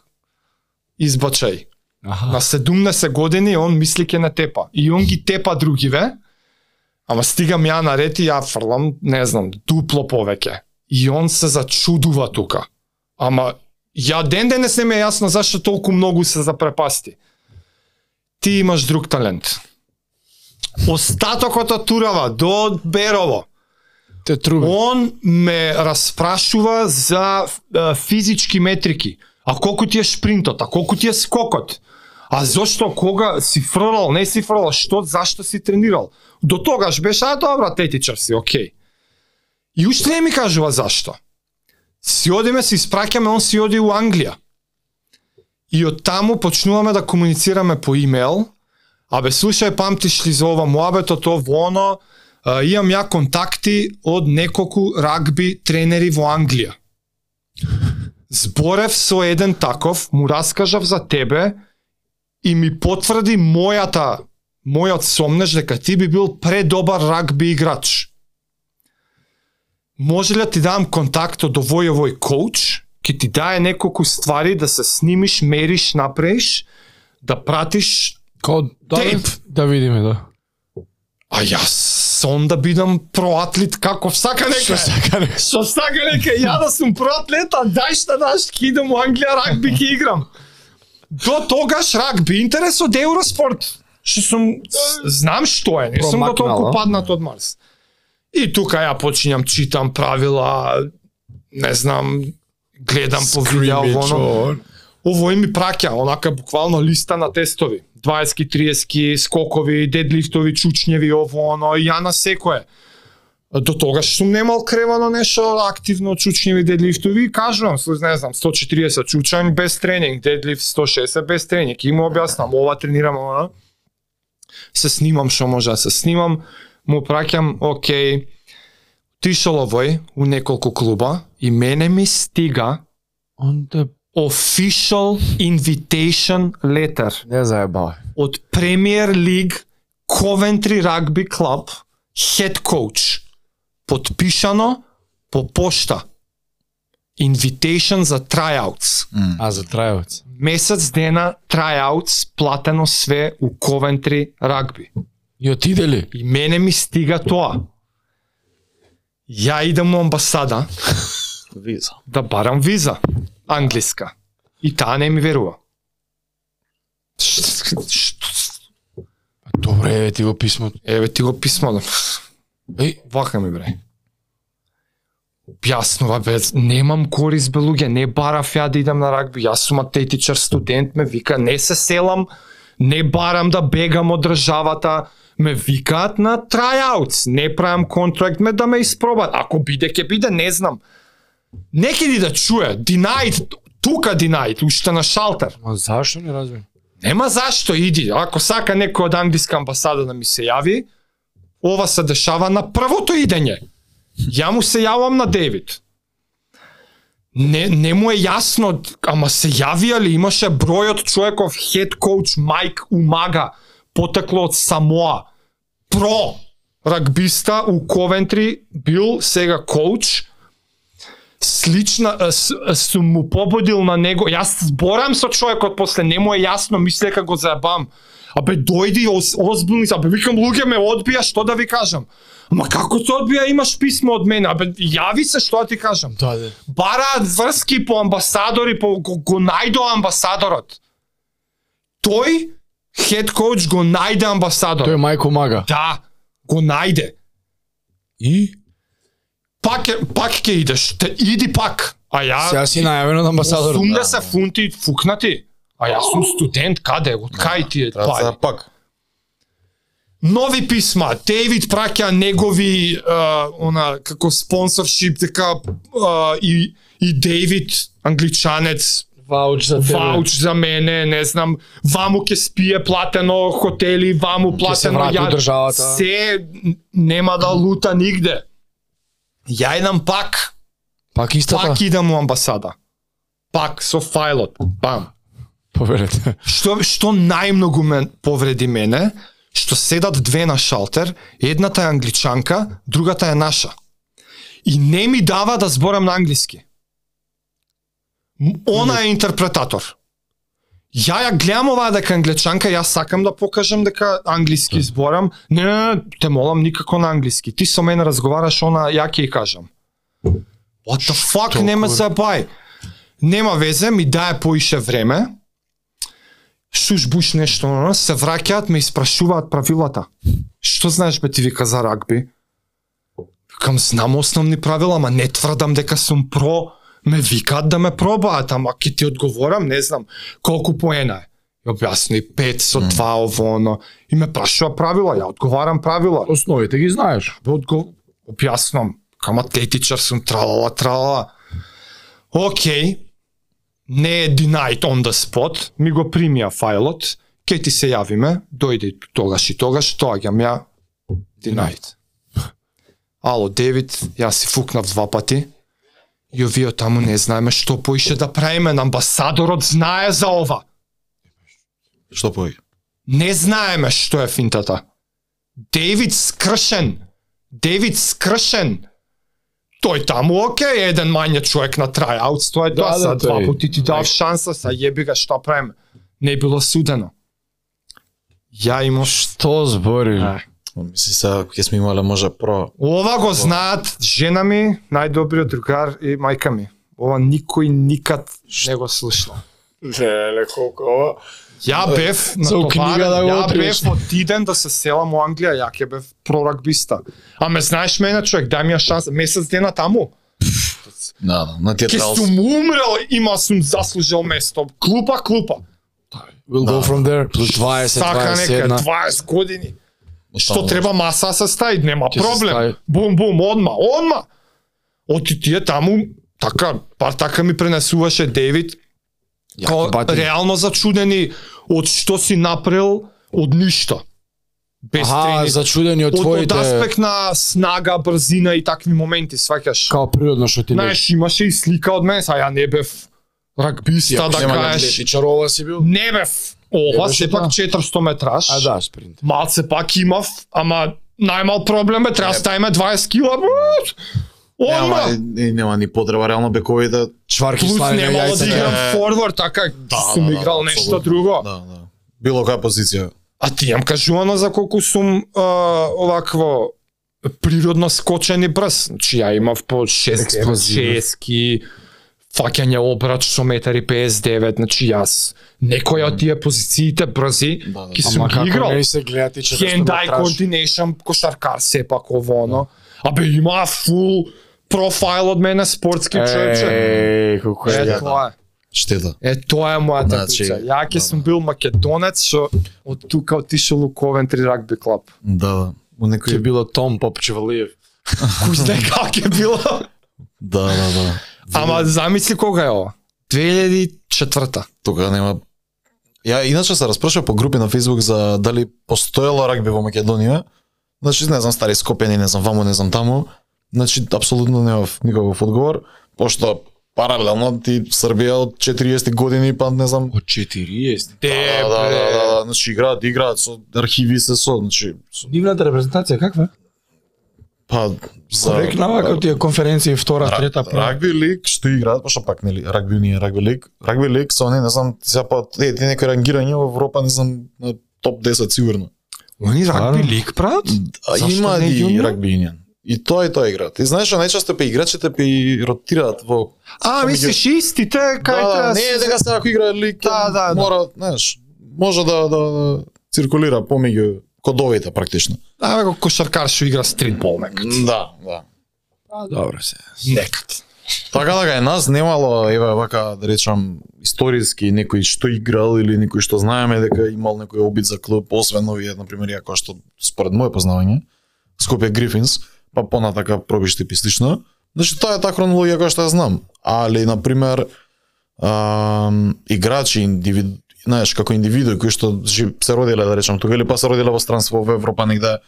[SPEAKER 4] избачај.
[SPEAKER 3] Аха.
[SPEAKER 4] На 17 години он мисли ке не тепа. И он ги тепа другиве, ама стигам ја на ред и ја фрлам, не знам, дупло повеќе. И он се зачудува тука. Ама ја ден денес не ми е јасно зашто толку многу се запрепасти. Ти имаш друг талент. Остатокот од турава до Берово.
[SPEAKER 3] Те труби.
[SPEAKER 4] Он ме распрашува за е, физички метрики. А колку ти е шпринтот, а колку ти е скокот? А зошто кога си фрлал, не си фрлал, што зашто си тренирал? До тогаш беше а добра тетичар си, окей. И уште не ми кажува зашто. Си одиме, си испраќаме, он си оди у Англија. И од таму почнуваме да комуницираме по имейл. Абе, слушај, памтиш ли за ова муабето, тоа во оно, а, имам ја контакти од неколку рагби тренери во Англија. Зборев со еден таков, му раскажав за тебе и ми потврди мојата, мојот сомнеж дека ти би бил предобар рагби играч. Може ли да ти дам контакт од овој и овој коуч? Ке ти дае неколку ствари да се снимиш, мериш, направиш, да пратиш
[SPEAKER 3] Као да,
[SPEAKER 4] Тейп.
[SPEAKER 3] да видиме, да.
[SPEAKER 4] А јас сон да бидам проатлет каков сака нека. Што сака нека. Што сака нека. Ја да сум проатлет, а дај што даш, ки идам у Англија рагби ки играм. До тогаш рагби интерес од Евроспорт. Што сум знам што е, не сум го толку
[SPEAKER 3] Промакнала.
[SPEAKER 4] паднат од Марс. И тука ја почињам читам правила, не знам, гледам по видео во оно овој ми праќа онака буквално листа на тестови. 20-ки, 30-ки, скокови, дедлифтови, чучњеви, ово, оно, и ја на секое. До тогаш сум немал кревано нешто активно чучњеви, дедлифтови, и кажувам, слуз, не знам, 140 чучањ без тренинг, дедлифт 160 без тренинг, и му објаснам, ова тренирам, ова. Се снимам што може да се снимам, му праќам, окей, тишол овој у неколку клуба, и мене ми стига
[SPEAKER 3] Он те
[SPEAKER 4] official invitation letter
[SPEAKER 3] не заебава.
[SPEAKER 4] од Premier League Coventry Rugby Club head coach подпишано по пошта invitation за tryouts
[SPEAKER 3] А за трајовец.
[SPEAKER 4] месец дена tryouts платено све у Coventry Rugby
[SPEAKER 3] И отиде ли?
[SPEAKER 4] И мене ми стига тоа. Ја идам у амбасада. Виза. Да барам виза. Англиска. И таа не ми верува. Шт- шт-
[SPEAKER 3] Добре, еве ти го писмото.
[SPEAKER 4] Еве ти го писмо.
[SPEAKER 3] Еј,
[SPEAKER 4] Вака ми бре. Објаснува без немам корис бе луѓе, не барав ја да идам на рагби. Јас сум атетичар студент, ме вика не се селам, не барам да бегам од државата. Ме викаат на tryouts, не правам контракт ме да ме испробат. Ако биде ќе биде, не знам. Некеди да чуе, denied, тука denied, уште на шалтер.
[SPEAKER 3] ма зашто не разбирам?
[SPEAKER 4] Нема зашто иди, ако сака некој од англиска амбасада да ми се јави, ова се дешава на првото идење. Ја му се јавам на Девид. Не, не му е јасно, ама се јавија ли, имаше бројот човеков хед коуч Майк Умага, потекло од Самоа. Про рагбиста у Ковентри бил сега коуч, слична а, с- а, сум му пободил на него. Јас зборам со човекот после, не му е јасно, мисле дека го заебам. Абе дојди оз- озбилни, се, абе викам луѓе ме одбија, што да ви кажам? Ма како се одбија, имаш писмо од мене, абе јави се што да ти кажам.
[SPEAKER 3] Да, да.
[SPEAKER 4] Бараат врски по амбасадори, по го, го најдо амбасадорот. Тој хед коуч го најде амбасадор.
[SPEAKER 3] Тој е мајко мага.
[SPEAKER 4] Да, го најде.
[SPEAKER 3] И?
[SPEAKER 4] Пак е- пак ќе идеш. Те, иди пак. А ја
[SPEAKER 3] Сега си најавен од амбасадор.
[SPEAKER 4] 80 фунти фукнати. А јас сум студент, каде? Од
[SPEAKER 3] Да.
[SPEAKER 4] кај ти е
[SPEAKER 1] Треба
[SPEAKER 4] пари?
[SPEAKER 1] да пак.
[SPEAKER 4] Нови писма, Девид праќа негови а, она како спонсоршип дека а, и и Девид англичанец
[SPEAKER 3] Вауч за тебе.
[SPEAKER 4] вауч за мене, не знам, ваму ќе спие платено хотели, ваму
[SPEAKER 3] се
[SPEAKER 4] платено
[SPEAKER 3] врати у државата.
[SPEAKER 4] се нема да лута нигде. Ја едам пак,
[SPEAKER 3] Пак истата.
[SPEAKER 4] Па, пак идам у амбасада. Пак со фајлот, бам.
[SPEAKER 3] Поверете.
[SPEAKER 4] Што што најмногу ме повреди мене, што седат две на шалтер, едната е англичанка, другата е наша. И не ми дава да зборам на англиски. М- Она е интерпретатор. Ја ја гледам оваа дека е англичанка, јас сакам да покажам дека англиски зборам. Не, не, не, те молам никако на англиски. Ти со мене разговараш, она ја ќе ја кажам. What the fuck, нема забај. Нема везе, ми дае поише време шуш буш нешто, но, се враќаат, ме испрашуваат правилата. Што знаеш бе ти вика за рагби? Кам знам основни правила, ама не тврдам дека сум про. Ме викаат да ме пробаат, ама ќе ти одговорам, не знам колку поена е. ми објасни пет со два ово оно и ме прашува правила, ја одговарам правила.
[SPEAKER 3] Основите ги знаеш.
[SPEAKER 4] Одго... Објаснам, кама тетичар сум, тралала, тралала. Океј, не е denied on the spot, ми го примија фајлот, ке ти се јавиме, дојде тогаш и тогаш, доаѓам ја, denied. Ало, Девид, јас си фукнав два пати, Јо вие таму не знаеме што поише да правиме, на амбасадорот знае за ова.
[SPEAKER 1] Што пој?
[SPEAKER 4] Не знаеме што е финтата. Девид скршен. Девид скршен. Тој таму, окей, еден мање човек на трајаутс, тоа е тоа,
[SPEAKER 3] да,
[SPEAKER 4] са два
[SPEAKER 3] тој.
[SPEAKER 4] пути ти дав шанса, са јеби га што правиме. Не било судено. Ја имам
[SPEAKER 3] Што збори?
[SPEAKER 4] А.
[SPEAKER 1] Мисли сега ќе сме имале може про.
[SPEAKER 4] Ова го знаат жена ми, најдобриот другар и мајка ми. Ова никој никад не го слушнал.
[SPEAKER 3] Леле, колку ова.
[SPEAKER 4] Ја бев на
[SPEAKER 3] Со книга да го
[SPEAKER 4] ја
[SPEAKER 3] отриеш.
[SPEAKER 4] бев отиден да се селам во Англија, ја ќе бев прорагбиста. А ме знаеш мене човек, дај ми ја шанса, месец дена таму.
[SPEAKER 1] Да, да, на
[SPEAKER 4] Ќе
[SPEAKER 1] театрал.
[SPEAKER 4] сум умрел, има сум заслужил место. Клупа, клупа.
[SPEAKER 3] We'll go from there. Да. Плюс 20,
[SPEAKER 4] Сака нека
[SPEAKER 3] 21.
[SPEAKER 4] 20 години. Што треба маса се стаи, нема
[SPEAKER 3] Ќе се стаи.
[SPEAKER 4] проблем. Бум бум одма, одма. Оти тие таму така, пар така ми пренесуваше Девид. Као,
[SPEAKER 3] бати.
[SPEAKER 4] реално зачудени од што си направил од ништо. Без
[SPEAKER 3] Аха,
[SPEAKER 4] тренинг.
[SPEAKER 3] зачудени од
[SPEAKER 4] од, од
[SPEAKER 3] твоите
[SPEAKER 4] аспект на снага, брзина и такви моменти, сваќаш.
[SPEAKER 3] као природно што ти лежи.
[SPEAKER 4] Знаеш, имаше и слика од мене, а ја не бев рагбиста да кажеш.
[SPEAKER 3] чарова си бил?
[SPEAKER 4] Не бев. Ова
[SPEAKER 3] беше
[SPEAKER 4] сепак
[SPEAKER 3] тоа.
[SPEAKER 4] 400 метраш.
[SPEAKER 3] да. А да, спринт.
[SPEAKER 4] Малце пак имав, ама најмал проблем бе, треба да ставиме 20 кила. брат.
[SPEAKER 1] Нема,
[SPEAKER 4] Одма.
[SPEAKER 1] ни- нема ни потреба реално бекови да
[SPEAKER 3] Чварки
[SPEAKER 4] Плюс
[SPEAKER 3] слави на
[SPEAKER 4] немало да
[SPEAKER 3] јајцата.
[SPEAKER 4] играм форвард, така сум играл нешто друго.
[SPEAKER 1] Да, да. Било која позиција.
[SPEAKER 4] А ти јам кажувано за колку сум а, овакво природно скочен и брз. Значи ја имав по 6 6ки фаќање обрач со 1,59, значи јас некоја од тие позициите брзи
[SPEAKER 1] Да, да.
[SPEAKER 4] ќе сум
[SPEAKER 3] Ама
[SPEAKER 4] ги играл.
[SPEAKER 3] како не се гледа ти да че
[SPEAKER 4] Hand eye coordination кошаркар сепак ово оно. Абе има фул профайл од мене спортски човече.
[SPEAKER 3] Еј, колку е.
[SPEAKER 4] Е,
[SPEAKER 1] ја-
[SPEAKER 4] тоа е.
[SPEAKER 1] Штета.
[SPEAKER 4] Е, тоа е мојата
[SPEAKER 1] Значи,
[SPEAKER 4] прича. Ја ќе
[SPEAKER 1] да,
[SPEAKER 4] сум бил македонец, што од тука отишел у Ковентри Рагби Клаб.
[SPEAKER 1] Да, да. У
[SPEAKER 3] Ќе
[SPEAKER 1] некој
[SPEAKER 3] било Том Попчевалиев.
[SPEAKER 4] Кој знае како е било.
[SPEAKER 1] Да, да, да.
[SPEAKER 4] Ама замисли кога е ова. 2004-та.
[SPEAKER 1] Тука нема Ја иначе се распраша по групи на Facebook за дали постоело рагби во Македонија. Значи не знам стари скопени, не знам ваму, не знам таму. Значи апсолутно немав никаков одговор, пошто паралелно ти Србија од 40 години па не знам
[SPEAKER 3] Од 40.
[SPEAKER 4] Де,
[SPEAKER 1] да, да, да, да, да, значи играат, играат со архиви се со, значи со,
[SPEAKER 3] Нивната репрезентација каква е?
[SPEAKER 1] па
[SPEAKER 3] Да.
[SPEAKER 1] за да,
[SPEAKER 3] Коректна, како тие конференции втора, трета, прва.
[SPEAKER 1] Рагби лиг што играат, па што пак нели рагби не е рагби лиг. Рагби лиг со не, не знам, ти се па е, ти некој рангирање во Европа, не знам, на топ 10 сигурно.
[SPEAKER 4] Они
[SPEAKER 3] Стварно?
[SPEAKER 4] рагби лиг прават?
[SPEAKER 1] А
[SPEAKER 4] Зашто
[SPEAKER 1] има
[SPEAKER 4] не
[SPEAKER 1] и
[SPEAKER 4] јуниор?
[SPEAKER 1] рагби юнион. И тоа и тоа играат. И знаеш, што најчесто пе играчите пе и ротираат во
[SPEAKER 4] А, мислиш истите, кај
[SPEAKER 1] да, да,
[SPEAKER 4] да,
[SPEAKER 1] не е дека сега ако играе лиг,
[SPEAKER 4] Да, да, да.
[SPEAKER 1] мора, знаеш, може да да, да циркулира помеѓу кодовите практично.
[SPEAKER 4] А, како кошаркар што игра стритбол некад.
[SPEAKER 1] Да, да.
[SPEAKER 3] Добро се.
[SPEAKER 4] Некад.
[SPEAKER 1] Така да кај нас немало еве вака да речам историски некој што играл или некој што знаеме дека имал некој обид за клуб освен овие на пример ја кој што според мое познавање Скопје Грифинс, па понатака пробиш типистично. Значи тоа е таа хронологија која што ја знам. Али на пример ам, играчи индивид знаеш како индивидуи кои што жи- се родиле да речам тука или па се родиле во странство во Европа негде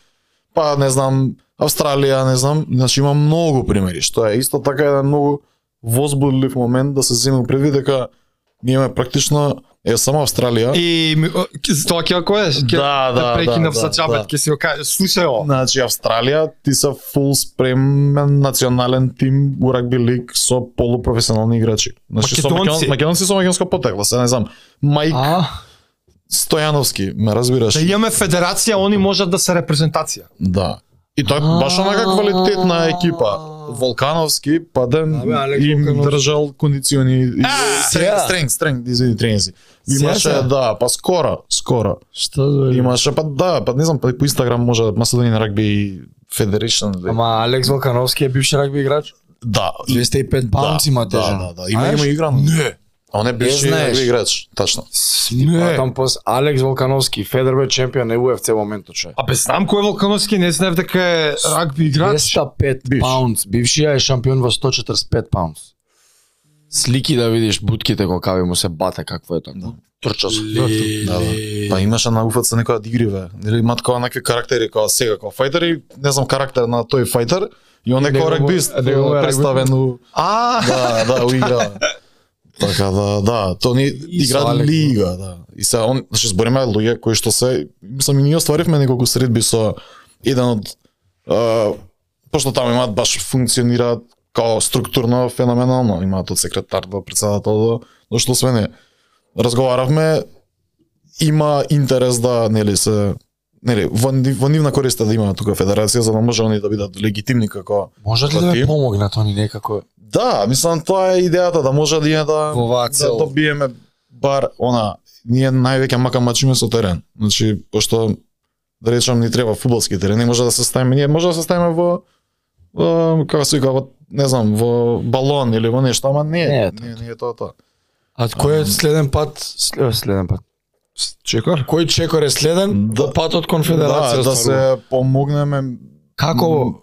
[SPEAKER 1] па не знам Австралија не знам значи има многу примери што е исто така еден многу возбудлив момент да се земе предвид дека ние имаме практично е само Австралија
[SPEAKER 4] И ми- о, ке- тоа ќе ако е, ќе
[SPEAKER 1] да,
[SPEAKER 4] да, прекинав
[SPEAKER 1] да,
[SPEAKER 4] за
[SPEAKER 1] да.
[SPEAKER 4] джабет, ќе си го кажа, слушај ова.
[SPEAKER 1] Значи Австралија ти се фул спремен национален тим у рагби лиг со полупрофесионални играчи. Значи со
[SPEAKER 4] Македонци.
[SPEAKER 1] македон, македонци со македонско потекло, се не знам. Мајк
[SPEAKER 3] А,
[SPEAKER 1] Стојановски, ме разбираш?
[SPEAKER 4] Да имаме федерација, они можат да се репрезентација.
[SPEAKER 1] Да. И тоа е баш онака квалитетна екипа. Волкановски, паден
[SPEAKER 3] Абе, Алек
[SPEAKER 1] им
[SPEAKER 3] Волканов.
[SPEAKER 1] држал кондициони и
[SPEAKER 3] сега.
[SPEAKER 1] стренг, стренг, стренг, извини, тренинзи.
[SPEAKER 3] Сега, сега.
[SPEAKER 1] Имаше, да, па скоро, скоро.
[SPEAKER 3] што збори?
[SPEAKER 1] Имаше, па да, па не знам, па и по Инстаграм може Macedonian Rugby Federation. да-
[SPEAKER 3] Ама Алекс Волкановски е бивши рагби играч.
[SPEAKER 1] Да,
[SPEAKER 3] 205 паунци има
[SPEAKER 1] да,
[SPEAKER 3] тежа.
[SPEAKER 1] да, да, има има игран.
[SPEAKER 3] Не.
[SPEAKER 1] А он е бивши
[SPEAKER 3] знаеш.
[SPEAKER 1] рагби играч, точно.
[SPEAKER 4] Па,
[SPEAKER 3] Не. Там пос Алекс Волкановски, Федер бе чемпион на UFC моментот човек.
[SPEAKER 4] Абе, знам кој е Волкановски, не знаев дека е рагби играч.
[SPEAKER 3] 205
[SPEAKER 1] Бивш.
[SPEAKER 3] паунц. Бившија е шампион во 145 паунц. Слики да видиш бутките колкави му се бата какво е тоа. Да. Трча со.
[SPEAKER 1] Да, да. Па имаше на UFC некоја дигриве. Нели има такова некои карактери како сега како фајтер и не знам карактер на тој фајтер и он е како
[SPEAKER 3] Негово-
[SPEAKER 1] рагбист
[SPEAKER 3] негово е
[SPEAKER 1] представен у
[SPEAKER 4] А,
[SPEAKER 1] да, да, у игра. Така да, да, то ни игра
[SPEAKER 3] Салех,
[SPEAKER 1] лига, да. И се он значи збориме луѓе кои што се мислам и ние остваривме неколку средби со еден од а, пошто таму имаат баш функционираат као структурно феноменално, имаат од секретар до председател до до што све не. Разговаравме има интерес да нели се нели во, ни- во нивна корист е да има тука федерација за да може они да бидат легитимни како
[SPEAKER 3] Можат ли да
[SPEAKER 1] Против?
[SPEAKER 3] ме помогнат они некако?
[SPEAKER 1] Да, мислам тоа е идејата да може да да
[SPEAKER 3] Во оваа
[SPEAKER 1] да
[SPEAKER 3] цел.
[SPEAKER 1] добиеме бар она ние највеќе мака мачиме со терен. Значи пошто да речам ни треба фудбалски терен, не може да се ставиме, ние може да се ставиме во е, како се вика, во не знам, во балон или во нешто, ама не,
[SPEAKER 3] Не
[SPEAKER 1] не,
[SPEAKER 3] е така.
[SPEAKER 1] не, не е тоа тоа.
[SPEAKER 3] А кој е следен пат? Сле- Следен пат.
[SPEAKER 4] чекор.
[SPEAKER 3] Кој чекор е следен?
[SPEAKER 1] Да.
[SPEAKER 3] Да. Патот
[SPEAKER 1] Да,
[SPEAKER 3] конфедерација.
[SPEAKER 1] да се помогнеме.
[SPEAKER 3] Како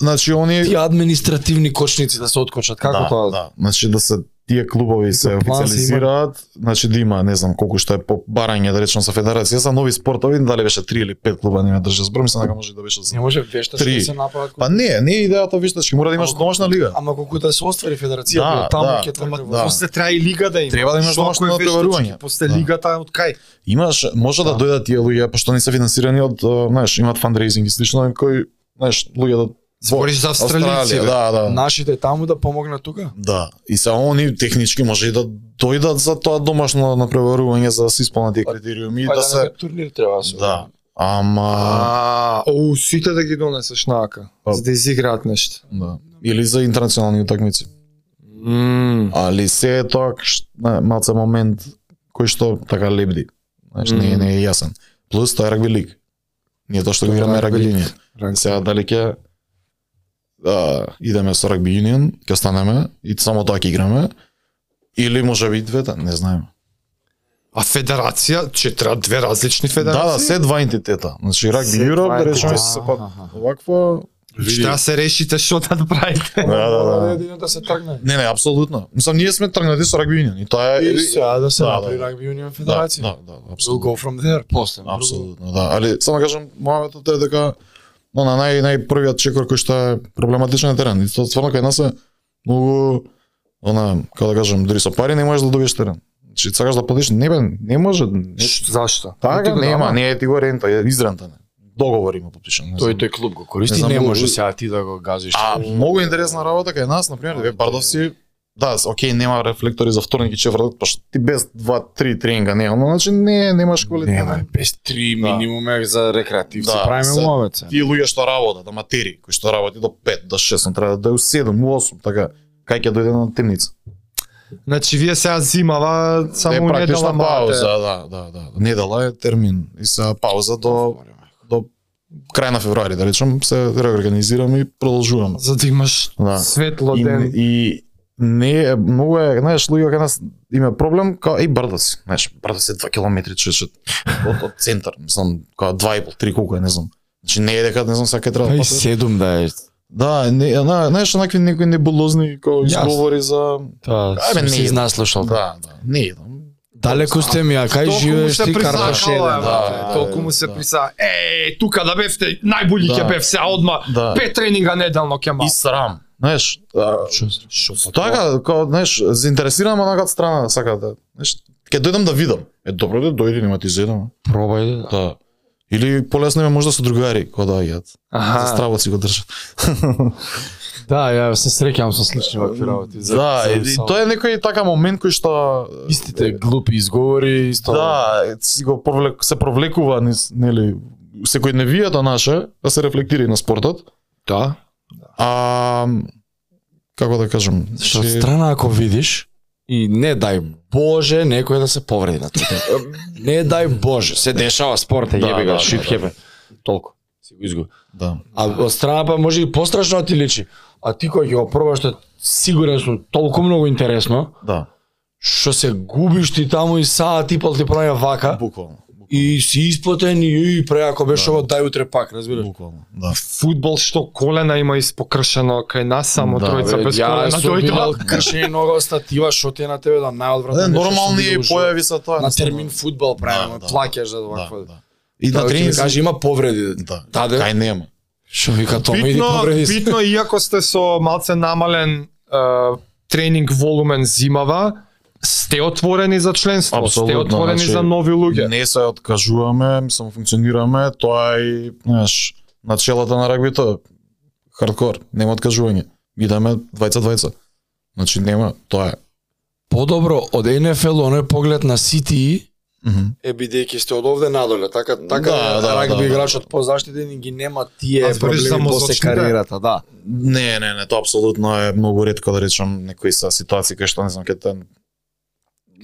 [SPEAKER 1] Значи они
[SPEAKER 3] тие административни кочници да се откочат? Како
[SPEAKER 1] да,
[SPEAKER 3] тоа?
[SPEAKER 1] Да, значи да се тие клубови се
[SPEAKER 3] План се има.
[SPEAKER 1] официализираат, значи да има, не знам колку што е по барање да речам со федерација за нови спортови, дали беше 3 или 5 клуба, не ме држи збор, мислам дека може да беше
[SPEAKER 3] Не
[SPEAKER 1] за.
[SPEAKER 3] може вештачки
[SPEAKER 1] Три.
[SPEAKER 3] да се направат.
[SPEAKER 1] Па не, не е идејата вештачки, мора да имаш
[SPEAKER 3] Ама-
[SPEAKER 1] домашна лига.
[SPEAKER 3] Ама колку да се оствари
[SPEAKER 1] Да,
[SPEAKER 3] федерацијата, таму
[SPEAKER 1] да.
[SPEAKER 3] ќе
[SPEAKER 1] Ама
[SPEAKER 3] тргне во-
[SPEAKER 1] да.
[SPEAKER 4] После треба и лига да има.
[SPEAKER 1] Треба да имаш
[SPEAKER 4] Што
[SPEAKER 1] домашно
[SPEAKER 4] ако е
[SPEAKER 1] натпреварување.
[SPEAKER 4] вештачки, После
[SPEAKER 1] Да.
[SPEAKER 4] лигата од кај?
[SPEAKER 1] Имаш, може да,
[SPEAKER 3] Да.
[SPEAKER 1] дојдат тие луѓе, пошто не се финансирани од, е, знаеш, имаат фандрейзинг и слично, кои, знаеш, луѓе од
[SPEAKER 4] Збориш за австралици. бе.
[SPEAKER 1] да, да.
[SPEAKER 3] нашите таму да помогнат тука.
[SPEAKER 1] Да, и се они технички може и да дојдат за тоа домашно напреварување за да се исполнат тие критериуми и
[SPEAKER 3] Па
[SPEAKER 1] да се
[SPEAKER 3] турнир треба да се.
[SPEAKER 1] Да. Ама
[SPEAKER 4] А, оу, сите да ги донесеш наака,
[SPEAKER 1] Па-
[SPEAKER 4] за да изиграат нешто.
[SPEAKER 1] да. Или за интернационални утакмици.
[SPEAKER 4] Мм.
[SPEAKER 1] Али се е тоа кш- на- малце момент кој што така лебди. Знаеш, не,
[SPEAKER 4] Мм.
[SPEAKER 1] не е јасен. Плюс тоа е рагби лиг. Ние тоа што го играме е рагби
[SPEAKER 4] Рагби
[SPEAKER 1] линија.
[SPEAKER 4] Рагби.
[SPEAKER 1] Сега дали ќе а, идеме со рагби юнион, ќе останеме и само тоа ќе играме. Или може би и двете, не знаеме.
[SPEAKER 4] А федерација, че треба две различни
[SPEAKER 1] Да, да,
[SPEAKER 4] федерации.
[SPEAKER 1] се два ентитета. Значи рагби
[SPEAKER 4] Се
[SPEAKER 1] Јуроп,
[SPEAKER 4] два
[SPEAKER 1] да речеме
[SPEAKER 4] ентитета.
[SPEAKER 1] се па вакво.
[SPEAKER 4] Ще да се решите што да направите.
[SPEAKER 1] Да, да, да.
[SPEAKER 3] Едино да се тргне.
[SPEAKER 1] Не, не, апсолутно. Мислам, ние сме тргнати со рагби юнион и тоа е
[SPEAKER 3] И сега да се
[SPEAKER 1] Да, да,
[SPEAKER 3] направи
[SPEAKER 1] да.
[SPEAKER 3] рагби юнион
[SPEAKER 1] Да,
[SPEAKER 3] федерација.
[SPEAKER 1] да, да,
[SPEAKER 3] We'll
[SPEAKER 1] апсолутно.
[SPEAKER 3] go from there после. на друго.
[SPEAKER 1] Апсолутно, да. Али само кажам моментот е дека но на нај најпрвиот чекор кој што е проблематичен е терен. И тоа стварно кај нас е многу она, како да кажам, дури со пари не можеш да добиеш терен. Значи сакаш да платиш, не бе, не може. Не,
[SPEAKER 4] Ш- Зашто? Ти
[SPEAKER 1] така
[SPEAKER 4] го дава?
[SPEAKER 1] нема, не е ти го рента, е изрентане. Договор има подпишан. не
[SPEAKER 3] Тој
[SPEAKER 1] знам.
[SPEAKER 3] тој клуб го
[SPEAKER 1] Не
[SPEAKER 3] користи,
[SPEAKER 1] знам,
[SPEAKER 3] не
[SPEAKER 1] многу-
[SPEAKER 3] може сега ти да го газиш.
[SPEAKER 1] А многу интересна работа кај нас, на пример, Бардовци, да, с- окей, нема рефлектори за вторник и четврток, пошто ти без 2-3 тренинга нема, значи не немаш квалитет.
[SPEAKER 3] Нема, без три
[SPEAKER 1] Да.
[SPEAKER 3] минимуме за рекреативци.
[SPEAKER 1] Да,
[SPEAKER 3] Правиме
[SPEAKER 1] се-
[SPEAKER 3] ловеца.
[SPEAKER 1] тие луѓе што работат, аматери, кои што работи до 5, до 6, он треба да е у 7, у 8, така, кај ќе дојде на темница.
[SPEAKER 4] Значи вие сега зимава само
[SPEAKER 1] е
[SPEAKER 4] у
[SPEAKER 1] практична
[SPEAKER 4] недела
[SPEAKER 1] пауза,
[SPEAKER 4] пауза.
[SPEAKER 1] да, да, да. Недела е термин и се пауза до до крај на февруари, да речам, се реорганизирам и продолжувам.
[SPEAKER 4] За да имаш
[SPEAKER 1] Да.
[SPEAKER 4] светло
[SPEAKER 1] И,
[SPEAKER 4] ден.
[SPEAKER 1] и не е многу е, знаеш, луѓе кај нас има проблем, као и Бардоци, знаеш, Бардоци е 2 километри чече од, од центар, мислам, као 2,5, 3 колку е, не знам. Значи не е дека не знам сака треба да
[SPEAKER 3] Ај
[SPEAKER 1] патиш.
[SPEAKER 3] седум да е.
[SPEAKER 1] Да, не, на, знаеш, онакви некои небулозни како изговори за...
[SPEAKER 3] Тоа
[SPEAKER 1] Ајде,
[SPEAKER 3] сум
[SPEAKER 1] да, не
[SPEAKER 3] се
[SPEAKER 1] е.
[SPEAKER 3] Да, изнаслушал.
[SPEAKER 1] Да, да, не е.
[SPEAKER 3] Далеко сте ми, а кај
[SPEAKER 4] Толку му
[SPEAKER 3] живееш
[SPEAKER 4] се
[SPEAKER 3] ти
[SPEAKER 4] присакало,
[SPEAKER 3] Кардашен?
[SPEAKER 4] е,
[SPEAKER 1] да,
[SPEAKER 4] брате,
[SPEAKER 1] да,
[SPEAKER 4] толку му
[SPEAKER 1] да.
[SPEAKER 4] се присакало. Е, тука да бевте, најболи
[SPEAKER 1] Да.
[SPEAKER 4] ќе бев сега одма.
[SPEAKER 1] Да.
[SPEAKER 4] Пет тренинга неделно ќе мал.
[SPEAKER 1] И срам. Знаеш, а,
[SPEAKER 3] Шо- шо-
[SPEAKER 1] така, како, знаеш, заинтересирам онака страна, сака да, знаеш, ќе дојдам да видам. Е, добро да дојди, нема ти зедам.
[SPEAKER 3] Пробај да.
[SPEAKER 1] Да. Или полесно е може да со другари, кој да јат. За
[SPEAKER 4] Аха.
[SPEAKER 1] стравот си го држат.
[SPEAKER 3] Да, ја се среќам со слични вакви работи. За-
[SPEAKER 1] да,
[SPEAKER 3] за-
[SPEAKER 1] и, и
[SPEAKER 3] само-
[SPEAKER 1] тоа е некој така момент кој што...
[SPEAKER 3] истите глупи изговори исто.
[SPEAKER 1] Да, е, си го провлек, се провлекува, низ- нели, секојдневијата наша, да се рефлектира и на спортот.
[SPEAKER 4] Да.
[SPEAKER 1] А, како да кажам,
[SPEAKER 3] Што од
[SPEAKER 1] значи,
[SPEAKER 3] страна ако видиш и не дај Боже некој да се повреди на тоа. не дај Боже, се дешава спорта,
[SPEAKER 1] Да, да,
[SPEAKER 3] јеби га,
[SPEAKER 1] да,
[SPEAKER 3] шит
[SPEAKER 1] да.
[SPEAKER 3] хепе. Толку. Си го изгуби.
[SPEAKER 1] да.
[SPEAKER 3] А од страна па може и пострашно да ти личи. А ти кој ќе го пробаш, тоа сигурен сум толку многу интересно,
[SPEAKER 1] Да.
[SPEAKER 3] Што се губиш ти таму и саат и пол ти прави вака
[SPEAKER 1] Буквално. буквално,
[SPEAKER 3] и си исплатен и, и преако
[SPEAKER 1] Да.
[SPEAKER 3] беше ово дај утре пак, разбираш.
[SPEAKER 1] Буквално, да.
[SPEAKER 4] Футбол што колена има испокршено кај нас, само
[SPEAKER 1] Да,
[SPEAKER 4] тројца
[SPEAKER 3] Бе,
[SPEAKER 4] без
[SPEAKER 3] Ја
[SPEAKER 4] колена
[SPEAKER 3] сум
[SPEAKER 4] дојдоа.
[SPEAKER 3] видел кршени нога статива што ти е на тебе да
[SPEAKER 1] Не,
[SPEAKER 3] најодвратно. нешто сум
[SPEAKER 1] нормални
[SPEAKER 3] видел во живот.
[SPEAKER 1] појави са тоа.
[SPEAKER 3] на термин футбол
[SPEAKER 1] Да,
[SPEAKER 3] правиме,
[SPEAKER 1] да.
[SPEAKER 3] плаќаш за вакво.
[SPEAKER 1] Да, да. И на
[SPEAKER 3] Тоа ќе
[SPEAKER 1] тренинг
[SPEAKER 3] ти каже има повреди.
[SPEAKER 1] Да.
[SPEAKER 3] Таде.
[SPEAKER 1] Кај нема.
[SPEAKER 3] Што вика тоа, иди
[SPEAKER 4] Битно,
[SPEAKER 3] повреди. се.
[SPEAKER 4] битно, иако сте со малце намален е, тренинг волумен зимава, сте отворени за членство, сте
[SPEAKER 1] Апсолутно,
[SPEAKER 4] отворени
[SPEAKER 1] значи,
[SPEAKER 4] за нови луѓе.
[SPEAKER 1] Не се откажуваме, мислам функционираме, тоа е и, знаеш, начелата на рагбито хардкор, нема откажување. Идеме двајца-двајца. Значи нема, тоа е.
[SPEAKER 3] Подобро од НФЛ оној поглед на Сити
[SPEAKER 1] Мгм.
[SPEAKER 3] е бидејќи сте од овде надоле, така така
[SPEAKER 1] Да, да,
[SPEAKER 3] рагби
[SPEAKER 1] да, да.
[SPEAKER 3] играчот позаштитен и ги нема тие
[SPEAKER 4] Аз говориш за
[SPEAKER 3] проблеми после
[SPEAKER 4] мозочните?
[SPEAKER 3] кариерата, да.
[SPEAKER 1] Не, не, не, тоа апсолутно е многу ретко да речам некои са ситуации кај што не знам, кај те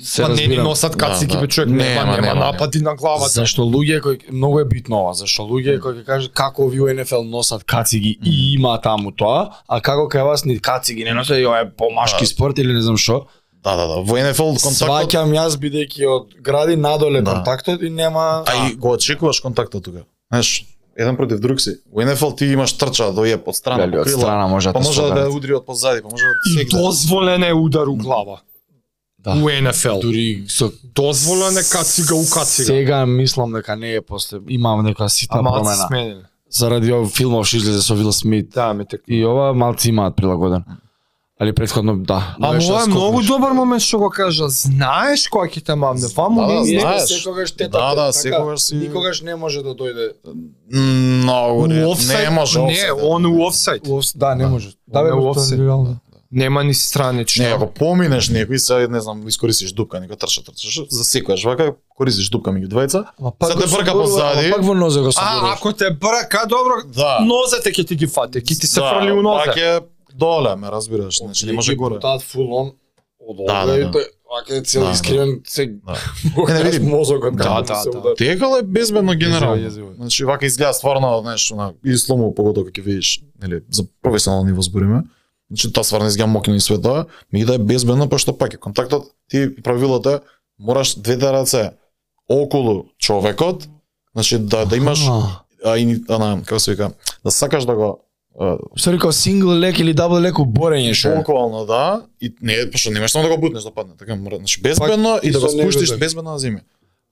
[SPEAKER 3] Се
[SPEAKER 4] Па не ни
[SPEAKER 3] разбирам.
[SPEAKER 4] носат кацики,
[SPEAKER 1] Да, да.
[SPEAKER 4] бе човек,
[SPEAKER 1] Нема,
[SPEAKER 4] нема, нема,
[SPEAKER 1] нема, нема.
[SPEAKER 4] напади на
[SPEAKER 1] Па,
[SPEAKER 4] главата.
[SPEAKER 3] Зашто луѓе кои многу е битно ова, зашто луѓе кои ќе кажат како ви у НФЛ носат кациги и има таму тоа, а како кај вас ни кациги не носат и ова е помашки
[SPEAKER 1] Да.
[SPEAKER 3] спорт или не знам што.
[SPEAKER 1] Да, да, да. Во НФЛ контактот,
[SPEAKER 3] Сваќам јас бидејќи од гради надоле
[SPEAKER 1] Да.
[SPEAKER 3] контактот и нема
[SPEAKER 1] а и го очекуваш контактот тука. Знаеш, еден против друг си. Во НФЛ ти имаш трча да е под страна,
[SPEAKER 3] Дали
[SPEAKER 1] по
[SPEAKER 3] од
[SPEAKER 1] крила,
[SPEAKER 3] страна може да
[SPEAKER 1] па
[SPEAKER 3] те
[SPEAKER 1] може да
[SPEAKER 3] спогади.
[SPEAKER 1] те удри од позади, па може да
[SPEAKER 4] И
[SPEAKER 1] те секне.
[SPEAKER 4] дозволен е удар у глава.
[SPEAKER 3] Да.
[SPEAKER 4] У НФЛ.
[SPEAKER 3] дури со
[SPEAKER 4] Дозволен е кацига у кацига.
[SPEAKER 3] Сега мислам дека не е после имам нека ситна
[SPEAKER 4] Ама се
[SPEAKER 3] промена.
[SPEAKER 4] сменили.
[SPEAKER 3] Заради овој филмов што излезе со Вил Смит
[SPEAKER 4] Да, ми така.
[SPEAKER 3] и ова малци имаат прилагоден. Али претходно да.
[SPEAKER 4] Ама
[SPEAKER 3] беше
[SPEAKER 4] ова е
[SPEAKER 3] да
[SPEAKER 4] многу
[SPEAKER 3] скокнеш.
[SPEAKER 4] добар момент што го кажа. Знаеш кој ќе те мамне, ваму
[SPEAKER 1] Да, да,
[SPEAKER 4] не
[SPEAKER 1] знаеш.
[SPEAKER 3] Некој секогаш те
[SPEAKER 1] Да, да,
[SPEAKER 3] така,
[SPEAKER 1] секогаш си-
[SPEAKER 3] Никогаш не може да дојде.
[SPEAKER 1] Многу
[SPEAKER 4] У
[SPEAKER 1] не,
[SPEAKER 4] офсайд,
[SPEAKER 1] не може да.
[SPEAKER 4] не,
[SPEAKER 1] офсайд.
[SPEAKER 4] он у офсайд.
[SPEAKER 3] Лос, да, не може. Да,
[SPEAKER 4] Он
[SPEAKER 3] бе,
[SPEAKER 4] е
[SPEAKER 3] тоа
[SPEAKER 4] офсайд.
[SPEAKER 3] е реално.
[SPEAKER 4] Нема ни странично.
[SPEAKER 1] Не, ако поминеш некој, се не знам, искористиш дупка, нека трча, трчаш, засекуваш вака, користиш дупка меѓу двајца.
[SPEAKER 3] Ама
[SPEAKER 1] пак го соборува, ама
[SPEAKER 3] Пак
[SPEAKER 1] пак
[SPEAKER 3] во нозе го
[SPEAKER 4] А, ако те брка, добро,
[SPEAKER 1] Да.
[SPEAKER 4] нозете ќе ти ги фате, ќе ти се фрли у
[SPEAKER 1] Пак
[SPEAKER 4] нозе.
[SPEAKER 1] е доле, ме разбираш, значи не може горе.
[SPEAKER 3] Таа фул он од
[SPEAKER 1] Да, да,
[SPEAKER 3] овде и
[SPEAKER 1] да.
[SPEAKER 3] тој вака е
[SPEAKER 1] Да,
[SPEAKER 3] цел
[SPEAKER 1] да.
[SPEAKER 3] искривен се.
[SPEAKER 1] Да.
[SPEAKER 3] Е,
[SPEAKER 1] Не, види,
[SPEAKER 3] мозокот
[SPEAKER 1] да,
[SPEAKER 3] како
[SPEAKER 4] да,
[SPEAKER 3] се
[SPEAKER 4] да.
[SPEAKER 3] удари.
[SPEAKER 1] Тегал е безбедно генерално.
[SPEAKER 3] Језиво, језиво е.
[SPEAKER 1] Значи вака изгледа стварно, знаеш, на и слому погодо кога ќе видиш, нели, за професионално ниво збориме. Значи таа стварно изгледа мокна и света, ми да е безбедно, па што пак е контактот, ти правилото е мораш двете раце околу човекот, значи да да имаш
[SPEAKER 3] А,
[SPEAKER 1] а, и, ана, како се вика, да сакаш да го а,
[SPEAKER 3] Што рекол сингл лек или дабл лек борење што? е.
[SPEAKER 1] Буквално да, и не, пошто немаш само да го бутнеш да падне, така мора, значи безбедно и да
[SPEAKER 3] со
[SPEAKER 1] го
[SPEAKER 3] него
[SPEAKER 1] спуштиш
[SPEAKER 3] да-
[SPEAKER 1] безбедно на земја.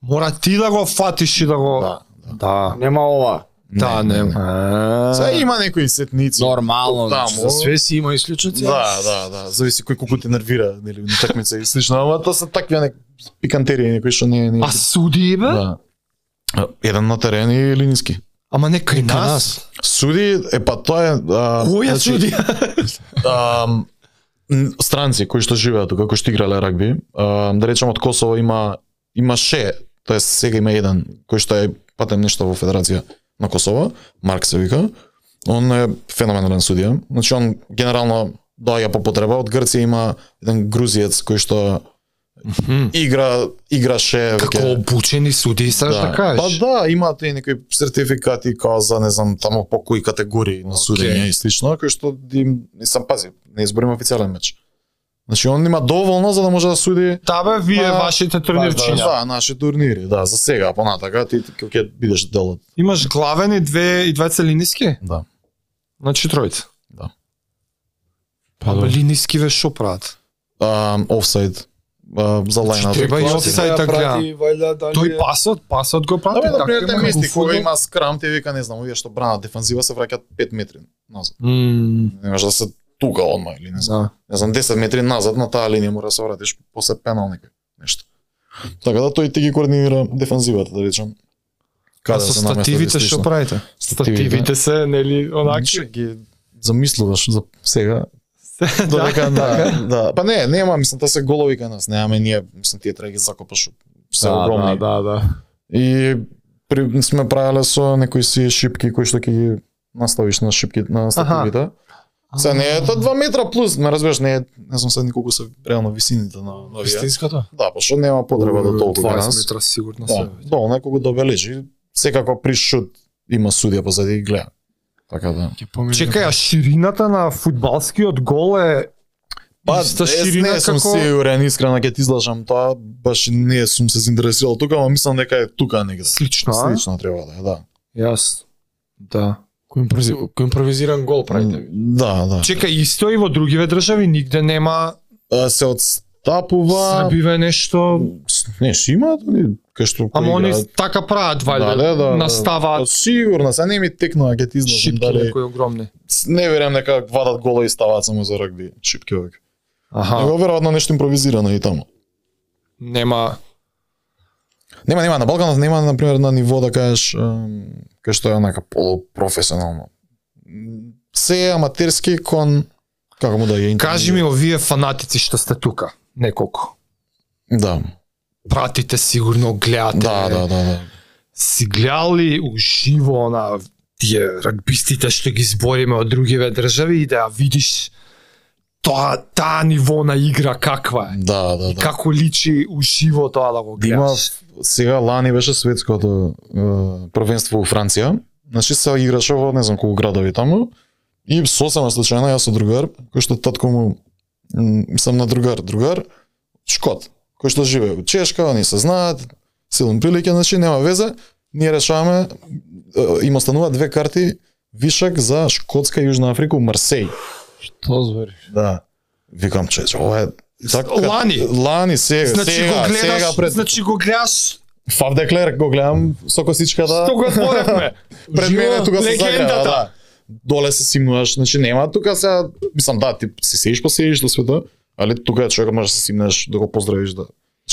[SPEAKER 4] Мора ти да го фатиш и да го...
[SPEAKER 1] Да.
[SPEAKER 4] Да.
[SPEAKER 3] Па, Нема ова.
[SPEAKER 4] Да, не. А.
[SPEAKER 1] Се има некои сетници.
[SPEAKER 3] Нормално,
[SPEAKER 1] Таму.
[SPEAKER 3] значи, за све си има исклучоци.
[SPEAKER 1] Да, да, да, зависи кој колку те нервира, нели, на такмица и слично, ама тоа се такви нек пикантерии некои што не не.
[SPEAKER 4] А суди, бе?
[SPEAKER 1] да. А, Еден на терен и линиски.
[SPEAKER 4] Ама не кај
[SPEAKER 3] Кај
[SPEAKER 4] нас.
[SPEAKER 3] нас.
[SPEAKER 1] Суди, е па тоа е а,
[SPEAKER 4] Која
[SPEAKER 1] значи,
[SPEAKER 4] суди?
[SPEAKER 1] ам, н- странци кои што живеат тука, кои што играле рагби, ам, да речем од Косово има имаше, тоест сега има еден кој што е патен нешто во Федерација на Косово, Марк се вика. Он е феноменален судија. Значи он генерално доаѓа по потреба од Грција има еден грузиец кој што игра играше
[SPEAKER 4] Како обучени суди, саш да
[SPEAKER 1] Па
[SPEAKER 4] кажеш?
[SPEAKER 1] Така да, имаат и некои сертификати као за не знам таму по кои категории на судење и слично, кои што да им не сам пази, не изборим официјален меч. Значи он има доволно за да може да суди
[SPEAKER 4] Да, бе, вие,
[SPEAKER 1] Па,
[SPEAKER 4] вашите турнирчиња.
[SPEAKER 1] да, наши турнири, да, за сега, понатака ти ти ќе бидеш дел од
[SPEAKER 4] Имаш главен и две и две целиниски?
[SPEAKER 1] да.
[SPEAKER 4] Значи тројца.
[SPEAKER 1] Да.
[SPEAKER 4] Па да. линиски ве шо прават?
[SPEAKER 1] А, офсайд а, за лајна.
[SPEAKER 4] Значи, треба и
[SPEAKER 1] Да,
[SPEAKER 4] офсайд. Сај така
[SPEAKER 3] Прати,
[SPEAKER 1] Па,
[SPEAKER 3] ваља, дали е-
[SPEAKER 4] Тој пасот, пасот го така прати.
[SPEAKER 1] бе, на пример,
[SPEAKER 4] има
[SPEAKER 1] те мести,
[SPEAKER 4] како
[SPEAKER 1] кога
[SPEAKER 4] фудбал.
[SPEAKER 1] има скрам, ти вика, не знам, овие што бранат дефанзива се враќаат 5 метри назад.
[SPEAKER 4] М,
[SPEAKER 1] Не може да се тука одма или не знам.
[SPEAKER 4] Да.
[SPEAKER 1] не знам, 10 метри назад на таа линија мора да се вратиш после пенал некој нешто. Така да тој ти ги координира дефанзивата, да речем.
[SPEAKER 4] А
[SPEAKER 1] Каде
[SPEAKER 4] со
[SPEAKER 1] да се наместа
[SPEAKER 4] стативите што
[SPEAKER 1] десниčno.
[SPEAKER 4] правите? Стативите се, нели,
[SPEAKER 1] Ништо,
[SPEAKER 4] онакви.
[SPEAKER 1] ги замислуваш за сега.
[SPEAKER 4] да,
[SPEAKER 1] Додека да, да. Па не, нема, мислам, таа се голови кај нас, немаме ние, мислам, тие треба да ги закопаш се
[SPEAKER 4] Да,
[SPEAKER 1] огромни.
[SPEAKER 4] да, да, да.
[SPEAKER 1] И при, сме правеле со некои си шипки кои што ќе ги наставиш на шипки на стативите. Се не е тоа 2 метра плюс, ме разбираш, не е, не знам сега ни колку се реално висините на на овие.
[SPEAKER 3] Вистинското?
[SPEAKER 1] Да, пошто нема потреба да толку кај
[SPEAKER 4] 20
[SPEAKER 1] нас.
[SPEAKER 4] метра сигурно се.
[SPEAKER 1] Да, доволно е кога го обележи. Секако при шут има судија позади и гледа. Така да.
[SPEAKER 3] Ќе помине.
[SPEAKER 4] Чекај, а ширината на фудбалскиот гол е
[SPEAKER 1] Па,
[SPEAKER 4] Иста
[SPEAKER 1] е,
[SPEAKER 4] ширина
[SPEAKER 1] не сум
[SPEAKER 4] како-
[SPEAKER 1] сигурен, искрено ќе ти излажам тоа, баш не сум се заинтересирал тука, ама мислам дека е тука негде.
[SPEAKER 4] Слично, а?
[SPEAKER 1] Слично треба да е, да.
[SPEAKER 4] Јас. Да.
[SPEAKER 3] Кој импрози- кој импровизиран гол правите?
[SPEAKER 1] Да, да.
[SPEAKER 4] Чека, исто и во другиве држави нигде нема
[SPEAKER 1] А, се отстапува...
[SPEAKER 4] србиве нешто,
[SPEAKER 1] С- Не, ши имаат, они, кај што
[SPEAKER 4] ама
[SPEAKER 1] кои
[SPEAKER 4] они
[SPEAKER 1] играат.
[SPEAKER 4] така прават вајде,
[SPEAKER 1] Да, да, да, да. Па,
[SPEAKER 4] наставаат
[SPEAKER 1] Сигурно, се не ми текнува, ќе ти излажам
[SPEAKER 4] шипки
[SPEAKER 1] дали...
[SPEAKER 4] некои огромни.
[SPEAKER 1] С- Не верам дека вадат гола и ставаат само за рагби, шипки овек.
[SPEAKER 4] Аха,
[SPEAKER 1] Него веројатно нешто импровизирано и таму.
[SPEAKER 4] нема
[SPEAKER 1] Нема, нема, на Балканот нема, на пример, на ниво да кажеш, ем, кај што е онака полупрофесионално. М, Се е аматерски кон како му да ја
[SPEAKER 4] Кажи ми овие фанатици што сте тука, неколку.
[SPEAKER 1] Да.
[SPEAKER 4] Пратите сигурно, гледате.
[SPEAKER 1] Да, да, да, да.
[SPEAKER 4] Си гледали уживо на тие рагбистите што ги збориме од другиве држави и да ја видиш тоа таа ниво на игра каква е.
[SPEAKER 1] Да, да, да.
[SPEAKER 4] Како личи уживо тоа да го
[SPEAKER 1] Има
[SPEAKER 4] гледаш.
[SPEAKER 1] сега лани беше светското е, првенство во Франција. Значи се играше во не знам колку градови таму. И сосема случајно јас со другар, кој што татко му м, сам на другар, другар шкот, кој што живее во Чешка, они се знаат, силен прилике, значи нема веза. Ние решаваме е, им останува две карти вишак за Шкотска Јужна Африка у Марсеј.
[SPEAKER 3] Што звери?
[SPEAKER 1] Да. Викам чеч, ова е така
[SPEAKER 4] Лани?
[SPEAKER 1] лани се
[SPEAKER 4] Значи
[SPEAKER 1] сега,
[SPEAKER 4] го гледаш,
[SPEAKER 1] сега пред
[SPEAKER 4] значи го гледаш.
[SPEAKER 1] Фав Деклер го гледам со косичката.
[SPEAKER 4] Што го зборевме?
[SPEAKER 1] Пред мене
[SPEAKER 4] Живо,
[SPEAKER 1] тука се
[SPEAKER 4] легендата.
[SPEAKER 1] загрева, да. Доле се симнуваш, значи нема тука се, мислам да, ти си седиш по седиш до света, али тука е човека може да се симнеш да го поздравиш да.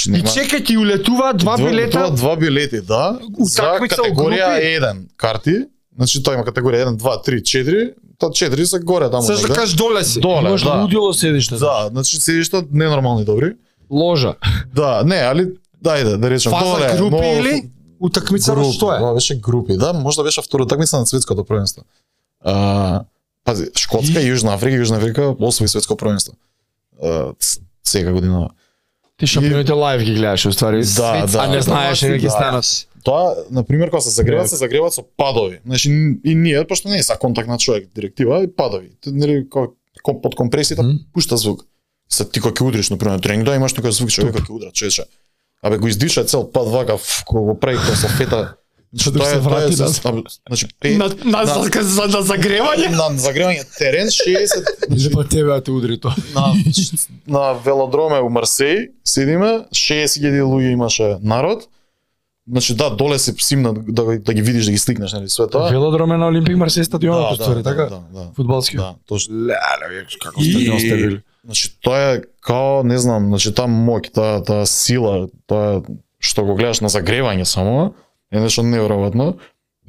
[SPEAKER 1] Значи
[SPEAKER 4] И чека ти улетува два билета.
[SPEAKER 1] Два, два билети, да. За
[SPEAKER 4] Утакмица у
[SPEAKER 1] категорија
[SPEAKER 4] групи.
[SPEAKER 1] 1 карти. Значи тоа има категорија 1, 2, 3, 4. Та 4 се горе таму.
[SPEAKER 4] Сеш да
[SPEAKER 1] негде.
[SPEAKER 4] кажеш доле си.
[SPEAKER 1] Доле,
[SPEAKER 3] Имаш
[SPEAKER 1] да.
[SPEAKER 3] лудило седиште.
[SPEAKER 1] Да, значи седишта ненормални добри.
[SPEAKER 3] Ложа.
[SPEAKER 1] Да, не, али дајде да речем доле.
[SPEAKER 4] Фаза групи
[SPEAKER 1] но-
[SPEAKER 4] или утакмица
[SPEAKER 1] групи,
[SPEAKER 4] што е?
[SPEAKER 1] Ова беше групи, да, можда беше втора утакмица на светското првенство. А, пази, Шкотска и Јужна Африка, Јужна Африка освои светско првенство. А, ц- сега година.
[SPEAKER 3] Ти шампионите лайв ги гледаш, уствари.
[SPEAKER 1] Да, да.
[SPEAKER 3] А не знаеш
[SPEAKER 1] Да.
[SPEAKER 3] дека ги станат.
[SPEAKER 1] Тоа, на пример, кога се загреваат, се загреваат со падови. Значи н- и ние, пошто не е са контакт на човек, директива и падови. Т- Нели кога ко- под компресијата
[SPEAKER 3] Мгм.
[SPEAKER 1] пушта звук. Се ти кога ќе удриш на пример тренинг, да имаш тука звук човек кога ќе удра, чече. Абе го издиша цел пад вака, ф, кога го прави кога со фета. Значи,
[SPEAKER 3] да
[SPEAKER 1] тоа
[SPEAKER 3] се
[SPEAKER 1] е- тоа е
[SPEAKER 3] врати, да.
[SPEAKER 1] со- абе, Значи, пе-
[SPEAKER 4] на, за, за, за загревање?
[SPEAKER 1] на загревање терен 60
[SPEAKER 3] Или па тебе а те удри тоа.
[SPEAKER 1] на на велодроме у Марсеј седиме 60.000 луѓе имаше народ Значи да, доле се симна да, го- да ги видиш, да ги сликнеш, нели све тоа.
[SPEAKER 3] Велодром е на Олимпик Марсеј стадионот, уствари, така?
[SPEAKER 1] Да, да,
[SPEAKER 3] Фудбалски.
[SPEAKER 1] да, точно.
[SPEAKER 3] Леле, како
[SPEAKER 1] И- Значи тоа е као, не знам, значи таа моќ, таа таа сила, тоа што го гледаш на загревање само, е нешто неверојатно.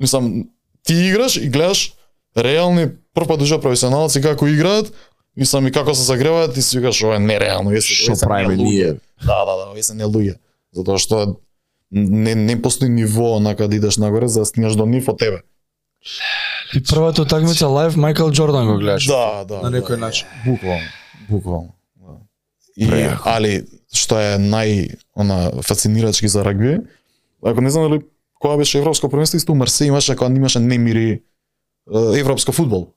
[SPEAKER 1] Мислам, ти играш и гледаш реални првпадужа професионалци како играат, мислам и како се загреваат и си викаш ова е нереално, вие се
[SPEAKER 3] Што
[SPEAKER 1] вие се
[SPEAKER 3] правиме
[SPEAKER 1] не луѓе.
[SPEAKER 3] ние?
[SPEAKER 1] Да, да, да, овие се не луѓе. Затоа што не не постои ниво на каде идеш нагоре за да стигнеш до нив од тебе.
[SPEAKER 3] Ти првата утакмица лайв Майкл Джордан го гледаш.
[SPEAKER 1] Да, да.
[SPEAKER 3] на
[SPEAKER 1] да.
[SPEAKER 3] некој начин.
[SPEAKER 1] Буквално, буквално. Да. И, али што е нај она фасцинирачки за рагби, ако не знам дали која беше европско првенство исто у Марсеј имаше кога имаше немири е, европско фудбал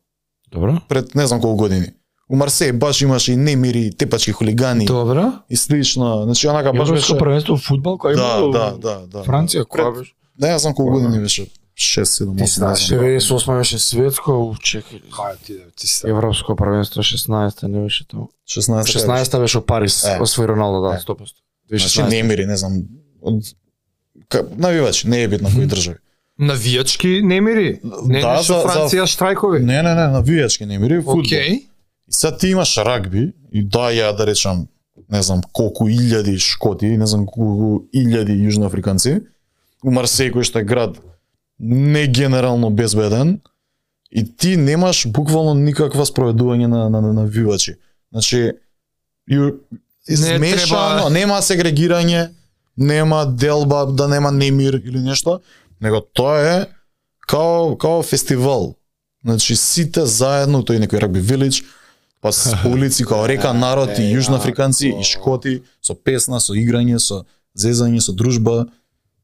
[SPEAKER 3] Добро.
[SPEAKER 1] пред не знам колку години. У Марсеј баш имаше и немири, тепачки хулигани
[SPEAKER 3] Добро.
[SPEAKER 1] и слично, значи онака баш
[SPEAKER 3] Европско
[SPEAKER 1] беше
[SPEAKER 3] првенство во фудбал кој
[SPEAKER 1] Да,
[SPEAKER 3] има
[SPEAKER 1] да, да, да.
[SPEAKER 3] Франција, која беше?
[SPEAKER 1] Не знам колку години беше. 6 7 8.
[SPEAKER 3] Знаеш, 98 беше светско, чекај. Европско првенство 16 не беше тоа.
[SPEAKER 1] 16.
[SPEAKER 3] 16 беше во Париз,
[SPEAKER 1] Е.
[SPEAKER 3] освои Роналдо, да,
[SPEAKER 1] Е.
[SPEAKER 3] 100%.
[SPEAKER 1] Значи
[SPEAKER 3] 2016.
[SPEAKER 1] немири, не знам. Од ка- навивач, не е битно кои држави.
[SPEAKER 4] Навијачки немири. Не
[SPEAKER 1] Да,
[SPEAKER 4] да,
[SPEAKER 1] за-
[SPEAKER 4] што
[SPEAKER 1] за-
[SPEAKER 4] Франција штрајкови.
[SPEAKER 1] Не, не, не, навијачки немири, фудбал.
[SPEAKER 4] Океј.
[SPEAKER 1] И сега ти имаш рагби и да ја да речам не знам колку илјади шкоти, не знам колку илјади јужноафриканци у Марсеј кој што е град не генерално безбеден и ти немаш буквално никаква спроведување на на на навивачи. Значи ју
[SPEAKER 4] Не
[SPEAKER 1] измешано,
[SPEAKER 4] треба-
[SPEAKER 1] нема сегрегирање, нема делба, да нема немир или нешто, него тоа е као као фестивал. Значи сите заедно, тој некој рагби вилидж, па с по улици као река народ и јужноафриканци и шкоти со песна, со играње, со зезање, со дружба.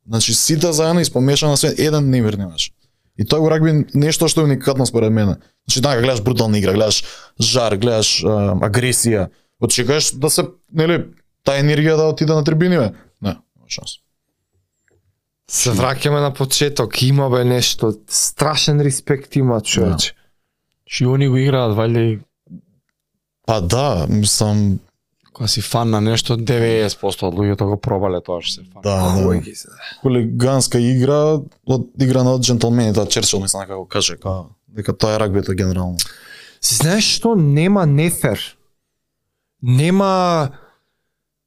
[SPEAKER 1] Значи сите заедно испомешано свет, еден немир немаш. И тоа го рагби нешто што е уникатно според мене. Значи така гледаш брутална игра, гледаш жар, гледаш а, агресија, Очекаш да се, нели, таа енергија да отиде на трибини, бе? Не, нема шанс.
[SPEAKER 4] Се враќаме на почеток, има бе нешто, страшен респект има човече.
[SPEAKER 3] Ши Да. Значи, они го играат, вали,
[SPEAKER 1] Па да, мислам,
[SPEAKER 3] кога си фан на нешто, 90% од луѓето го пробале тоа што се фан.
[SPEAKER 1] да, да. Хулиганска игра, од игра на джентлмените, Черчил мислам дека го каже, ка, дека тоа е рагбито генерално.
[SPEAKER 4] Се знаеш што нема нефер. Нема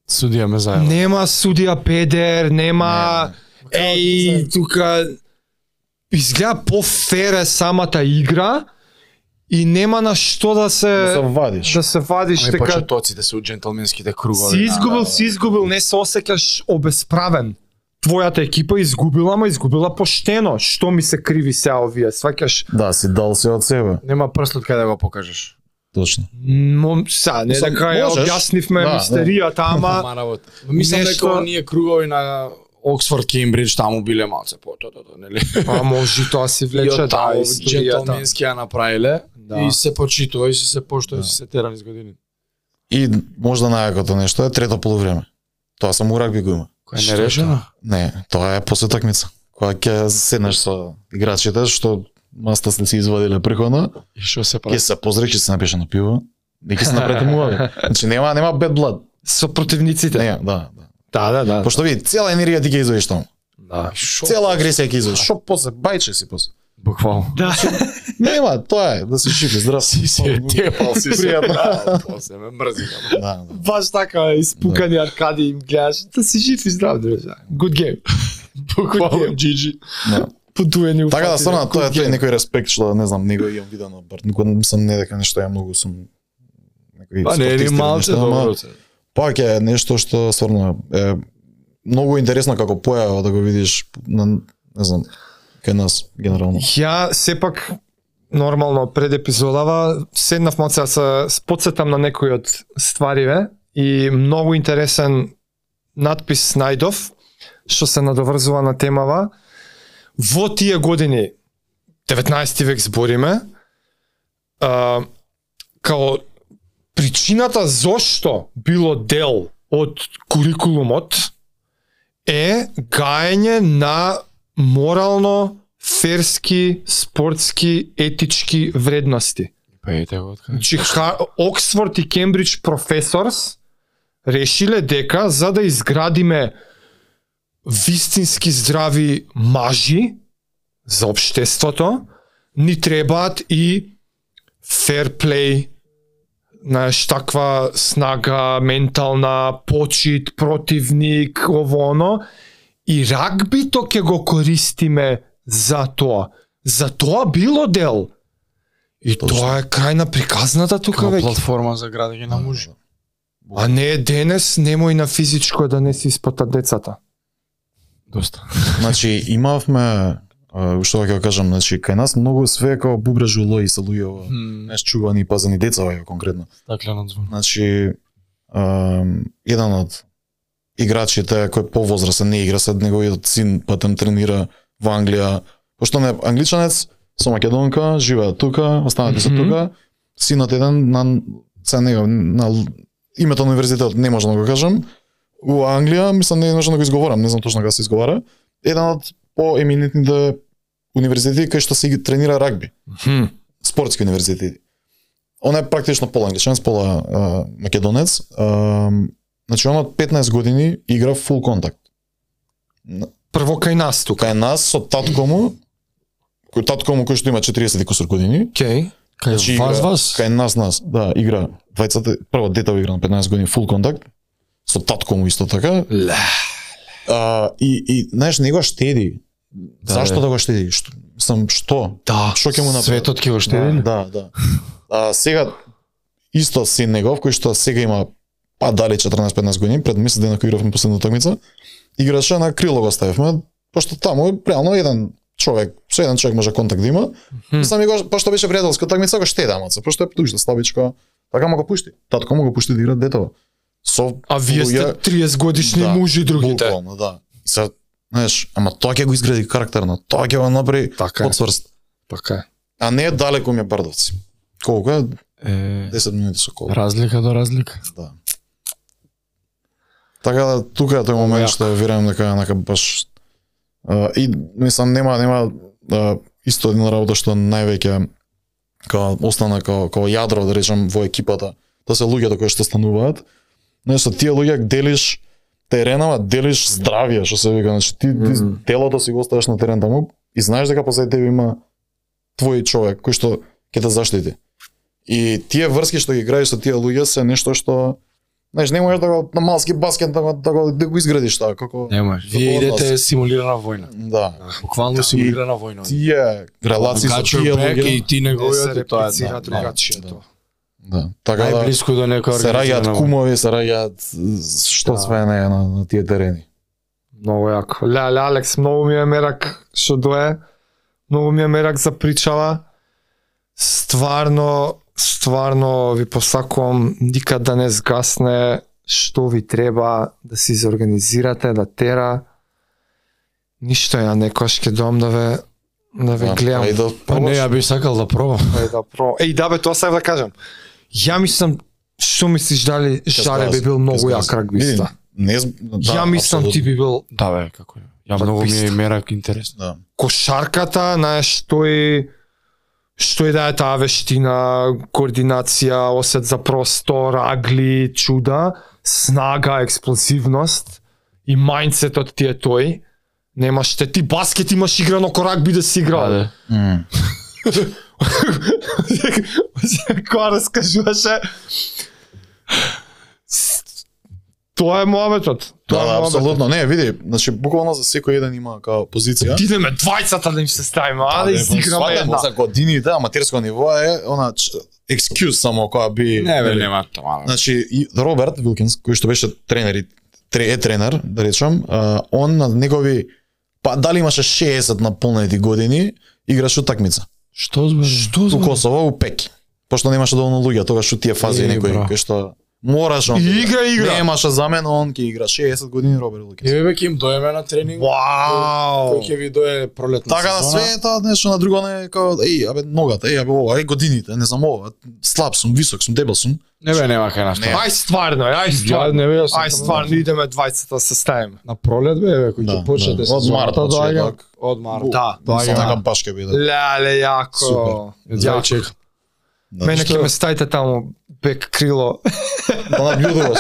[SPEAKER 3] Судија ме зајава.
[SPEAKER 4] нема судија педер, нема
[SPEAKER 3] да
[SPEAKER 4] еј тука изгледа пофер е самата игра и нема на што да
[SPEAKER 1] Да се
[SPEAKER 4] се
[SPEAKER 1] вадиш.
[SPEAKER 4] да се вадиш
[SPEAKER 3] Ами
[SPEAKER 4] така
[SPEAKER 3] почетоците се у джентлменските кругови.
[SPEAKER 4] си изгубил, си изгубил, не се осеќаш обесправен. Твојата екипа изгубила, ама изгубила поштено. Што ми се криви сега овие? Сваќаш
[SPEAKER 1] Да, си дал се од себе.
[SPEAKER 3] Нема прстот кај да го покажеш.
[SPEAKER 1] Точно.
[SPEAKER 4] Мом, са, не
[SPEAKER 1] Мислам,
[SPEAKER 4] дека ја
[SPEAKER 1] можеш.
[SPEAKER 4] објаснивме
[SPEAKER 1] Да, да.
[SPEAKER 4] мистеријата, ама
[SPEAKER 3] работа. Мислам
[SPEAKER 4] па, Нешто-
[SPEAKER 3] дека оние кругови на Оксфорд, Кембридж, таму биле малце по то, то, то, нели?
[SPEAKER 4] а може тоа си
[SPEAKER 3] И
[SPEAKER 4] влече
[SPEAKER 3] од
[SPEAKER 4] да
[SPEAKER 3] таму
[SPEAKER 4] историјата.
[SPEAKER 3] джентлменски ја направиле
[SPEAKER 4] Да.
[SPEAKER 3] и се почитува и се се поштува и се се тера низ години.
[SPEAKER 1] И можда најакото нешто е трето полувреме. Тоа само у рагби го има.
[SPEAKER 3] Кој не решено?
[SPEAKER 1] Не, тоа е после такмица. Кога ќе седнеш со играчите што маста се си извадиле приходно,
[SPEAKER 3] И што се
[SPEAKER 4] Па.
[SPEAKER 1] ќе
[SPEAKER 3] прави?
[SPEAKER 1] се поздречи се напише на пиво, и ќе се напрети муави. Значи нема нема bad blood.
[SPEAKER 4] Со противниците.
[SPEAKER 1] Не, да, да.
[SPEAKER 4] Да, да, да.
[SPEAKER 1] Пошто ви цела енергија ти ќе извадиш таму.
[SPEAKER 4] Да.
[SPEAKER 1] Цела агресија ќе извадиш. Што после бајче си после.
[SPEAKER 3] Буквално.
[SPEAKER 1] Нема, тоа е да се шипи здрав си се.
[SPEAKER 3] Тепал си се.
[SPEAKER 1] Пријатно.
[SPEAKER 3] Да, После ме мрзи. ама.
[SPEAKER 1] Да, да.
[SPEAKER 4] Баш така, испукани аркади им гледаш, да си жив и здрав, друже. Good game.
[SPEAKER 3] Буквално. GG.
[SPEAKER 4] Подуени у
[SPEAKER 1] Така да
[SPEAKER 4] фатина.
[SPEAKER 1] стварно тоа е
[SPEAKER 4] Good
[SPEAKER 1] тој
[SPEAKER 4] game.
[SPEAKER 1] некој респект што не знам, него имам видено бар, никога сам не дека нешто ја многу сум некој
[SPEAKER 3] Па не,
[SPEAKER 1] спортист
[SPEAKER 3] ни
[SPEAKER 1] или
[SPEAKER 3] малце
[SPEAKER 1] нешто, ама
[SPEAKER 3] добро.
[SPEAKER 1] Паќе е нешто што стварно е многу интересно како појава да го видиш на не знам кај нас генерално.
[SPEAKER 4] Ја сепак нормално пред епизодава седнав малце да се сподсетам на некои од ствариве и многу интересен надпис најдов што се надоврзува на темава во тие години 19 век збориме а, као причината зошто било дел од курикулумот е гаење на морално ферски, спортски, етички вредности.
[SPEAKER 3] Пејте го откај.
[SPEAKER 4] Значи Ха- Оксфорд и Кембридж професорс решиле дека за да изградиме вистински здрави мажи за општеството, ни требаат и ферплей, знаеш, таква снага, ментална, почит, противник, ово оно. И рагбито ќе го користиме за тоа. За тоа било дел. И
[SPEAKER 1] Точно.
[SPEAKER 4] тоа е крај на приказната тука
[SPEAKER 3] Како
[SPEAKER 4] веќе.
[SPEAKER 3] платформа за градење на мужи.
[SPEAKER 4] А не денес, немој на физичко да не си испотат децата.
[SPEAKER 3] Доста.
[SPEAKER 1] Значи имавме а, што ќе го кажам, значи кај нас многу све е како бубрежуло и се луѓе знаеш чувани и пазени деца вај конкретно.
[SPEAKER 3] Стаклено Така звон.
[SPEAKER 1] Значи а, еден од играчите кој повозрасен не игра сад неговиот син патем тренира во Англија. Пошто не е англичанец, со македонка, живеат тука, останати се
[SPEAKER 4] Мгм.
[SPEAKER 1] тука. Синот еден на се него на л- името на универзитетот не можам да го кажам. У Англија, мислам не можам да го изговорам, не знам точно како се изговара. Еден од поеминентните универзитети кај што се ги- тренира рагби спортски универзитети. Он е практично пола англичанец, пола а, македонец. А, значи, он од 15 години игра фул контакт. Н-
[SPEAKER 4] Прво кај нас тука.
[SPEAKER 1] Кај нас, со татко му, кој татко му кој што има 40 и кусор години,
[SPEAKER 4] Океј.
[SPEAKER 1] Значи,
[SPEAKER 3] Кај вас
[SPEAKER 1] игра-
[SPEAKER 3] вас?
[SPEAKER 1] кај нас, нас, да, игра 20, прво дете игра на 15 години фул контакт, со татко му исто така. А, и, и, знаеш, него штеди. Да, Зашто да, го штеди? Што, сам, што?
[SPEAKER 3] Да.
[SPEAKER 1] Што ќе му направи?
[SPEAKER 3] Светот ќе го штеди.
[SPEAKER 1] Да, да. А, сега, исто син негов, кој што сега има па дали 14-15 години, пред месец дена кој игравме последната утакмица, играше на крило го ставивме, пошто таму е реално еден човек, со еден човек може контакт да има. Mm. Сами го, пошто беше пријателска утакмица, го штеда амаца, пошто е душно слабичко. Така му го пушти. Татко му го пушти да игра детово. Со
[SPEAKER 4] А вие сте
[SPEAKER 1] луѓе-
[SPEAKER 4] 30 годишни
[SPEAKER 1] Да,
[SPEAKER 4] мужи другите.
[SPEAKER 1] Буквално, да. И Се, знаеш, ама тоа ќе го изгради карактерно, тоа ќе го направи
[SPEAKER 4] Така е.
[SPEAKER 1] подсврст.
[SPEAKER 4] Така е.
[SPEAKER 1] А не е далеко ми е Бардовци. Колку е?
[SPEAKER 3] Е,
[SPEAKER 1] 10 минути со кола.
[SPEAKER 3] разлика до разлика.
[SPEAKER 1] Да. Така да тука е тој момент што верам дека нака баш а, и мислам нема нема а, исто една работа што највеќе као остана као, као јадро да речам во екипата. Тоа се луѓето кои што стануваат. Знаеш, со тие луѓе делиш теренава, делиш здравје, што се вика, значи ти, ти
[SPEAKER 2] Мгм.
[SPEAKER 1] телото си го оставаш на терен таму и знаеш дека позади тебе има твој човек кој што ќе те заштити. И тие врски што ги играеш со тие луѓе се нешто што знаеш не можеш да го на малски баскет да го да го, да го изградиш така како
[SPEAKER 3] Не може. Вие
[SPEAKER 1] Како
[SPEAKER 3] идете
[SPEAKER 1] однос.
[SPEAKER 3] симулирана војна.
[SPEAKER 1] да.
[SPEAKER 3] Буквално симулирана војна.
[SPEAKER 1] Тие релации со
[SPEAKER 3] Got your
[SPEAKER 1] тие
[SPEAKER 3] back
[SPEAKER 1] луѓе.
[SPEAKER 3] и ти не го
[SPEAKER 4] Не се
[SPEAKER 3] јате тоа. е,
[SPEAKER 4] реплицира
[SPEAKER 3] да, да.
[SPEAKER 4] другачие
[SPEAKER 1] да.
[SPEAKER 4] тоа.
[SPEAKER 1] Да. Така да
[SPEAKER 3] Најблиску до некоја
[SPEAKER 1] се раѓаат
[SPEAKER 3] организирана војна.
[SPEAKER 1] кумови, се раѓаат е, што
[SPEAKER 4] Да.
[SPEAKER 1] све не е на, на тие терени.
[SPEAKER 4] Многу јако. Ле, ле, Алекс, многу ми е мерак што дое. Многу ми е мерак за причава. Стварно, стварно ви посакувам никад да не згасне што ви треба да се изорганизирате, да тера. Ништо ја некојаш ќе дом да ве да ве
[SPEAKER 1] Да,
[SPEAKER 4] гледам.
[SPEAKER 1] па и да
[SPEAKER 3] Па не,
[SPEAKER 1] пробаш.
[SPEAKER 3] ја би сакал да пробам.
[SPEAKER 4] Е, да, про. Еј, да бе, тоа сакам да кажам. Ја мислам, што мислиш дали Жаре би
[SPEAKER 1] Кај
[SPEAKER 4] бил многу
[SPEAKER 1] Стас.
[SPEAKER 4] јак рагбиста?
[SPEAKER 1] Види, Не, з- да,
[SPEAKER 4] Ја мислам ти
[SPEAKER 1] апсолутно.
[SPEAKER 4] би бил
[SPEAKER 3] Да бе, како е. Ја многу ми е
[SPEAKER 4] Рагбист.
[SPEAKER 3] мерак интересно.
[SPEAKER 1] Да.
[SPEAKER 4] кошарката, знаеш, тој што е да е таа вештина, координација, осет за простор, агли, чуда, снага, експлозивност и мајндсетот ти е тој. Немаш те ти баскет имаш играно корак би да си играл.
[SPEAKER 3] Аде.
[SPEAKER 1] М.
[SPEAKER 4] Кој Да. раскажуваше? Тоа е муабетот.
[SPEAKER 1] Да,
[SPEAKER 4] Тоа е
[SPEAKER 1] да,
[SPEAKER 4] муабетот.
[SPEAKER 1] апсолутно. Не, види, значи буквално за секој еден има као позиција.
[SPEAKER 4] Ти идеме двајцата да им се ставиме, а да
[SPEAKER 1] Абе,
[SPEAKER 4] изиграме
[SPEAKER 1] сватам,
[SPEAKER 4] една.
[SPEAKER 1] За годините аматерско ниво е она ч- екскјуз само која би
[SPEAKER 3] Не бе,
[SPEAKER 1] нели?
[SPEAKER 3] нема тоа. бе.
[SPEAKER 1] Значи и Роберт Вилкинс кој што беше тренер и тре, е тренер, да речам, а, он на негови па дали имаше 60 наполнети години играше утакмица.
[SPEAKER 3] Што збори? Што
[SPEAKER 1] У Косово у Пеки. Пошто немаше доволно луѓе тогаш у тие фази
[SPEAKER 3] Е, бра.
[SPEAKER 1] некои кои што мораш он. да
[SPEAKER 4] И игра, игра.
[SPEAKER 1] Немаше замена, он ќе игра 60 години Роберт Вилкинс.
[SPEAKER 3] Еве ќе им доеме на тренинг.
[SPEAKER 4] Вау!
[SPEAKER 3] Кој ќе ви дое пролетна
[SPEAKER 1] Така да
[SPEAKER 3] сезона.
[SPEAKER 1] све е тоа нешто на друго не е како еј, абе ногата, еј, абе ова, еј годините, не знам ова, слаб сум, висок сум, дебел сум.
[SPEAKER 3] Не бе, нема кај нас.
[SPEAKER 1] Не.
[SPEAKER 3] тоа.
[SPEAKER 4] Ај стварно, ај
[SPEAKER 3] Ја
[SPEAKER 4] стварно.
[SPEAKER 3] не бе, јас сакам
[SPEAKER 4] Ај
[SPEAKER 3] да-
[SPEAKER 4] стварно идеме двајцата се ставиме.
[SPEAKER 3] На пролет бе, еве, кој
[SPEAKER 1] Да,
[SPEAKER 3] ќе почнете
[SPEAKER 1] да. Од
[SPEAKER 3] сезоната,
[SPEAKER 1] март почне,
[SPEAKER 3] доаѓа.
[SPEAKER 1] так.
[SPEAKER 3] Од март.
[SPEAKER 4] Да, тоа
[SPEAKER 1] Мислам
[SPEAKER 4] е.
[SPEAKER 1] дека баш ќе така биде.
[SPEAKER 4] Леле јако.
[SPEAKER 1] Супер.
[SPEAKER 3] Па, Ја Значи
[SPEAKER 4] Јако.
[SPEAKER 3] чекам.
[SPEAKER 1] Да,
[SPEAKER 4] Мене
[SPEAKER 1] што-
[SPEAKER 4] ќе ме ставите таму бек крило.
[SPEAKER 1] да надбљудуваш.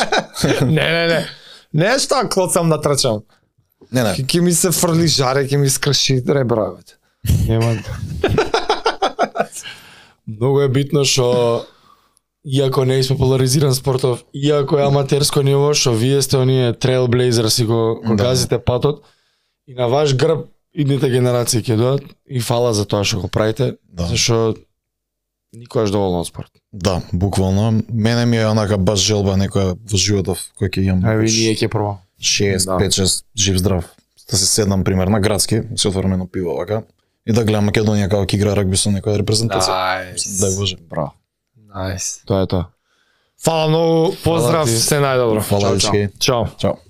[SPEAKER 4] Не, не, не. Не што ја клоцам да трчам.
[SPEAKER 1] Не, не.
[SPEAKER 4] Ке- Ке ми се фрли жаре, ке ми скрши ребра. бе.
[SPEAKER 3] Нема. Многу е битно што иако не е популаризиран спортов, иако е аматерско ниво, што вие сте оние trailblazers и го, го
[SPEAKER 1] Да.
[SPEAKER 3] газите патот и на ваш грб идните генерации ќе дојат и фала за тоа што го правите,
[SPEAKER 1] Да.
[SPEAKER 3] зашо никогаш доволно од спорт.
[SPEAKER 1] Да, буквално. Мене ми е онака баш желба некоја во животов кој ќе имам.
[SPEAKER 3] Ајде ние ќе пробам.
[SPEAKER 1] 6,
[SPEAKER 3] Да.
[SPEAKER 1] 5, 6, жив здрав. Да се седнам пример на градски, се отворено пиво вака и да гледам Македонија како ќе игра рагби со некоја
[SPEAKER 3] Така
[SPEAKER 1] репрезентација. Да,
[SPEAKER 3] Најс.
[SPEAKER 1] Дај Боже.
[SPEAKER 3] Браво.
[SPEAKER 4] Најс.
[SPEAKER 3] Тоа е тоа.
[SPEAKER 4] Фала многу, поздрав,
[SPEAKER 3] ти.
[SPEAKER 4] се најдобро.
[SPEAKER 1] Фала
[SPEAKER 3] Чао,
[SPEAKER 1] дечки.
[SPEAKER 4] Чао.
[SPEAKER 1] Чао.